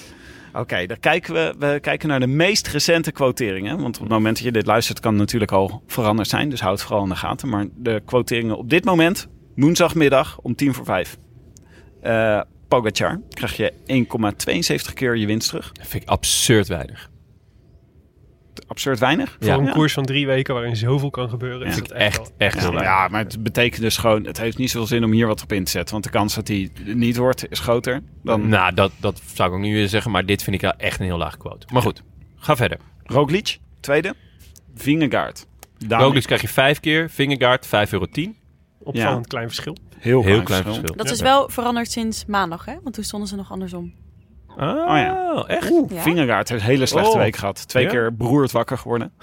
B: Oké, dan kijken we, we kijken naar de meest recente quoteringen. Want op het moment dat je dit luistert, kan het natuurlijk al veranderd zijn. Dus houd het vooral in de gaten. Maar de quoteringen op dit moment, woensdagmiddag om tien voor vijf. Eh Pogacar krijg je 1,72 keer je winst terug.
A: Dat vind ik absurd weinig.
B: Absurd weinig.
D: Voor een
B: Ja.
D: koers van drie weken waarin zoveel kan gebeuren. is
A: Dat vind ik
D: dat
A: echt,
D: wel-
A: echt heel
B: Ja,
A: weinig.
B: ja, maar het betekent dus gewoon, het heeft niet zoveel zin om hier wat op in te zetten. Want de kans dat hij niet wordt, is groter dan
A: Nou, dat, dat zou ik ook niet willen zeggen, maar dit vind ik wel echt een heel laag quote. Maar goed, ga verder.
B: Roglic, tweede. Vingegaard. Daar-
A: Roglic krijg je vijf keer, Vingegaard 5,10 euro.
D: Opvallend klein verschil.
B: Heel,
A: Heel klein verschil.
F: Dat
A: Ja.
F: is wel veranderd sinds maandag, hè? Want toen stonden ze nog andersom.
A: Oh
B: Oh
A: ja,
B: ja.
A: echt?
F: Ja?
B: Vingegaard heeft een hele slechte
A: Oh.
B: week gehad. Twee
A: Ja?
B: keer beroerd wakker geworden.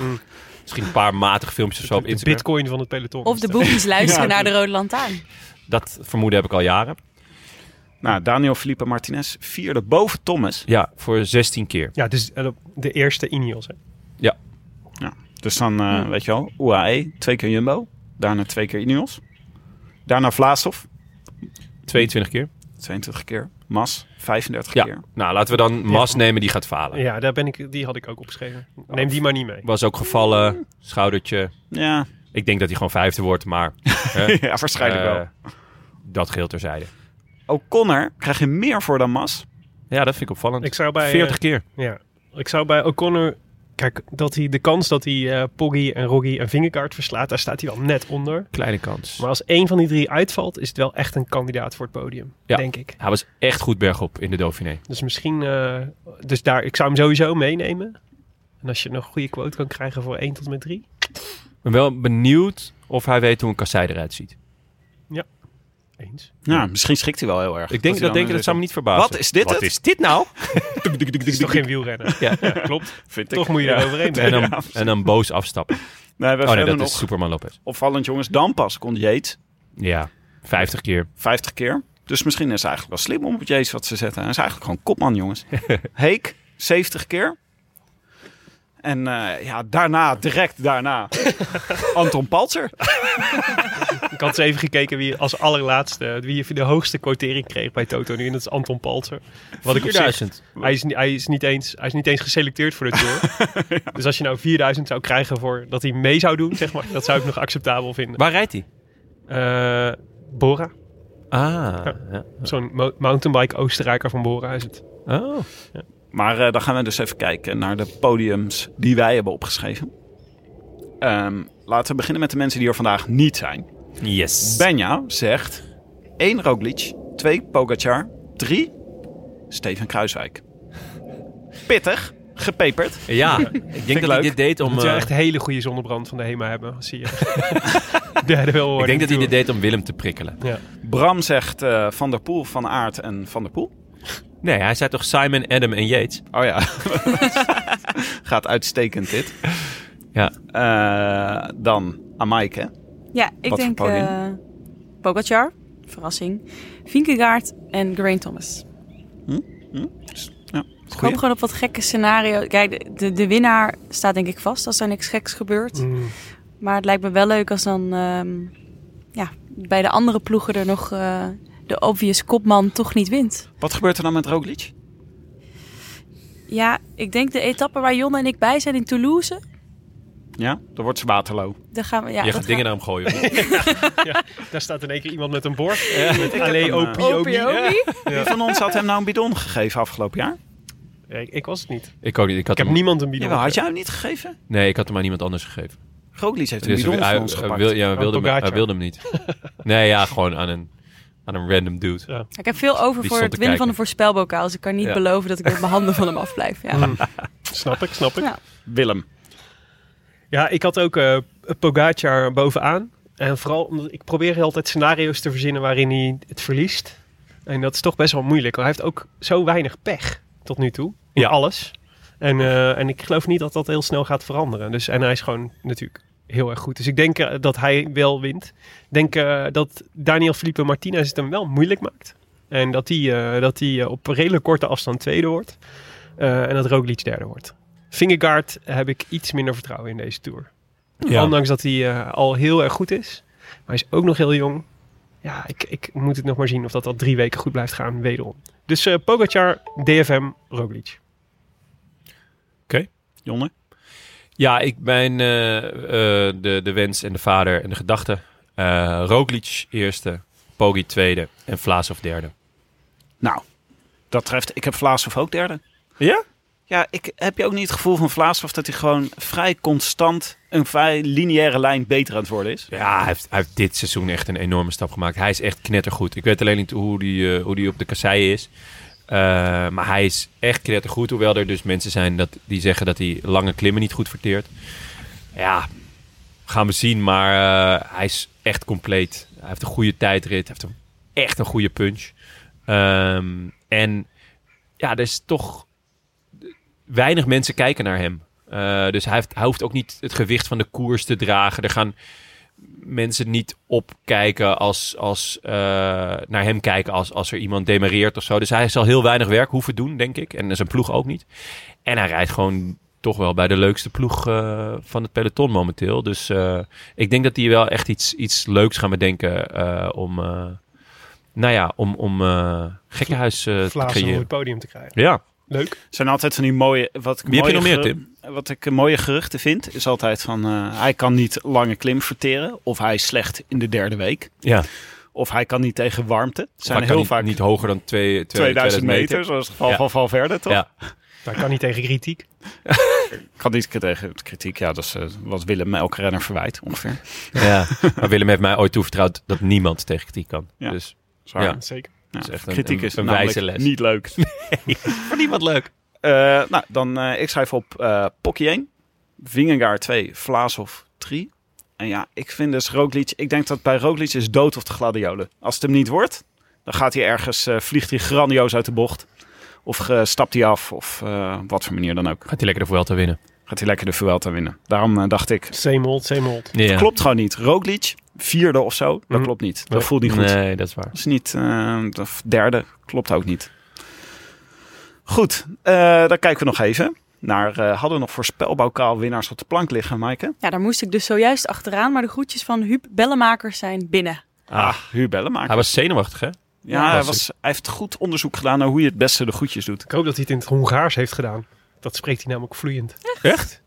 A: Misschien een paar matige filmpjes of zo op
D: de
A: Instagram.
D: bitcoin van het peloton.
F: Of de boekies luisteren naar de Rode Lantaarn.
A: Dat vermoeden heb ik al jaren.
B: Nou, Daniel Felipe Martinez, vierde boven Thomas.
A: Ja, voor 16 keer.
D: Ja, dus eh, de eerste Ineos. Hè.
B: Dus dan, eh, weet je wel, UAE, twee keer Jumbo. Daarna twee keer Ineos. Daarna Vlaasov,
A: 22 keer.
B: 22 keer. Mas, 35
A: Ja,
B: keer.
A: nou laten we dan Mas nemen, die gaat falen.
D: Ja, daar ben ik, die had ik ook opgeschreven.
A: Oh.
D: Neem die maar niet mee.
A: Was ook gevallen, schoudertje.
B: Ja,
A: Ik denk dat hij gewoon vijfde wordt, maar
B: ja waarschijnlijk wel.
A: eh, dat geheel terzijde.
B: O'Connor krijg je meer voor dan Mas.
A: Ja, dat vind ik opvallend.
D: Ik zou bij, eh,
A: 40 keer.
D: Ja, ik zou bij O'Connor... Kijk, dat hij de kans dat hij eh, Poggi en Roggi en Vingegaard verslaat, daar staat hij wel net onder.
A: Kleine kans.
D: Maar als één van die drie uitvalt, is het wel echt een kandidaat voor het podium,
A: Ja.
D: denk ik.
A: Hij was echt goed bergop in de Dauphiné.
D: Dus misschien, eh, dus daar, ik zou hem sowieso meenemen. En als je nog een goede quote kan krijgen voor 1 tot en met 3.
A: Ik ben wel benieuwd of hij weet hoe een kassei eruit ziet.
D: Eens.
B: Nou, misschien schikt hij wel heel erg.
A: Ik denk,
B: hij
A: dat,
B: dan
A: denk, ik,
B: weer
A: dat zou me
B: zo-
A: niet verbazen.
B: Wat is dit
A: Wat
B: het?
A: is dit nou?
D: Het is toch geen wielrennen?
A: Ja.
D: klopt.
B: Vind ik.
D: Toch moet je
B: Ja.
D: er overheen
A: En
D: brengen.
A: dan, en dan boos afstappen.
B: Nee, we
A: Oh nee,
B: hebben
A: dat
B: nog
A: is Superman Lopez.
B: opvallend jongens. Dan pas kon Yates
A: Ja, 50 keer.
B: 50 keer. Dus misschien is het eigenlijk wel slim om op Jezus wat ze zetten. Hij is eigenlijk gewoon kopman, jongens. Heek, 70 keer. En eh, ja, daarna, direct daarna, Anton Paltzer.
D: Ik had eens even gekeken wie als allerlaatste, wie de hoogste quotering kreeg bij Toto nu. En dat is Anton Paltzer. Wat ik op zich
A: 4000.
D: Hij is, ni- hij, is niet eens, hij is niet eens geselecteerd voor de Tour. Dus als je nou 4000 zou krijgen voor dat hij mee zou doen, zeg maar, dat zou ik nog acceptabel vinden.
A: Waar rijdt hij?
D: Eh, Bora,
A: Ah, ja.
D: zo'n mo- mountainbike Oostenrijker van Bora is het.
A: Oh.
B: Maar eh, dan gaan we dus even kijken naar de podiums die wij hebben opgeschreven. Ehm, laten we beginnen met de mensen die er vandaag niet zijn.
A: Yes.
B: Benja zegt 1 Roglic, 2 Pogacar, 3 Steven Kruiswijk. Pittig, gepeperd.
A: Ja, ik denk dat hij
B: leuk.
A: dit deed om...
D: Moet je
A: eh,
D: echt hele goede zonnebrand van de HEMA hebben, zie je. Derde wel
A: ik
D: worden.
A: denk dat hij dit deed om Willem te prikkelen.
B: Bram zegt eh, Van der Poel, Van Aert en Van der Poel.
A: Nee, hij zei toch Simon, Adam en Yates?
B: Oh ja. Gaat uitstekend dit.
A: Ja.
B: Eh, dan Amaike.
F: Ja, ik
B: Wat
F: denk
B: voor podium?
F: eh Pogacar, verrassing. Vinkegaard en Geraint Thomas.
B: Ja,
F: Ik hoop gewoon op wat gekke scenario. Kijk, de, de, de winnaar staat denk ik vast als er niks geks gebeurt.
D: Mm.
F: Maar het lijkt me wel leuk als dan ehm, ja, bij de andere ploegen er nog eh, de obvious kopman toch niet wint.
B: Wat gebeurt er dan met Roglic?
F: Ja, ik denk de etappe waar Jon en ik bij zijn in Toulouse.
B: Ja, dan wordt ze Waterloo.
F: Daar gaan we, ja,
A: je
F: dat
A: gaat dingen
F: gaan-
A: naar hem gooien. hoor.
D: Daar staat in één keer iemand met een bord.
B: heb
D: Allee,
B: hem, eh,
D: opie, opie.
F: Opiomi?
B: Wie van ons had hem nou een bidon gegeven afgelopen jaar?
D: Ja, ik, ik was het niet.
A: ik ook niet. Ik had,
D: Ik heb
A: hem,
D: niemand een bidon.
B: Jawel, had jij hem niet gegeven?
A: Nee, ik had hem aan iemand anders gegeven.
B: Roglic heeft een
A: Dus
B: bidon
A: hij,
B: van ons
A: hij
B: gepakt.
A: wil, ja, hij
D: Oh,
A: wilde, hem, hij
D: Pogacar.
A: wilde hem niet. Nee, ja, gewoon aan een, aan een random dude.
F: Ik heb veel over
A: Die
F: voor
A: stond
F: het
A: te
F: winnen
A: kijken.
F: van de voorspelbokaal. Dus ik kan niet
A: Ja. Mm.
F: beloven dat ik met mijn handen van hem afblijf. Ja.
D: Snap ik, snap ik.
F: Ja.
B: Willem.
D: Ja, ik had ook eh Pogacar bovenaan. En vooral omdat ik probeer heel altijd scenario's te verzinnen waarin hij het verliest. En dat is toch best wel moeilijk. Want hij heeft ook zo weinig pech tot nu toe. In
A: Ja.
D: alles. En, eh, en ik geloof niet dat dat heel snel gaat veranderen. Dus, en hij is gewoon natuurlijk heel erg goed. Dus ik denk eh, dat hij wel wint. Ik denk eh, dat Daniel Felipe Martinez het hem wel moeilijk maakt. En dat hij eh, dat hij eh, op redelijk korte afstand tweede wordt. Eh, en dat Roglic derde wordt. Vingegaard heb ik iets minder vertrouwen in deze Tour.
A: Ja.
D: Ondanks dat hij eh, al heel erg goed is. Maar hij is ook nog heel jong. Ja, ik, ik moet het nog maar zien of dat al drie weken goed blijft gaan, wederom. Dus eh Pogacar, DFM, Roglic.
A: Eh,
B: Jonne?
A: Ja, ik ben eh, eh, de, de wens en de vader en de gedachte. Eh Roglic eerste, Poggi tweede en Vlaas of derde.
B: Nou, dat treft. Ik heb Vlaashoff ook derde.
A: Ja?
B: Ja, ik, heb je ook niet het gevoel van Vlaashoff dat hij gewoon vrij constant een vrij lineaire lijn beter aan het worden is?
A: Ja, hij heeft, hij heeft dit seizoen echt een enorme stap gemaakt. Hij is echt knettergoed. Ik weet alleen niet hoe die, eh, hoe die op de kasseien is. Eh, maar hij is echt knettergoed. Hoewel er dus mensen zijn dat, die zeggen dat hij lange klimmen niet goed verteert. Ja, gaan we zien. Maar eh, hij is echt compleet. Hij heeft een goede tijdrit. Hij heeft een, echt een goede punch. Ehm, en ja, er is toch weinig mensen kijken naar hem. Eh, dus hij, heeft, hij hoeft ook niet het gewicht van de koers te dragen. Er gaan mensen niet opkijken als, als eh, naar hem kijken als, als er iemand demareert of zo. Dus hij zal heel weinig werk hoeven doen, denk ik. En zijn ploeg ook niet. En hij rijdt gewoon toch wel bij de leukste ploeg eh, van het peloton momenteel. Dus eh, ik denk dat die wel echt iets, iets leuks gaan bedenken eh, om, eh, nou ja, om, om eh, gekkenhuis eh, te
D: Vlaas om op
A: creëren.
D: het podium te krijgen.
A: Ja.
D: Leuk.
B: zijn altijd van die mooie... Wat ik
A: Wie heb je nog
B: mooie
A: meer,
B: geru- Wat ik eh, mooie geruchten vind, is altijd van... eh, hij kan niet lange klim verteren. Of hij is slecht in de derde week.
A: Ja.
B: Of hij kan niet tegen warmte. Het zijn
A: Maar kan
B: heel
A: niet-
B: vaak
A: niet hoger dan twee,
B: 2000 meter, zoals het geval
A: Ja.
B: van Valverde, toch?
A: Ja.
D: Daar kan niet tegen kritiek.
B: Kan niet tegen kritiek. Ja, dat is, eh, wat Willem elke renner verwijt, ongeveer.
A: Ja. maar Willem heeft mij ooit toevertrouwd dat niemand tegen kritiek kan.
B: Ja.
A: Dus
B: Zwaar.
A: Ja.
D: Zeker.
B: Ja,
A: is echt een-
B: kritiek
A: een-
B: is
A: een
B: namelijk
A: wijze les.
B: niet leuk.
A: voor niemand leuk.
B: Eh, nou, dan eh, ik schrijf op eh Pocky 1, Vingegaard 2, Vlaashoff 3. En ja, ik vind dus Roglic... Ik denk dat bij Roglic is dood of de gladiolen. Als het hem niet wordt, dan gaat hij ergens... eh, vliegt hij grandioos uit de bocht. Of eh, stapt hij af, of eh, wat voor manier dan ook.
A: Gaat hij lekker de Vuelta winnen.
B: Gaat hij lekker de Vuelta winnen. Daarom eh, dacht ik,
D: Zeemold, Zeemold.
A: Ja. Mhm.
B: klopt gewoon niet. Roglic, vierde of zo, dat
D: Mm.
B: klopt niet. Dat
D: Nee.
B: voelt niet goed.
A: Nee, dat is waar.
B: Dat is niet. eh, of derde klopt ook niet. Goed, eh, dan kijken we nog even naar. eh, hadden we nog voorspelbokaal winnaars op de plank liggen, Maaike?
F: Ja, daar moest ik dus zojuist achteraan. Maar de groetjes van Huub Bellemakers zijn binnen.
A: Ah.
B: Huur Bellenmaker.
A: Hij was zenuwachtig, hè?
B: ja, hij,
A: was
B: was, hij heeft goed onderzoek gedaan naar hoe je het beste de goedjes doet.
D: Ik hoop dat hij het in het Hongaars heeft gedaan. Dat spreekt hij namelijk vloeiend.
A: Echt?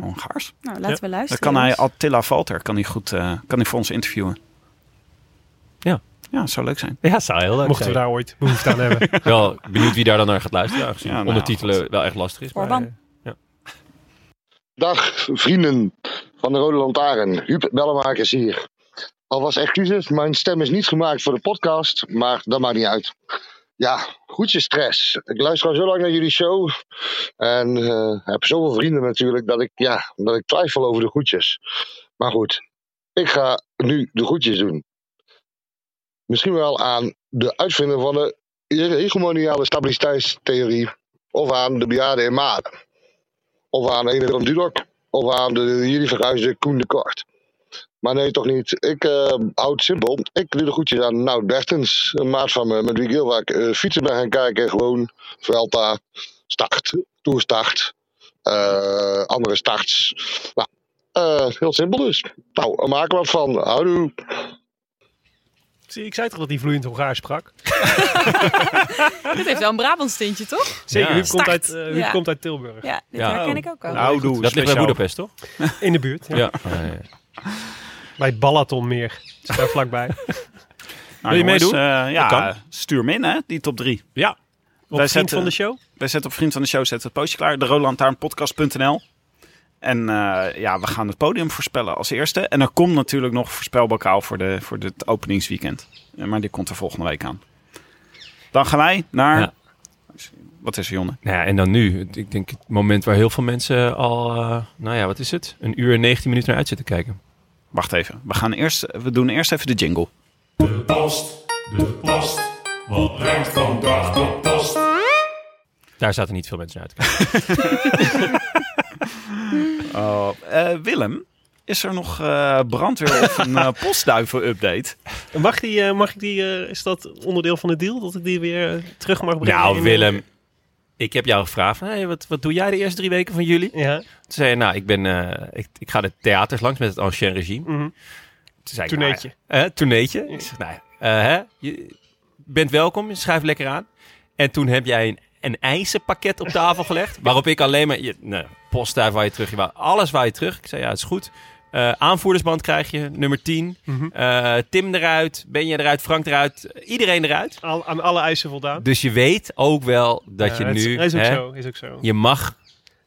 B: Hongaars.
F: Nou, laten we
B: Oh, Dan
F: luisteren.
B: kan hij
F: jongens.
B: Attila Valter kan hij goed, eh, kan hij voor ons interviewen.
A: Ja.
B: Ja, zou leuk zijn.
A: Ja, zou heel leuk
D: Mochten we daar ooit behoefte aan hebben.
A: daar... Wel, benieuwd wie daar dan naar gaat luisteren. Aangezien
B: Ja, nou,
A: ondertitelen wel echt lastig is.
F: Orban.
A: eh,
H: Dag vrienden van de Rode Lantaarn. Huub Bellemakers hier. Alvast excuses, mijn stem is niet gemaakt voor de podcast, maar dat maakt niet uit. Ja, goedje stress. Ik luister al zo lang naar jullie show en eh, heb zoveel vrienden natuurlijk dat ik, ja, dat ik twijfel over de goedjes. Maar goed, ik ga nu de goedjes doen. Misschien wel aan de uitvinder van de hegemoniale stabiliteitstheorie of aan de bejaarden in Maden. Of aan een Willem Dudok. Of aan de jullie verhuisde Koen de Kort. Maar nee, toch niet. Ik eh, hou het simpel. Ik doe de goedjes aan Nout Bertens. Een maat van me met wie ik heel vaak eh, fietsen ben gaan kijken. Gewoon Vuelta, start, toerstart, eh, andere starts. Nou, eh, heel simpel dus. Nou, maak er wat van. Houdoe.
D: Zie, ik zei toch dat hij vloeiend Hongaars sprak?
F: Dit heeft wel een Brabants tintje, toch?
D: Zeker,
A: Ja.
D: Huub, komt
F: Start.
D: uit, eh, Huub
F: Ja.
D: komt uit Tilburg.
F: Ja, dit
A: Ja.
F: herken ik ook al.
B: Nou, doe.
A: dat ligt bij
B: speciaal.
A: Budapest, toch?
D: In de buurt. Ja.
A: Ja. Eh,
D: Bij Balatonmeer. Is Daar vlakbij.
B: Nou,
A: Wil je
B: jongens,
A: meedoen?
B: eh, ja,
A: Dat kan.
B: stuur hem in, hè, die top drie.
A: ja.
D: Op
B: Wij
D: Wij
B: zetten-
D: van de show.
B: Wij zetten op Vriend van de Show zetten het postje klaar. De rolantaarnpodcast.nl En eh, ja, we gaan het podium voorspellen als eerste. En er komt natuurlijk nog voorspelbokaal voor, de, voor het openingsweekend. Eh, Maar die komt er volgende week aan. Dan gaan wij naar...
A: Ja.
B: Wat is er, Jonne?
A: Nou ja, en dan nu. Het- Ik denk het moment waar heel veel mensen al, eh, nou ja, wat is het? Een uur en 19 minuten naar uit zitten kijken.
B: Wacht even. We, gaan eerst, we doen eerst even de jingle.
I: De post, de post, wat brengt vandaag de post?
A: Daar zaten niet veel mensen uit.
B: Oh, eh, Willem, is er nog eh, brandweer of een eh, postduiven-update?
D: Mag, die, eh, mag ik die, eh, is dat onderdeel van de deal? Dat ik die weer eh, terug mag brengen?
A: nou,
D: in-
A: Willem, ik heb jou gevraagd: hey, wat, wat doe jij de eerste drie weken van jullie?
D: Ja.
A: Toen zei je, nou, ik, ben, eh, ik, ik ga de theaters langs met het ancien regime.
D: mhm.
A: Toen zei ik,
D: Tourneetje.
A: nou, hè, tourneetje. Ik zeg, nou, eh, hè, je bent welkom, je schrijft lekker aan. En toen heb jij een, een ijzerpakket op tafel gelegd, waarop ik alleen maar, je, nee, postduif waar je terug, je wou, alles waar je terug. Ik zei, ja, het is goed. Eh, aanvoerdersband krijg je, nummer 10.
D: Mhm.
A: Eh, Tim eruit, Benja eruit, Frank eruit, iedereen eruit.
D: Al, aan alle eisen voldaan.
A: Dus je weet ook wel dat
D: Ja,
A: je
D: is-
A: nu,
D: Is ook
A: hè,
D: zo, is ook zo.
A: je mag,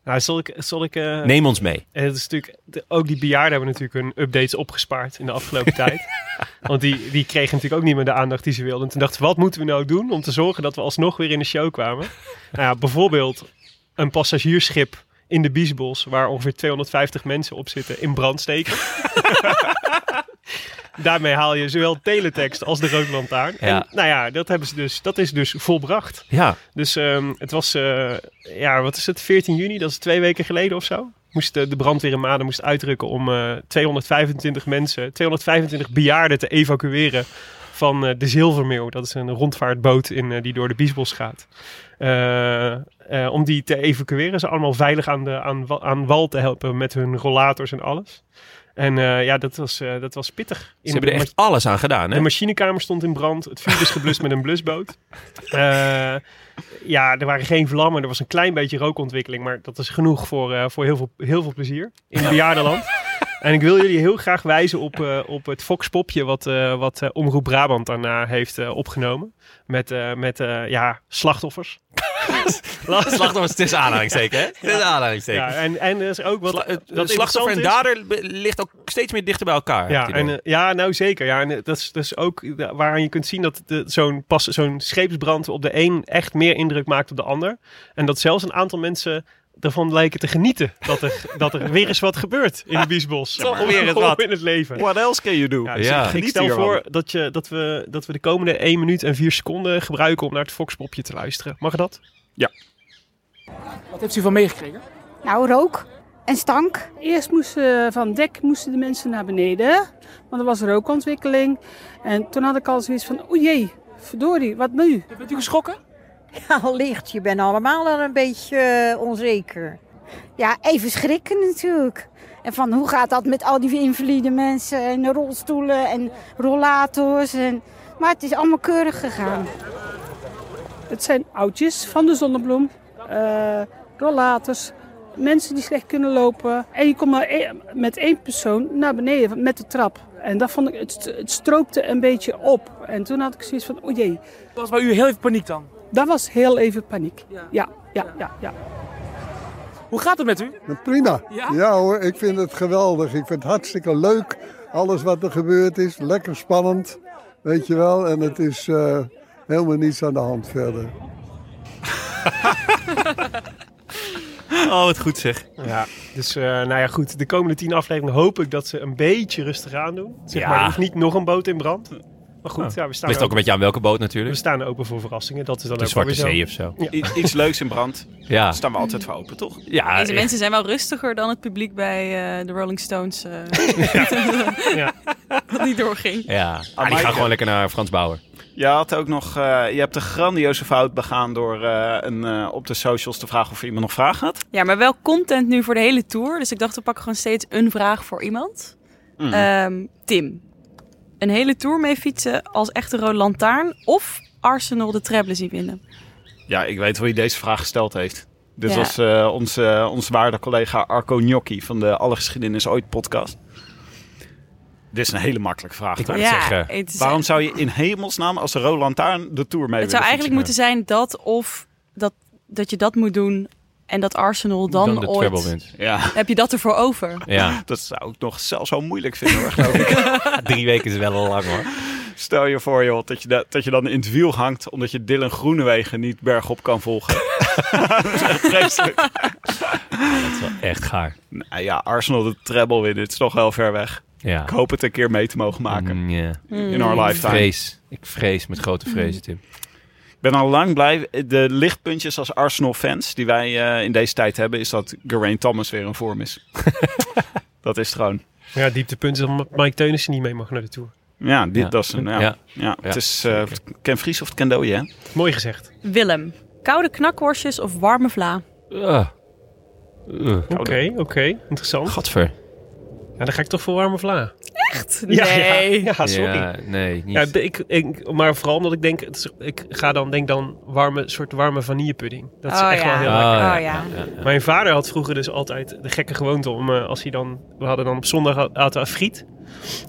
D: Nou, zal ik... Zal ik eh,
A: neem ons mee.
D: En het is natuurlijk, de- ook die bejaarden hebben natuurlijk hun updates opgespaard in de afgelopen tijd. Want die, die kregen natuurlijk ook niet meer de aandacht die ze wilden. En toen dachten ze, wat moeten we nou doen om te zorgen dat we alsnog weer in de show kwamen? Nou ja, bijvoorbeeld een passagiersschip in de Biesbos, waar ongeveer 250 mensen op zitten, in brand steken. Daarmee haal je zowel teletext als de roodlantaarn.
A: Ja.
D: En nou ja, dat, hebben ze dus, dat is dus volbracht.
A: Ja,
D: Dus ehm, het was, eh, ja, wat is het, 14 juni, dat is twee weken geleden of zo. Moest eh, de brandweer in Maden moest uitrukken om eh, 225 mensen, 225 bejaarden te evacueren van eh, de Zilvermeeuw. Dat is een rondvaartboot in, eh, die door de Biesbos gaat. Eh, eh, om die te evacueren, ze allemaal veilig aan, de, aan, wa- aan wal te helpen met hun rollators en alles. En eh, ja, dat was, eh, dat was pittig.
A: ze
D: In
A: hebben
D: de-
A: er echt alles aan gedaan,
D: de
A: hè?
D: machinekamer stond in brand. Het vuur is geblust met een blusboot. Eh, ja, er waren geen vlammen. Er was een klein beetje rookontwikkeling. Maar dat is genoeg voor, eh, voor heel, veel, heel veel plezier in het bejaardenland. En ik wil jullie heel graag wijzen op, eh, op het Fox-popje wat, eh, wat eh, Omroep Brabant daarna heeft eh, opgenomen. Met, eh, met eh, ja, slachtoffers.
A: Slachtoffers, het is aanhalingstekens, hè? Het is aanhalingstekens.
D: Ja, en, en er is ook wat...
A: Sla- het-
D: dat
A: het slachtoffer en
D: interessant is-
A: dader be- ligt ook steeds meer dichter bij elkaar. heb
D: Ja,
A: ik het
D: en,
A: idee.
D: eh, ja, nou zeker. Ja, en eh, dat is, dat is ook eh, waaraan je kunt zien dat de- zo'n pas- zo'n scheepsbrand op de een echt meer indruk maakt op de ander. En dat zelfs een aantal mensen ervan lijken te genieten dat er, dat er weer eens wat gebeurt in de Biesbos.
A: Toch weer eens
D: Om-
A: wat.
D: in het leven.
B: What else can you do?
D: Ja,
B: Ja,
D: dus
A: Ja.
D: Ik, ik
B: Geniet
D: stel
B: hiervan.
D: voor dat, je, dat, we, dat we de komende 1 minuut en 4 seconden gebruiken om naar het Foxpopje te luisteren. Mag dat?
I: Wat heeft u van meegekregen?
J: Nou, rook en stank.
I: Eerst moesten eh, van dek moesten de mensen naar beneden, want er was rookontwikkeling. En toen had ik al zoiets van, o jee, verdorie, wat nu? Bent u geschrokken?
K: Allicht, je bent allemaal al een beetje eh, onzeker.
J: Ja, even schrikken natuurlijk. En van hoe gaat dat met al die invalide mensen en rolstoelen en rollators. En... Maar het is allemaal keurig gegaan.
I: Het zijn oudjes van de zonnebloem, eh, rollators, mensen die slecht kunnen lopen. En je komt maar e- met één persoon naar beneden met de trap. En dat vond ik, het, het stroopte een beetje op. En toen had ik zoiets van, o jee. Dat was bij u heel even paniek dan? Dat was heel even paniek, ja, ja, ja. ja. Hoe gaat het met u?
L: Prima.
I: Ja?
L: Ja? hoor, ik vind het geweldig. Ik vind het hartstikke leuk. Alles wat er gebeurd is, lekker spannend. Weet je wel, en het is eh, helemaal niets aan de hand verder.
A: Oh, wat goed zeg.
D: Ja, dus eh, nou ja, goed. De komende 10 afleveringen hoop ik dat ze een beetje rustig aan doen. Zeg
A: Ja.
D: maar, er hoeft niet nog een boot in brand. Maar goed, ja, we staan
A: Ligt ook een beetje aan welke boot
D: We
A: natuurlijk.
D: staan open voor verrassingen. Dat is dan
A: De
D: ook wel
A: Zwarte
D: weer zo.
A: Zee of zo.
B: I- iets leuks in brand.
A: Ja.
B: Daar staan we altijd voor open, toch?
A: Ja,
F: Deze
A: echt.
F: mensen zijn wel rustiger dan het publiek bij eh, de Rolling Stones. eh,
D: Ja.
F: dat niet doorging.
A: Ja, Ah, die gaan
B: Maaike.
A: gewoon lekker naar Frans Bauer.
B: Je had ook nog, eh, je hebt de grandioze fout begaan door eh, een, eh, op de socials te vragen of iemand nog vragen had.
F: Ja, maar wel content nu voor de hele tour. Dus ik dacht, we pakken gewoon steeds een vraag voor iemand.
B: Mm.
F: Ehm, Tim, een hele tour mee fietsen als echte Rode Lantaarn of Arsenal de treble zien winnen?
B: Ja, ik weet hoe je deze vraag gesteld heeft. Dit
F: Ja.
B: was eh, onze, eh, onze waarde collega Arco Gnocchi van de Alle Geschiedenis Ooit podcast. Dit is een hele makkelijke vraag.
A: Ik
B: toch?
A: wou net zeggen,
F: het is-
B: Waarom zou je in hemelsnaam als Roland Taarn de Tour mee
F: het zou
B: willen
F: eigenlijk moeten zijn dat of dat, dat je dat moet doen en dat Arsenal dan,
A: Dan de treble
F: ooit...
A: wint.
B: Ja,
F: Heb je dat ervoor over?
A: Ja,
B: dat zou ik nog zelfs zo moeilijk vinden. hoor, geloof ik.
A: drie weken is wel al lang hoor.
B: Stel je voor joh, dat, je da- dat je dan in het wiel hangt omdat je Dylan Groenewegen niet bergop kan volgen. dat is echt vreselijk.
A: Dat is wel echt gaar.
B: Nou ja, Arsenal de treble winnen, het is toch wel ver weg.
A: Ja.
B: Ik hoop het een keer mee te mogen maken
A: Mm, ja.
B: in our
A: Ik
B: lifetime.
A: vrees. Ik vrees met grote vrezen, Tim.
B: ben al lang blij. De lichtpuntjes als Arsenal-fans die wij eh, in deze tijd hebben, is dat Geraint Thomas weer in vorm is. dat is het gewoon.
D: Maar ja, dieptepunt is dat Mike Teunissen niet mee mag naar de Tour.
B: Ja, dit, dat is een. Ja, ja.
D: Ja.
B: het is eh, Ken Vries of het Ken Dooie, hè?
D: Mooi gezegd.
A: Oh,
F: Willem, koude knakworstjes of warme vla?
A: Ah.
D: Oké, oké. Interessant.
A: Uh. Gadver.
D: Ja, dan ga ik toch voor warme vla.
F: Echt?
D: Ja, ja,
F: Nee.
D: Ja, Ah, sorry.
A: Ja, nee, niet.
D: Ja, de- ik, ik- maar vooral omdat ik denk, het is- ik ga dan, denk dan warme, soort warme vanillepudding. Dat is
F: Oh,
D: echt
F: ja.
D: wel heel
F: Oh,
A: Ah.
D: lekker.
F: ja. Oh, ja. Ja, ja, ja.
D: Mijn vader had vroeger dus altijd de gekke gewoonte om, eh, als hij dan, we hadden dan op zondag aten we friet.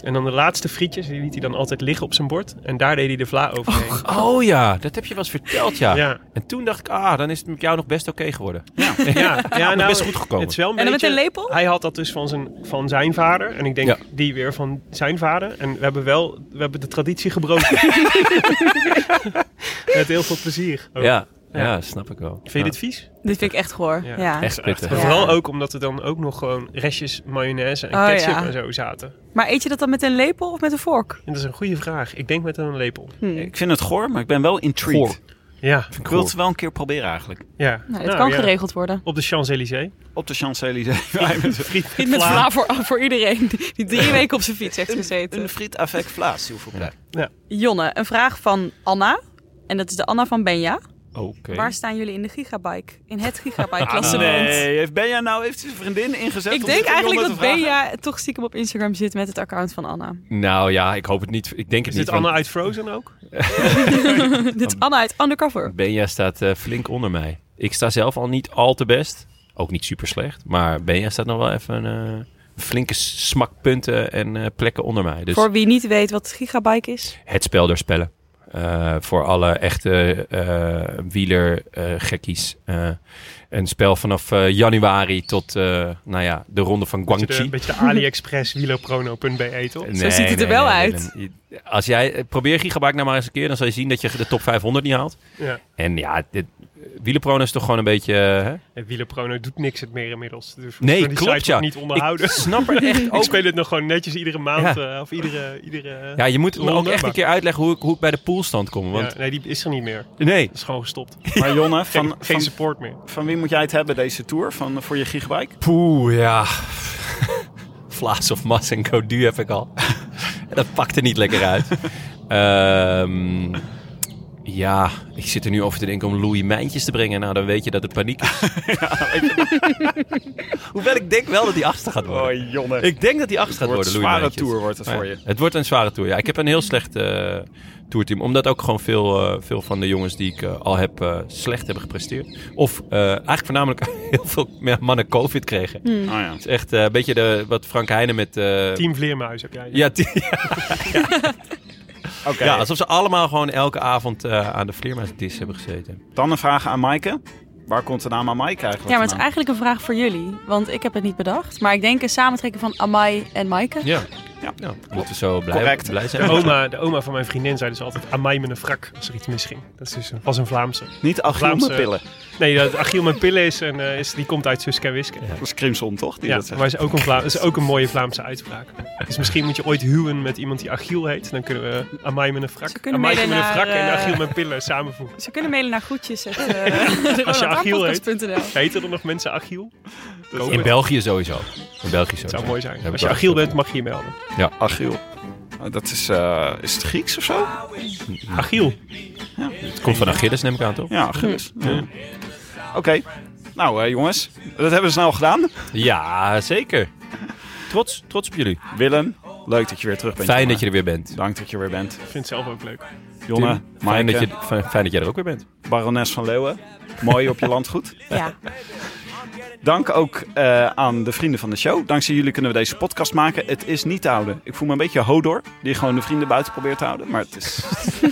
D: En dan de laatste frietjes, die liet hij dan altijd liggen op zijn bord. En daar deed hij de vla overheen.
A: Oh ja, dat heb je wel eens verteld, ja.
D: Ja.
A: En toen dacht ik, ah, dan is het met jou nog best oké geworden. Ja,
D: Ja, ja nou,
A: best goed gekomen.
D: Het is wel een
F: En dan met
D: beetje,
F: een lepel?
D: Hij had dat dus van zijn, van zijn vader. En ik denk
A: Ja.
D: die weer van zijn vader. En we hebben wel we hebben de traditie gebroken. Met heel veel plezier. ook.
A: Ja, ja, snap ik wel.
D: Oh. Vind je
A: Ja.
D: dit vies?
F: Dit vind ik echt goor. Ja.
A: Echt pittig.
D: Maar
A: Ja.
D: Vooral ook omdat er dan ook nog gewoon restjes mayonaise en
F: Oh,
D: ketchup
F: ja.
D: en zo zaten.
F: Maar eet je dat dan met een lepel of met een vork? Nou,
D: En dat is een goede vraag. Ik denk met een lepel.
F: Hmm.
B: Ik vind het goor, maar ik ben wel intrigued.
D: Ja.
B: Ik wil het wel een keer proberen eigenlijk.
D: Ja.
F: Nou, het kan geregeld worden.
D: Op de Champs-Élysées.
B: Op de Champs-Élysées. Wij met friet
F: Niet met vla voor, voor iedereen die die drie weken op zijn fiets heeft gezeten.
B: Een friet avec vlaas, hoeveel ja.
F: Jonne, een vraag van Anna. En dat is de Anna van Benja.
A: Oké.
F: Waar staan jullie in de gigabike? In het
B: Ah,
F: gigabike-klassement?
B: nee, heeft Benja nou heeft zijn vriendin ingezet?
F: Ik
B: om
F: denk
B: dit aan
F: eigenlijk
B: Jonne
F: dat
B: te vragen?
F: Benja toch stiekem op Instagram zit met het account van Anna.
A: Nou ja, ik hoop het niet. Ik denk het
D: Is
A: niet.
D: dit Anna
A: want
D: uit Frozen ook?
F: Dit is Anna uit Undercover.
A: Benja staat eh, flink onder mij. Ik sta zelf al niet al te best. Ook niet super slecht. Maar Benja staat nog wel even een eh, flinke smak punten en eh, plekken onder mij. Dus
F: Voor wie niet weet wat gigabike is.
A: het spel der spellen. Eh, voor alle echte eh wielergekkies. een spel vanaf eh, januari tot eh, nou ja, de ronde van
D: eh, Een
A: Guangxi.
D: beetje de, beetje de AliExpress wielerprono.be E, toch?
A: Nee, nee, nee, nee, nee. Als jij, probeer Gigabyte nou maar eens een keer, dan zal je zien dat je de top 500 niet haalt.
D: Ja.
A: En ja, dit, wielenprono is toch gewoon een beetje... eh, Hè?
D: En Wielerprono doet niks het meer inmiddels. Dus we
A: Nee,
D: kunnen die
A: klopt,
D: site
A: ja.
D: ook niet onderhouden.
A: Ik snap er echt
D: Ik
A: ook-
D: speel het nog gewoon netjes iedere maand.
A: Ja.
D: eh, of iedere, iedere
A: Ja, je moet me ook
D: ronde,
A: echt
D: maar-
A: een keer uitleggen hoe ik, hoe ik bij de poolstand kom. Want
D: Ja, nee, die is er niet meer.
A: Nee.
D: Dat is gewoon gestopt.
B: Maar Jonne, van,
D: Geen- geen support meer.
B: Van wie moet jij het hebben deze tour? Van, eh, voor je gigabike?
A: Poeh, ja. Vlaas of Mas en Godu heb ik al. dat pakt er niet lekker uit. Ehm, ja, ik zit er nu over te denken om Louis Mijntjes te brengen. Nou, dan weet je dat het paniek is. Hoewel ik denk wel dat die achtste gaat worden.
B: Oh, Jonne.
A: Ik denk dat die achtste gaat
B: Wordt
A: worden,
B: een
A: Louis
B: zware
A: Mijntjes.
B: tour wordt het
A: Maar
B: voor
A: ja,
B: je.
A: Het wordt een zware tour, ja. Ik heb een heel slecht eh tourteam. Omdat ook gewoon veel, eh, veel van de jongens die ik eh, al heb eh, slecht hebben gepresteerd. Of eh, eigenlijk voornamelijk heel veel mannen COVID kregen.
D: Hmm.
B: Oh ja.
A: Het is echt eh, een beetje de, wat Frank Heijnen met... eh,
D: Team Vleermuis heb jij.
A: Ja, team- ja, alsof ze allemaal gewoon elke avond eh, aan de vleermuisdis hebben gezeten.
B: Dan een vraag aan Maaike. Waar komt de naam aan Maaike eigenlijk
F: Ja, maar het is
B: vandaan?
F: eigenlijk een vraag voor jullie. Want ik heb het niet bedacht. Maar ik denk een samentrekking van Amai en Maaike.
A: Ja.
B: Ja.
A: ja. Moeten we zo blij,
B: Correct.
A: blij zijn.
D: De oma, de oma van mijn vriendin zei dus altijd aan mij met een wrak als er iets misging. Dat is dus een, was een Vlaamse.
B: Niet Achiel met
D: Vlaamse-
B: pillen.
D: Nee, dat Achiel met pillen is, een, eh, is die komt uit Suske en Wiske.
B: Dat is Crimson, toch? Die
D: ja,
B: dat zegt.
D: maar is ook, een Vla- is ook een mooie Vlaamse uitspraak. Dus misschien moet je ooit huwen met iemand die Achiel heet. Dan kunnen we Amai met een wrak,
F: kunnen
D: Amai met
F: mede
D: een
F: naar,
D: wrak en
F: eh,
D: Achiel met pillen samenvoegen.
F: Ze kunnen mailen naar groetjes. Het, eh,
D: Als je Achiel heet,
F: Rotterdam-podcast.nl.
D: heten er nog mensen Achiel? Dat
A: In België sowieso. In België sowieso.
D: zou mooi zijn.
A: Heb ik
D: Als je
A: wel
D: Achiel bent, mag je je melden.
A: Ja.
B: Achiel. Nou, Dat is, eh, is het Grieks of zo?
A: Hm.
D: Achiel.
A: Het komt van Achilles, neem ik aan, toch?
B: Ja, Achilles.
A: Hm.
B: Ja. Oké. Nou, eh, jongens. Dat hebben we snel gedaan.
A: Ja, zeker. Trots, trots op jullie.
B: Willem, leuk dat je weer terug bent.
A: Fijn
B: Jonne.
A: dat je er weer bent.
B: Dank dat je weer bent.
D: Ik vind het zelf ook leuk.
B: Jonne,
A: Tim, fijn, dat
B: Maaike.
A: je, fijn, fijn dat jij er ook weer bent.
B: Barones van Leeuwen. Mooi op je landgoed.
F: Ja.
B: Dank ook eh, aan de vrienden van de show. Dankzij jullie kunnen we deze podcast maken. Het is niet te houden. Ik voel me een beetje Hodor, die gewoon de vrienden buiten probeert te houden. Maar het is... Ze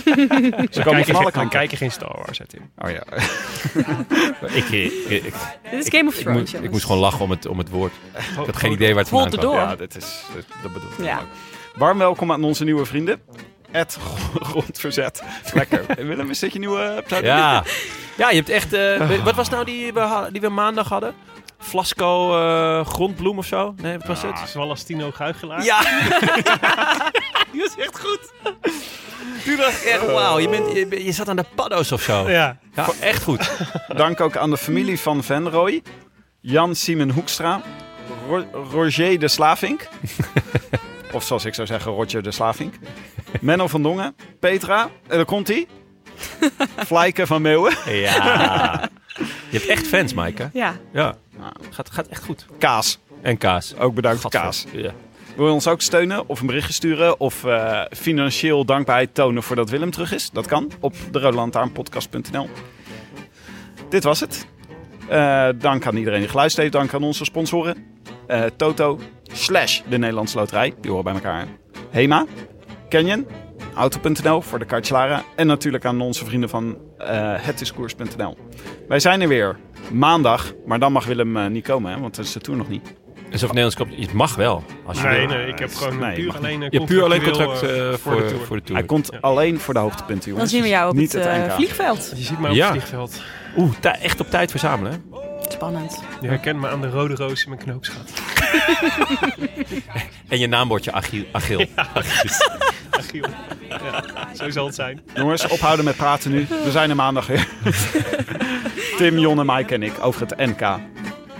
B: komen
D: kijken
B: van
D: geen-
B: alle
D: we
B: kanten.
D: kijken geen Star Wars, hè, Tim.
B: Oh ja.
A: ik, eh, ik, ik,
F: Dit is Game of
A: ik,
F: Thrones,
A: moest, ik
F: jongens.
A: moest gewoon lachen om het, om het woord. Ik had geen
D: Hold-
A: idee waar het vandaan
F: hold the
A: kwam.
F: door.
B: Ja, dit is, dit- dat bedoel ik.
F: Ja.
B: Warm welkom aan onze nieuwe vrienden. Het grondverzet. Lekker. Willem, is dit je nieuwe eh, pseudoniem?
A: Ja. ja, je hebt echt... eh, we- Wat was nou die we, ha- die we maandag hadden? Flasco eh, grondbloem of zo? Nee, wat
D: ah,
A: was het?
D: Zwallastino Guigelaar.
A: Ja. die was echt goed. Toen dacht ik echt, wauw, je, bent, je, bent- je zat aan de paddo's of zo.
D: Ja.
A: echt goed.
B: Dank ook aan de familie van Van Rooij, Jan Simon Hoekstra, Ro- Roger de Slavink. of zoals ik zou zeggen, Roger de Slavink. Menno van Dongen, Petra, en daar komt hij. Vlaike van Meeuwen.
A: Ja. Je hebt echt fans, Mike, hè?
F: Ja.
A: Ja. Gaat, gaat echt goed.
B: Kaas.
A: En kaas.
B: Ook bedankt voor kaas. Wil je ons ook steunen of een berichtje sturen of eh, financieel dankbaarheid tonen voordat Willem terug is? Dat kan op de Dit was het. Eh, dank aan iedereen die geluisterd heeft. Dank aan onze sponsoren. Eh, Toto slash de Nederlandse Loterij. Die horen bij elkaar. Hema. Canyon. Auto.nl voor de kartslaren. En natuurlijk aan onze vrienden van eh hetdiscours.nl. Wij zijn er weer maandag. Maar dan mag Willem eh, niet komen, hè, want dan is de tour nog niet.
A: Dus of Nederlands kampioen- het mag wel. Als je
D: Nee,
A: wil.
D: nee, ik heb gewoon
A: je
D: puur
A: mag
D: alleen,
A: niet.
D: eh,
A: Je hebt puur alleen
D: contractueel,
A: contract
D: eh,
A: eh,
D: voor
A: voor,
D: de
A: voor,
D: tour.
A: de tour.
B: Hij komt alleen voor de hoogtepunten,
F: Dan
B: jongens.
F: zien we jou op
B: Niet
F: het, eh,
B: NK.
F: vliegveld.
D: Je ziet mij op
B: Ja.
D: het vliegveld.
A: Oeh, tij- echt op tijd verzamelen. hè?
F: Spannend.
D: Je herkent me aan de rode roos in mijn knoopsgat.
A: En je naambordje Achiel. Achiel.
D: Achiel. Ja, zo zal het zijn.
B: Jongens, ophouden met praten nu. We zijn er maandag weer. Tim, Jon en Mike en ik over het NK.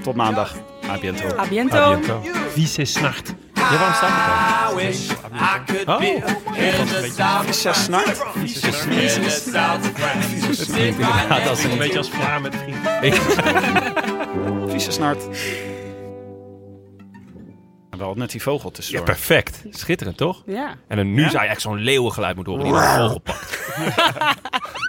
B: Tot maandag. A biento.
F: A biento. A biento.
D: Vieze snacht.
A: Ja, waarom staat
C: I wish I could
D: Oh.
C: be in the south
B: Vieze snacht.
C: Vieze snacht. In the south of France. Sit right
A: Inderdaad, als
C: next
A: een
C: to
D: Beetje
C: you.
D: als Vlaar met vrienden.
B: Vieze snart. En Wel net die vogel
A: Ja,
B: tussendoor.
A: perfect. Schitterend, toch?
F: Ja.
A: En dan nu zou je echt zo'n leeuwengeluid moeten horen. Die een vogel pakt.